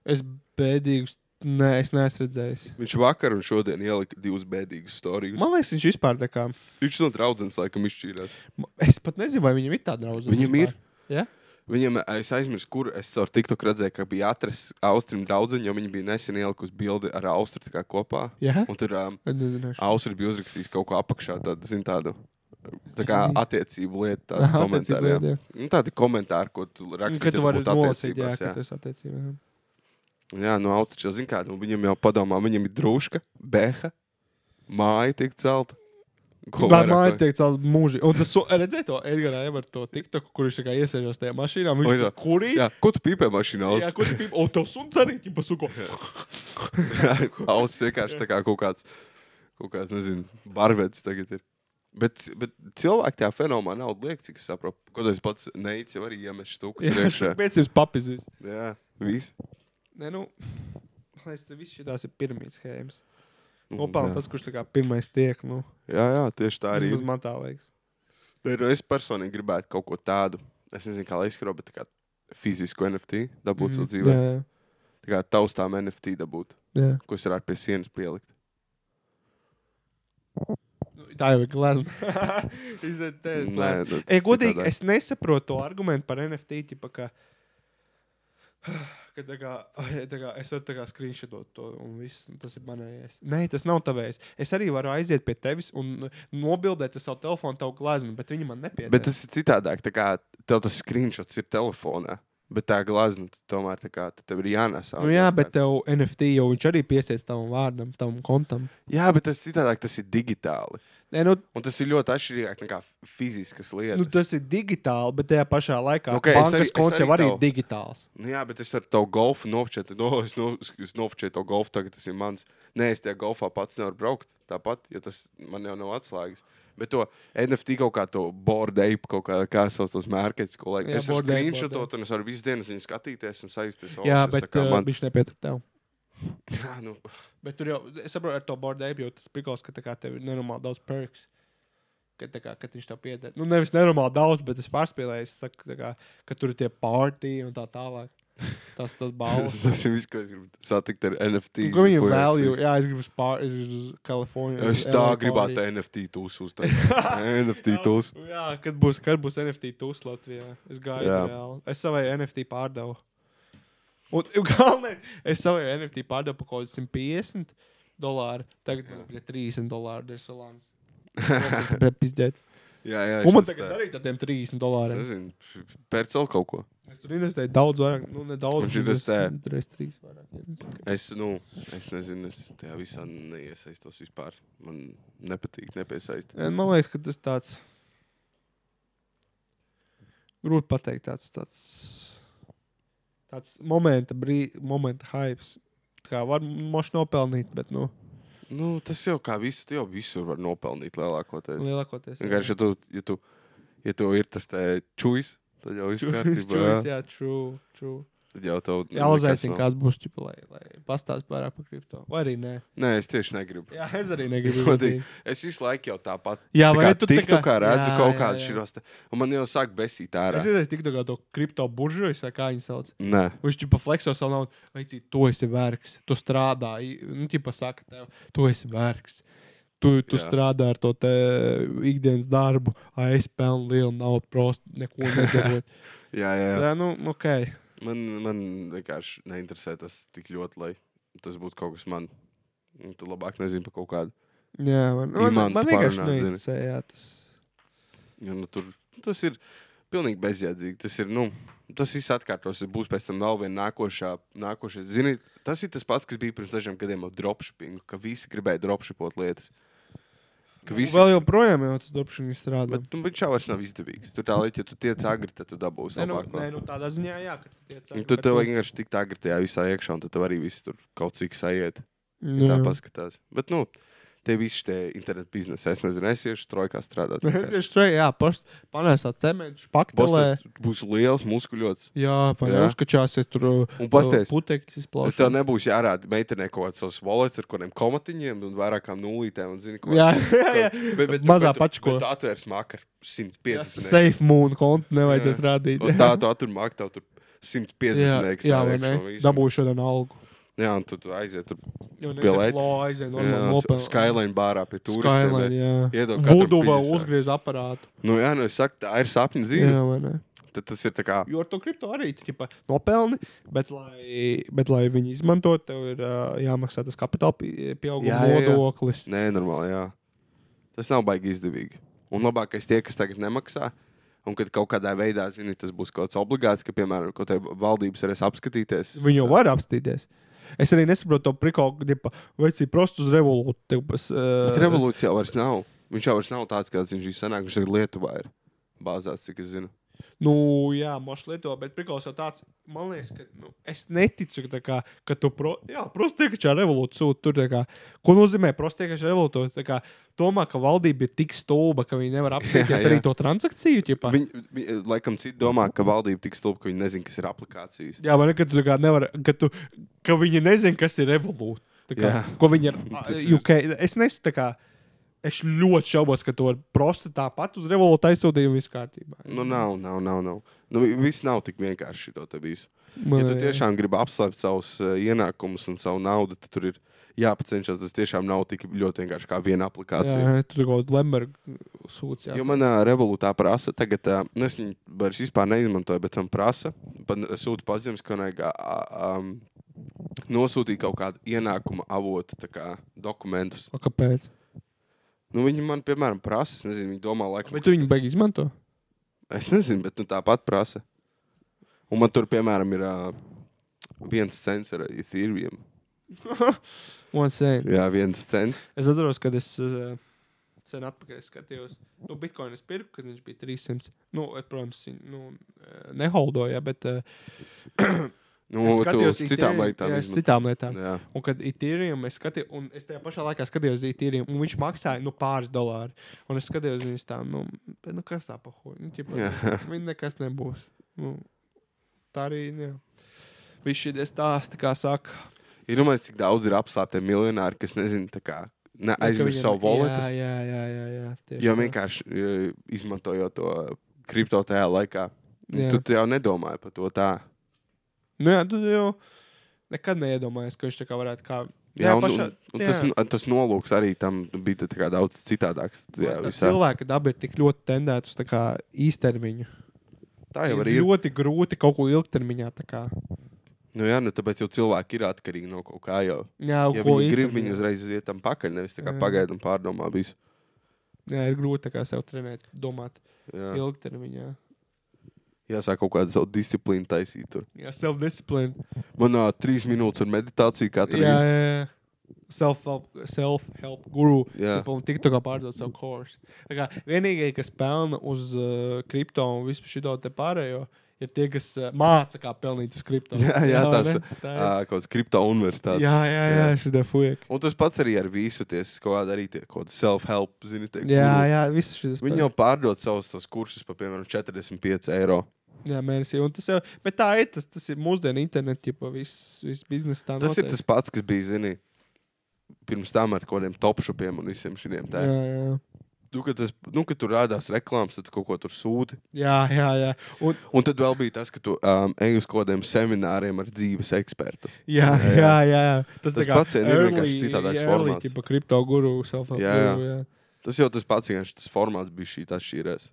Speaker 2: Es bēdīgus. Nē, es neesmu redzējis.
Speaker 1: Viņš vakar un šodien ielika divus bēdīgus stāstījumus.
Speaker 2: Man liekas, viņš vispār tā kā.
Speaker 1: Viņš no draudzes laikam izšķīrās.
Speaker 2: ma- Es pat nezinu, vai viņam ir tāda draudzība.
Speaker 1: Viņam ir.
Speaker 2: Ja?
Speaker 1: Viņam, es aizmirsu, kur es caur TikTok redzēju, ka bija atrasts austrumu draugs, jo viņi bija nesen ielikusi bildi ar austrumu tā kā kopā.
Speaker 2: Jā,
Speaker 1: Un tur um,
Speaker 2: es nezinu.
Speaker 1: austrumu bija uzrakstījis kaut ko apakšā, tādu, zin, tādu Tā kā attiecību lieta, tāda
Speaker 2: Aha,
Speaker 1: komentāra.
Speaker 2: attiecību
Speaker 1: jā.
Speaker 2: lieta,
Speaker 1: Nu, tādi komentāri, ko tu raksti,
Speaker 2: Kad
Speaker 1: ja
Speaker 2: tu
Speaker 1: tu
Speaker 2: vari
Speaker 1: būtu
Speaker 2: nolasīt, jā,
Speaker 1: attiecībās.
Speaker 2: ka
Speaker 1: Jā,
Speaker 2: tu esi attiecībā. jā.
Speaker 1: jā no Austrijas jau zina, kā nu, viņam jau padomā, viņam ir drūška, beha, māja tiek celta. Ko
Speaker 2: Tā
Speaker 1: vairāk
Speaker 2: māja
Speaker 1: vajag?
Speaker 2: tiek celta mūžīgi. Un tas, so- redzēji, to Edgars Emerts, to TikToku, kurš tā kā iesēžas tajā mašīnā,
Speaker 1: Oi,
Speaker 2: viņš
Speaker 1: tā.
Speaker 2: to kurī.
Speaker 1: Jā, ko tu pīpē mašīnā?
Speaker 2: Jā,
Speaker 1: Austi?
Speaker 2: kurš pīp, o, tev suns arī, ķipa, suko.
Speaker 1: Ausis vienkārši tā kā kaut kāds, kaut kāds nezinu, barvets tagad ir. Bet, bet cilvēki tajā fenomenā nav liekas, cik es saprotu. Ko tas pats neicis, jau arī iemetis stūku
Speaker 2: Jā,
Speaker 1: priekšā.
Speaker 2: 500 papizīs.
Speaker 1: Jā, viss.
Speaker 2: Nē, nu, es te viss šitās ir pirmīs schēmas. Nopelnīt tas, kurš tā kā pirmais tiek, nu,
Speaker 1: Jā, jā, tieši tā arī.
Speaker 2: arī
Speaker 1: ir.
Speaker 2: man tā liekas.
Speaker 1: Bet, nu, Es personīgi gribētu kaut ko tādu, es nezinu, kā lai izskaro, bet tā kā fizisku NFT dabūt mm, savā dzīvē.
Speaker 2: Mhm. Jā, jā,
Speaker 1: Tā kā taustām NFT dabūt,
Speaker 2: jā.
Speaker 1: ko es varētu pie sienas pielikt.
Speaker 2: Nu, Tā jau ir glazma. Iziet te,
Speaker 1: Nē,
Speaker 2: glazma.
Speaker 1: nu,
Speaker 2: Ej,
Speaker 1: tas
Speaker 2: Godīgi,
Speaker 1: citādāk.
Speaker 2: es nesaprotu to argumentu par NFT. Tipa, ka, ka tā kā, ai, tā kā, es varu tā kā skriņšot to, un viss, un tas ir manējais. Nē, tas nav tavējs. Es arī varu aiziet pie tevis un nobildēt ar savu telefonu, tavu glazmu, bet viņi man nepiedod.
Speaker 1: Bet tas ir citādāk. tā Kā, tev tas screenshots ir telefonā, bet tā glazna tu tomēr tā kā, tev ir jānesa.
Speaker 2: Nu, jā, bet tev NFT jau viņš arī piesaistīts tam vārdam, tam kontam.
Speaker 1: jā, bet tas ir citādāk. Tas ir digitāli.
Speaker 2: Nē, nu,
Speaker 1: Un tas ir ļoti atšķirīgāk nekā fiziskas lietas.
Speaker 2: nu, tas ir digitāli, bet tajā pašā laikā
Speaker 1: Nu,
Speaker 2: okay,
Speaker 1: okei, es arī-
Speaker 2: bankas
Speaker 1: es
Speaker 2: konts
Speaker 1: arī
Speaker 2: jau arī
Speaker 1: tev-
Speaker 2: ir digitāls.
Speaker 1: Nu, jā, bet es ar to golfu nofčēju. No, es no- es nofčēju to golfu, tagad tas ir mans. Nē, es tajā golfā pats nevaru braukt. Tāpat, jo tas man jau nav atslēgas. Bet to NFT kaut kā to bordeipu, kaut kā, kā sauc tos mērķus, ko laikam.
Speaker 2: Jā,
Speaker 1: Es varu
Speaker 2: Bored Ape,
Speaker 1: skriņšot
Speaker 2: Bored
Speaker 1: to, un es varu visu dienu uz viņu skatīties un sajusties. o,
Speaker 2: Jā,
Speaker 1: es
Speaker 2: bet
Speaker 1: tā kā
Speaker 2: uh,
Speaker 1: man...
Speaker 2: viņš nepietur tev.
Speaker 1: jā, nu,
Speaker 2: Bet tur jau, es saprotu, ar to bordēju, jau tas prikals, ka tā kā tev ir nenormāli daudz perks. Kad, tā kā, kad viņš tev pieder. Nu, nevis nenormāli daudz, bet es pārspēlēju, es saku, tā kā, ka tur ir tie pārtīji un tā tālāk. Tas tas balvas.
Speaker 1: tas ir viss, ko es gribu satikt ar NFT.
Speaker 2: Ko viņu
Speaker 1: Fuck,
Speaker 2: value?
Speaker 1: es-
Speaker 2: Jā, es gribu uz pār, es gribu uz Kaliforniju.
Speaker 1: Es
Speaker 2: uz
Speaker 1: tā
Speaker 2: LA
Speaker 1: gribētu
Speaker 2: party.
Speaker 1: NFT tūs uztaisīt. NFT tūs.
Speaker 2: Jā, kad būs, kad būs NFT tūs Latvijā. Es gāju
Speaker 1: Jā.
Speaker 2: reāli. Es savai NFT pārdevu. Un galvenais, es savai NFT pārdevu par kaut kādiem 150 dolāru. Tagad man ir 30 dolāru dersalāns. Pizdzēts.
Speaker 1: Jā, jā.
Speaker 2: Un man
Speaker 1: es
Speaker 2: tagad
Speaker 1: tā-
Speaker 2: arī tādiem 30
Speaker 1: Es
Speaker 2: dolāriem.
Speaker 1: nezinu, pērc vēl kaut ko.
Speaker 2: Es tur investēju daudz vairāk, nu nedaudz.
Speaker 1: Viņš investē.
Speaker 2: Reiz trīs vairāk.
Speaker 1: Es, nu, es nezinu, es tajā visā neiesaistos vispār. Man nepatīk, nepiesaistīt.
Speaker 2: Jā, Eh, Man liekas, ka tas tāds. Grūti pateikt, tāds, tāds, tāds momenta, brī, momenta hype. Tā kā var moši nopelnīt, bet nu,
Speaker 1: Nu, tas jau kā visu, tu jau visur var nopelnīt lielākoties.
Speaker 2: lielākoties.
Speaker 1: Vienkārši, ja tu, ja tu, ja tu ir tas te čujs, tad jau viss
Speaker 2: Čūs,
Speaker 1: kārtībā.
Speaker 2: čūs,
Speaker 1: jā. Nu,
Speaker 2: jā, true, true.
Speaker 1: Tad jau tev
Speaker 2: Jā,
Speaker 1: nekas
Speaker 2: uzaicinu,
Speaker 1: nav.
Speaker 2: kāds būs čipa, lai, lai pastāst vairāk par kripto. Vai arī nē.
Speaker 1: Nē, es tieši negribu.
Speaker 2: Jā, es arī negribu.
Speaker 1: Godīgi.
Speaker 2: godīgi.
Speaker 1: Es visu laiku jau tāpat.
Speaker 2: Jā,
Speaker 1: tā
Speaker 2: vai ne,
Speaker 1: kā
Speaker 2: tu tā
Speaker 1: tiktu, kā
Speaker 2: kā-
Speaker 1: redzu
Speaker 2: jā,
Speaker 1: kaut
Speaker 2: jā,
Speaker 1: kādu
Speaker 2: jā.
Speaker 1: šīros. te- Un man jau sāk besīt
Speaker 2: Es
Speaker 1: ārā.
Speaker 2: redzēju, tik tā kā to kripto buržojas vai kā viņi sauc.
Speaker 1: Nē.
Speaker 2: Viņš jau flexo savu naudu, veicīt, to esi vērks, tu strādā. i- Nu, tipā saka, tev, tu esi vērks. Tu, tu
Speaker 1: Jā.
Speaker 2: strādā ar to te ikdienas darbu, ai, es pelnu lielu naudu, prosti neko nedarot.
Speaker 1: Jā, jā, jā.
Speaker 2: Tā, nu, ok.
Speaker 1: Man, man vienkārši neinteresē tas tik ļoti, lai tas būtu kaut kas man. Un Tad labāk nezinu par kaut kādu.
Speaker 2: Jā, man, nu, man,
Speaker 1: Imantu
Speaker 2: man vienkārši
Speaker 1: parunāt, zini.
Speaker 2: neinteresē. jā, tas-
Speaker 1: Jo, nu, tur, tas ir pilnīgi bezjēdzīgi. Tas ir, nu, tas viss atkārtos. Būs pēc tam vēl viena nākošā. nākošā. Zini, tas ir tas pats, kas bija pirms dažiem gadiem ar dropshippingu, ka visi gribēja dropshipot lietas. Ka visi...
Speaker 2: Nu, Vēl joprojām jau tas darbs strādā.
Speaker 1: Bet nu, viņš jau vairs nav izdevīgs. Tur tā līnija, ja tu tiec agri, tad tu dabūsi
Speaker 2: Nē, nu,
Speaker 1: labāko.
Speaker 2: nē, nu, tādā ziņā, jā, ka tu tiec.
Speaker 1: Un Tad Nu, tev vajag vienkārši tikt agri tajā visā iekšā, un tad tev arī viss tur kaut cik sajiet.
Speaker 2: nu,
Speaker 1: Ja tā
Speaker 2: jā.
Speaker 1: paskatās. Bet, nu, tie visi tie interneta biznesa. Es nezinu, es iešu trojkā strādāt.
Speaker 2: Es tieši tur, jā, pašs panēsāt cementu, paktelē.
Speaker 1: Bostonā būs liels, muskuļots.
Speaker 2: Jā, vai
Speaker 1: Jā.
Speaker 2: uzkačāsies tur. uh,
Speaker 1: Un pasties.
Speaker 2: Putekļi izplaušas.
Speaker 1: Tev nebūs jārāda meitenei kaut kāds savs valets ar kaut kādiem komatiņiem un vairākām nulītēm. Un, zini, ko-
Speaker 2: Jā, jā, jā.
Speaker 1: Bet, bet,
Speaker 2: Mazā
Speaker 1: bet,
Speaker 2: pačko.
Speaker 1: Bet tu atvērs makaru 150.
Speaker 2: Safe mūna kontu nevajadzēs
Speaker 1: Jā.
Speaker 2: rādīt.
Speaker 1: Un tā tu atver makaru, tev tur 150
Speaker 2: jā,
Speaker 1: reiks.
Speaker 2: jā, vai ne? Dabūju šodien algu.
Speaker 1: Jā, un tu, tu aiziet tur.
Speaker 2: Jo
Speaker 1: Pie lētas.
Speaker 2: aizēja normāli
Speaker 1: Jā,
Speaker 2: nopelnīt.
Speaker 1: Skyline bārā pie
Speaker 2: Skyline,
Speaker 1: turistiem.
Speaker 2: jā.
Speaker 1: Iedod katram
Speaker 2: Vudu vēl
Speaker 1: 50.
Speaker 2: uzgriez aparātu.
Speaker 1: Nu, jā, nu es saku, tā ir sapņu
Speaker 2: Jā,
Speaker 1: dzīve.
Speaker 2: vai ne?
Speaker 1: Tad tas ir tā kā.
Speaker 2: Jo ar to kripto arī tu ķipa, nopelni, bet lai, bet, lai viņi izmantotu, tev ir uh, jāmaksā tas kapitāla pie- pieauguma
Speaker 1: Jā, jā, jā.
Speaker 2: nodoklis.
Speaker 1: Nē, normāli, jā. Tas nav baigi izdevīgi. Un labākais tie, kas tagad nemaksā, un kad kaut kādā veidā, zini, tas būs kaut kāds obligāts, ka, piemēram, kaut kādā valdības varēs apskatīties.
Speaker 2: Viņi jau var apstīties. Es arī nesaprotu to prikolu, ka tipa, veci prostus revolūciju.
Speaker 1: Bet
Speaker 2: Uh,
Speaker 1: revolūcija jau vairs nav. Viņš jau vairs nav tāds, kāds viņš ir senāk. Viņš tagad Lietuvā ir bāzās, cik es zinu.
Speaker 2: Nu, jā, mošs lieto, bet prikals jau tāds, man liekas, ka nu, es neticu, ka, tā kā, ka tu pro, jā, prostiekačā revolūcija sūta tur. tā Kā, ko nozīmē prostiekačā revolūcija? Tā kā domā, ka valdība ir tik stulba, ka viņi nevar apstāties
Speaker 1: Jā, jā.
Speaker 2: arī to transakciju. Ķipā.
Speaker 1: Viņi, viņi laikam citi domā, ka valdība tik stulba, ka viņi nezina, kas ir aplikācijas.
Speaker 2: Jā, vai ne, ka tu tā kā nevar, ka, tu, ka viņi nezina, kas ir revolūcija. Tā Kā,
Speaker 1: Jā.
Speaker 2: ko viņi ir?
Speaker 1: Tas
Speaker 2: UK, es nesu, tā kā, es ļoti šaubos, ka to var prosti tāpat uz revolūciju aizsūtīt un viss kārtībā.
Speaker 1: Nu, nav, nav, nav. nav. Nu, vi- viss nav tik vienkārši. šito te visu. Ja
Speaker 2: Man-
Speaker 1: tu tiešām gribi apslēpt savus eh, ienākumus un savu naudu, tad tur ir jāpacenšas. Tas tiešām nav tik ļoti vienkārši kā viena aplikācija.
Speaker 2: jā, tur kaut kāda Lemberga sūds. jā.
Speaker 1: Jo manā revolūcijā prasa, tagad ā, nu, es viņu vairs vispār neizmantoju, bet man prasa, pa- sūta paziņas, ka vajag ā, um, nosūtīt kaut kādu ienākuma avotu tā kā, dokumentus.
Speaker 2: A, Kāpēc?
Speaker 1: Nu, viņi man, piemēram, prasa, es nezinu, viņi domā, laikam,
Speaker 2: Bet tu viņu beigās izmanto?
Speaker 1: Es nezinu, bet nu, tāpat prasa. Un man tur, piemēram, ir ā, viens cents ar Ethereum.
Speaker 2: Es
Speaker 1: Jā, viens cents.
Speaker 2: atceros, kad es eh, sen atpakaļ skatījos, nu, Bitcoin es pirku, kad viņš bija 300. Nu, eh, protams, viņu, nu, eh, neholdoja, bet eh,
Speaker 1: Nu,
Speaker 2: es
Speaker 1: tu
Speaker 2: skatījos
Speaker 1: citām
Speaker 2: Ethereum-
Speaker 1: lietām
Speaker 2: jā, es
Speaker 1: izmanto.
Speaker 2: Citām lietām.
Speaker 1: Jā,
Speaker 2: Un kad Ethereum, es skatījos, un es tajā pašā laikā skatījos Ethereum, un viņš maksāja nu, pāris dolārus. Un es skatījos viņus tā, nu, bet, nu kas tā pahoja? Nu, ķipa,
Speaker 1: Jā.
Speaker 2: viņi nekas nebūs. Nu, tā arī, jā. Viss šī stāsta, kā saka.
Speaker 1: ir domājis, cik daudz ir apslāpti miljonāri, kas nezina, tā kā ne,
Speaker 2: nu, ka
Speaker 1: aizmirst
Speaker 2: viņiem-
Speaker 1: savu
Speaker 2: Jā,
Speaker 1: voletu.
Speaker 2: jā, jā, jā. jā tieši
Speaker 1: Jo
Speaker 2: tā.
Speaker 1: vienkārši ā, izmantojot to kripto tajā laikā, Nu,
Speaker 2: Jā.
Speaker 1: tu, tu jau nedomāji par to tā.
Speaker 2: Nu, jā, tu jau nekad neiedomājies, ka viņš tā kā varētu kā.
Speaker 1: Jā,
Speaker 2: Jā,
Speaker 1: un,
Speaker 2: pašā-
Speaker 1: un, nu, un tas,
Speaker 2: jā.
Speaker 1: tas nolūks arī tam bija tā kā daudz citādāks. Jā,
Speaker 2: Liekas, tā
Speaker 1: visā.
Speaker 2: Cilvēka daba ir tik ļoti tendēta uz tā kā īstermiņu.
Speaker 1: tā jau
Speaker 2: ir
Speaker 1: arī ir.
Speaker 2: ļoti grūti kaut ko ilgtermiņā. tā kā.
Speaker 1: Nu, jā, nu, tāpēc jau cilvēki ir atkarīgi no kaut kā jau.
Speaker 2: Jā,
Speaker 1: Ja
Speaker 2: ko
Speaker 1: viņi grib,
Speaker 2: īstermiņā.
Speaker 1: viņi uzreiz iet tam pakaļ, nevis tā kā
Speaker 2: Jā.
Speaker 1: pagaidām pārdomā visu.
Speaker 2: Jā, ir grūti tā kā sev trenēt, domāt
Speaker 1: Jā.
Speaker 2: ilgtermiņā.
Speaker 1: Jāsāk kaut kāda savu disciplīnu taisīt. Tur.
Speaker 2: Jā, self-discipline.
Speaker 1: Manā trīs minūtes ar meditāciju
Speaker 2: Jā,
Speaker 1: katru
Speaker 2: jā,
Speaker 1: dienu.
Speaker 2: jā. Self-help, self-help guru.
Speaker 1: Jā.
Speaker 2: Un tik tā kā pārdot savu kursu. Tā kā Vienīgie, kas pelna uz uh, kripto un visu šo te pārējo, ir tie, kas uh, māca, kā pelnīt uz kripto.
Speaker 1: Jā, jā,
Speaker 2: vai
Speaker 1: tās,
Speaker 2: ne? tā ir.
Speaker 1: Ā, Kaut kāds kripto universitātes.
Speaker 2: Jā, jā, jā,
Speaker 1: Jā.
Speaker 2: šī fuck.
Speaker 1: Un tas pats arī ar visu tiesu, ko arī tie kaut kādi self-help, zini, tie.
Speaker 2: Jā,
Speaker 1: guru.
Speaker 2: jā, viss šis.
Speaker 1: Viņi jau pārdod savus tos kursus par, piemēram, 45 eiro.
Speaker 2: Jā, mēnesī. Un tas jau, bet tā ir, tas, tas ir mūsdienu internets, jau viss vis biznesa tā
Speaker 1: Tas ir tas pats, kas bija, zini, pirms tam ar kaut kādiem topšupiem un visiem šiem
Speaker 2: tā.
Speaker 1: tādiem.
Speaker 2: Jā, jā.
Speaker 1: Nu, kad, tas- nu, kad tur rādās reklāmas, tad tu kaut ko tur sūti.
Speaker 2: Jā, jā, jā. Un,
Speaker 1: Un tad vēl bija tas, ka tu um, ej uz kaut kādiem semināriem ar dzīves ekspertu.
Speaker 2: jā,
Speaker 1: Jā, jā.
Speaker 2: jā, jā, jā. Tas,
Speaker 1: Tas
Speaker 2: tā kā
Speaker 1: pats ir
Speaker 2: early-
Speaker 1: vienkārši citādāks
Speaker 2: early
Speaker 1: formāts.
Speaker 2: Tipa kripto guru, self-help
Speaker 1: Jā, jā.
Speaker 2: guru. Jā,
Speaker 1: Tas jau tas pats, vienkārši tas formāts bija šī tā šķīrēs.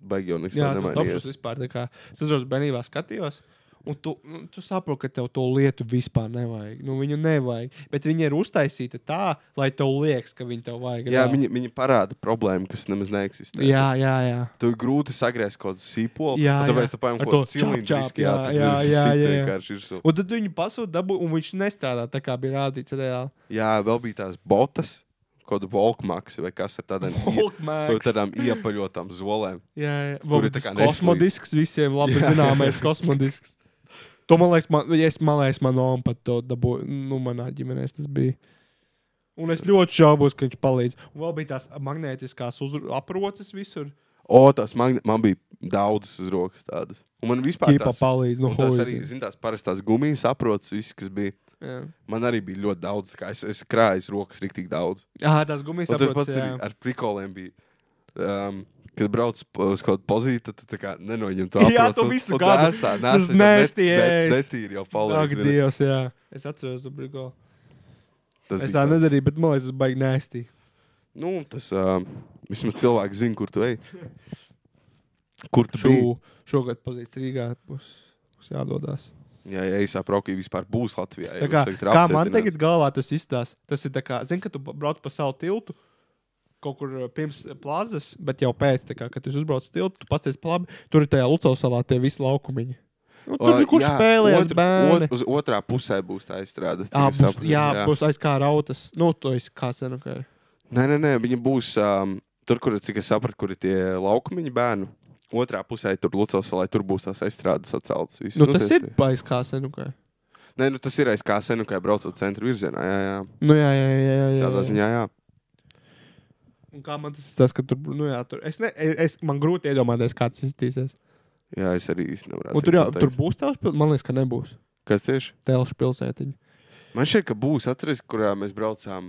Speaker 1: Baigi jau nekas
Speaker 2: jā tas
Speaker 1: nemainījās.
Speaker 2: topšus vispār. tā Kā, es atceros, bērnībā skatījos. Un tu, nu, tu saproti, ka tev to lietu vispār nevajag. Nu, viņu nevajag. Bet viņi ir uztaisīti tā, lai tev liekas, ka viņi tev vajag.
Speaker 1: Jā,
Speaker 2: reāli.
Speaker 1: viņi, viņi parāda problēmu, kas nemaz neeksistē.
Speaker 2: Jā, jā, jā.
Speaker 1: Tu ir grūti sagriezt kaut kādu sīpolu.
Speaker 2: Jā,
Speaker 1: un tāpēc
Speaker 2: jā.
Speaker 1: tu paņem
Speaker 2: Ar
Speaker 1: kaut kādu
Speaker 2: to čap, čap,
Speaker 1: cilindrisku. Jā,
Speaker 2: jā,
Speaker 1: jā, jā, jā, jā. ir. su-
Speaker 2: Un tad viņi pasūta dabū, un viņš nestrādā tā, kā bija rādīts reāli.
Speaker 1: Jā, vēl bija tās botas, kaut kāda volkmaks vai kas ar tādām, ie- par
Speaker 2: Hulkmēks.
Speaker 1: tādām iepaļotām zolēm.
Speaker 2: Jā, jā.
Speaker 1: Kur ir
Speaker 2: Vēl
Speaker 1: tā
Speaker 2: tas
Speaker 1: kā
Speaker 2: kosmodisks visiem labi
Speaker 1: Jā.
Speaker 2: zināmais kosmodisks. To man liekas, man, ja es man liekas, manā mamā pat to dabūju. Nu, manā ģimenē tas bija. Un es ļoti šaubos, ka viņš palīdz. Un vēl bija tās magnētiskās uzru- aproces visur.
Speaker 1: O, tās man, man bija daudzas uz rokas tādas. Un man vispār
Speaker 2: Ķīpa
Speaker 1: tās,
Speaker 2: palīdz. Nu,
Speaker 1: un tās arī,
Speaker 2: hoizi.
Speaker 1: zin, tās parastās gumijas saprotas, viss, kas bija.
Speaker 2: Jā,
Speaker 1: Man arī bija ļoti daudz. tā kā Es, es krāju rokas rīktīgi daudz.
Speaker 2: Jā, tās gumijas
Speaker 1: Un tas
Speaker 2: aproces.
Speaker 1: pats arī
Speaker 2: Jā,
Speaker 1: ar prikoliem bija. Um, kad brauc p- uz kaut kādu pozīciju, tad tu tā kā nenoņem to apli.
Speaker 2: Jā, tu visu gadu-
Speaker 1: Nesā,
Speaker 2: tas
Speaker 1: nesā, nesā,
Speaker 2: nēsties.
Speaker 1: netīri jau
Speaker 2: Ak,
Speaker 1: paliek. zini.
Speaker 2: Dievs, jā. Es atceros, ka Brigo.
Speaker 1: Tas
Speaker 2: Es
Speaker 1: bija
Speaker 2: tā
Speaker 1: tā.
Speaker 2: nedarīju, bet man liekas, tas baigi nēsti.
Speaker 1: Nu, tas um, vismaz cilvēks zina, kur tu ej. Kur tu biji?
Speaker 2: Šo, šogad pozīcija Rīgā būs, būs jādodas.
Speaker 1: Jā, ja es saprotu, ka vispār būs Latvijā. ja jūs
Speaker 2: Tā Kā,
Speaker 1: tagad
Speaker 2: kā man
Speaker 1: apcietināt.
Speaker 2: tagad galvā tas izstāsta, tas ir tā kā, zini, kad tu brauc pa savu tiltu. kaut kur uh, pirms uh, plazas, bet jau pēc tam, kad tu uzbrauc tiltu, tu pasties labi, tur ir tajā Lucas salā tie visi laukumiņi. Nu, tur,
Speaker 1: Ā,
Speaker 2: uh, kur
Speaker 1: jā,
Speaker 2: spēlējas
Speaker 1: otru-
Speaker 2: bērni?
Speaker 1: ot- Uz otrā pusē būs tā izstrāde. cik
Speaker 2: Jā,
Speaker 1: es
Speaker 2: būs,
Speaker 1: sapratu,
Speaker 2: jā, būs aiz kā rautas. Nu, to es kā senu. Ka...
Speaker 1: Nē, nē, nē viņi būs um, tur, kur, cik es sapratu, kur ir tie laukumiņi bērnu. Otrā pusē tur Lucas, lai tur būs tās aizstrādes atceltas. visas.
Speaker 2: Nu, tas
Speaker 1: tie-
Speaker 2: ir aiz kā senu. Ka...
Speaker 1: Nē, nu, tas ir aiz kā senu, kā braucot centra virzienā. Jā, jā.
Speaker 2: Nu, jā, jā, jā. jā, jā,
Speaker 1: Tādā
Speaker 2: jā.
Speaker 1: ziņā, jā.
Speaker 2: Un kā man tas tas, ka tur, nu, jā, tur es, ne, es, man grūti iedomāties, kā tas izskatīsies.
Speaker 1: Jā, es arī īsti nevaru.
Speaker 2: Un
Speaker 1: pateikt,
Speaker 2: tur jau
Speaker 1: pateikt.
Speaker 2: tur būs telšu pilsēta, man liekas, ka nebūs
Speaker 1: Kas tieši?
Speaker 2: telšu pilsētiņa.
Speaker 1: Man šķiet, ka būs. Atceries, kurā mēs braucām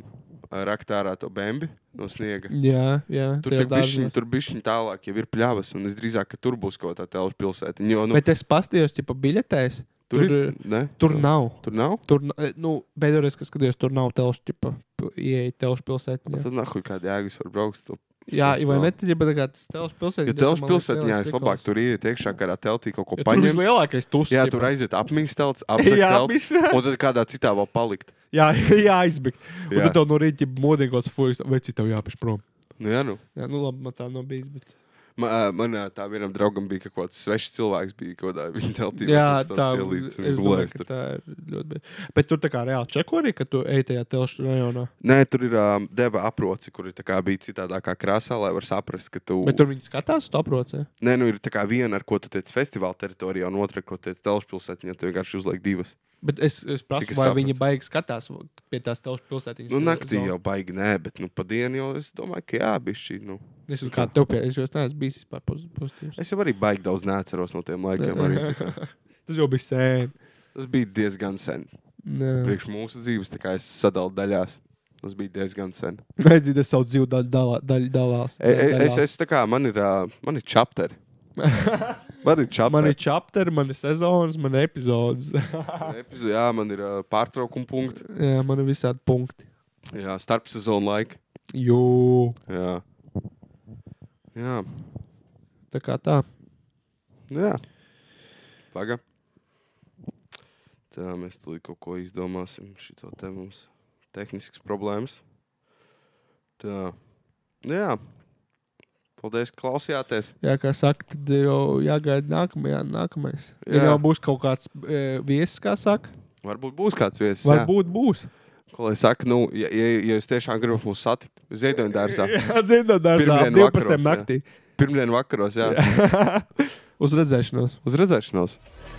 Speaker 1: ar raktārā to bēnbi no
Speaker 2: Mm,
Speaker 1: sniega.
Speaker 2: Jā, jā,
Speaker 1: Tur
Speaker 2: tie
Speaker 1: tur bišķiņ,
Speaker 2: dārziņi.
Speaker 1: tur bišķiņ tālāk jau ir pļāvas, un es drīzāk, ka tur būs kaut kā tā telšu pilsēta. Jo, nu,
Speaker 2: Bet es paskatījos, ja pa biļetēs.
Speaker 1: tur, tur
Speaker 2: tur, eh,
Speaker 1: ir. Ne?
Speaker 2: Tur nav.
Speaker 1: Tur nav?
Speaker 2: Tur, n- nu, pēdējais, kas skatījās, tur nav telšu, tipa, p- ieeja
Speaker 1: Jā.
Speaker 2: telšu pilsētā.
Speaker 1: Tad nahuj kāda jēgas var braukt. To.
Speaker 2: Jā,
Speaker 1: tas
Speaker 2: vai
Speaker 1: nav.
Speaker 2: ne? Tad, ja bet tā kā tas telšu pilsētā.
Speaker 1: Jo telšu pilsētā, jā, es labāk tur iet iekšā, kā ar teltī kaut ko
Speaker 2: Ja tur
Speaker 1: paņemt.
Speaker 2: vislielākais tūs.
Speaker 1: Jā, tur aiziet apmiņas telts, apmiņas
Speaker 2: Jā,
Speaker 1: telts,
Speaker 2: apmiņas, jā.
Speaker 1: un tad kādā citā vēl palikt.
Speaker 2: Jā, jā aizbigt. Un
Speaker 1: Jā.
Speaker 2: tad tev no rīta ir modīgos fujas, veci tev jāpieš prom.
Speaker 1: Nu, jā, nu.
Speaker 2: Jā, nu labi, man tā nav bijis. Bet...
Speaker 1: Man, man ā, tā vienam draugam bija kaut kāds svešs cilvēks, bija kaut kādā viņa teltī.
Speaker 2: Jā,
Speaker 1: kaut kāds
Speaker 2: tā
Speaker 1: tāds
Speaker 2: es
Speaker 1: ielīdzis, un
Speaker 2: domāju,
Speaker 1: gulējis
Speaker 2: ka
Speaker 1: tur.
Speaker 2: tā ir ļoti bieži. Bet tur tā kā reāli čeko arī, ka tu ej tajā telšu rajonā.
Speaker 1: Nē, tur ir um, deva aproci, kur ir tā kā bija citādākā krāsā, lai var saprast, ka tu.
Speaker 2: Bet tur viņi skatās, tu aprocē.
Speaker 1: Nē, nu ir tā kā viena, ar ko tu tiec festivāla teritorijā, un otra, ko tiec telšpilsētiņā, tu vienkārši uzliek divas.
Speaker 2: Bet es, es
Speaker 1: Cik
Speaker 2: prasu,
Speaker 1: es
Speaker 2: vai
Speaker 1: sapratu.
Speaker 2: viņi baigi skatās pie tās eh, telšu pilsētiņas.
Speaker 1: Nu, naktī
Speaker 2: zonu?
Speaker 1: jau baigi, nē, bet nu, pa dienu jau es domāju, ka jā, bija šī. Nu.
Speaker 2: Es jau tādu pieredzi, jo es neesmu bijis vispār poz- pozitīvs.
Speaker 1: Es jau arī baigi daudz neatceros no tiem laikiem. Arī, tā kā.
Speaker 2: Tas jau bija sen.
Speaker 1: Tas bija diezgan sen.
Speaker 2: Nē,
Speaker 1: Priekš mūsu dzīves, tā kā es sadalu daļās. Tas bija diezgan sen.
Speaker 2: redziet, es savu dzīvu daļu dalā- daļu dalās.
Speaker 1: E- e- Es, es tā kā man ir, ā, man ir čapteri. Man ir čapteri.
Speaker 2: Man ir chapteri, man ir sezonas, man ir epizodes.
Speaker 1: Epizo- Jā, man ir ā, pārtraukuma punkti.
Speaker 2: Jā, man ir visādi punkti.
Speaker 1: Jā, starp sezonu laika.
Speaker 2: Jū,
Speaker 1: Jā. Jā.
Speaker 2: tā kā tā.
Speaker 1: Nu, jā. Paga. Tā mēs tur kaut ko izdomāsim. Šito te mums tehnisks problēmas. Tā. Nu, jā. Paldies, ka klausījāties.
Speaker 2: Jā, kā saka, tad jau jāgaida nākamajā, nākamais. Jā.
Speaker 1: Jā.
Speaker 2: Ja jau būs kaut kāds e, viesis, kā saka,
Speaker 1: Varbūt būs kāds viesis. jā.
Speaker 2: varbūt būs.
Speaker 1: Ko lai saka, nu, ja, ja, ja jūs tiešām gribat mūs satikt, ziedoņu dārzā.
Speaker 2: Jā, zinām, darbā
Speaker 1: Pirmdien
Speaker 2: 12.
Speaker 1: vakaros, jā.
Speaker 2: naktī.
Speaker 1: Pirmdien vakaros, jā. jā.
Speaker 2: Uz redzēšanos!
Speaker 1: Uz redzēšanos!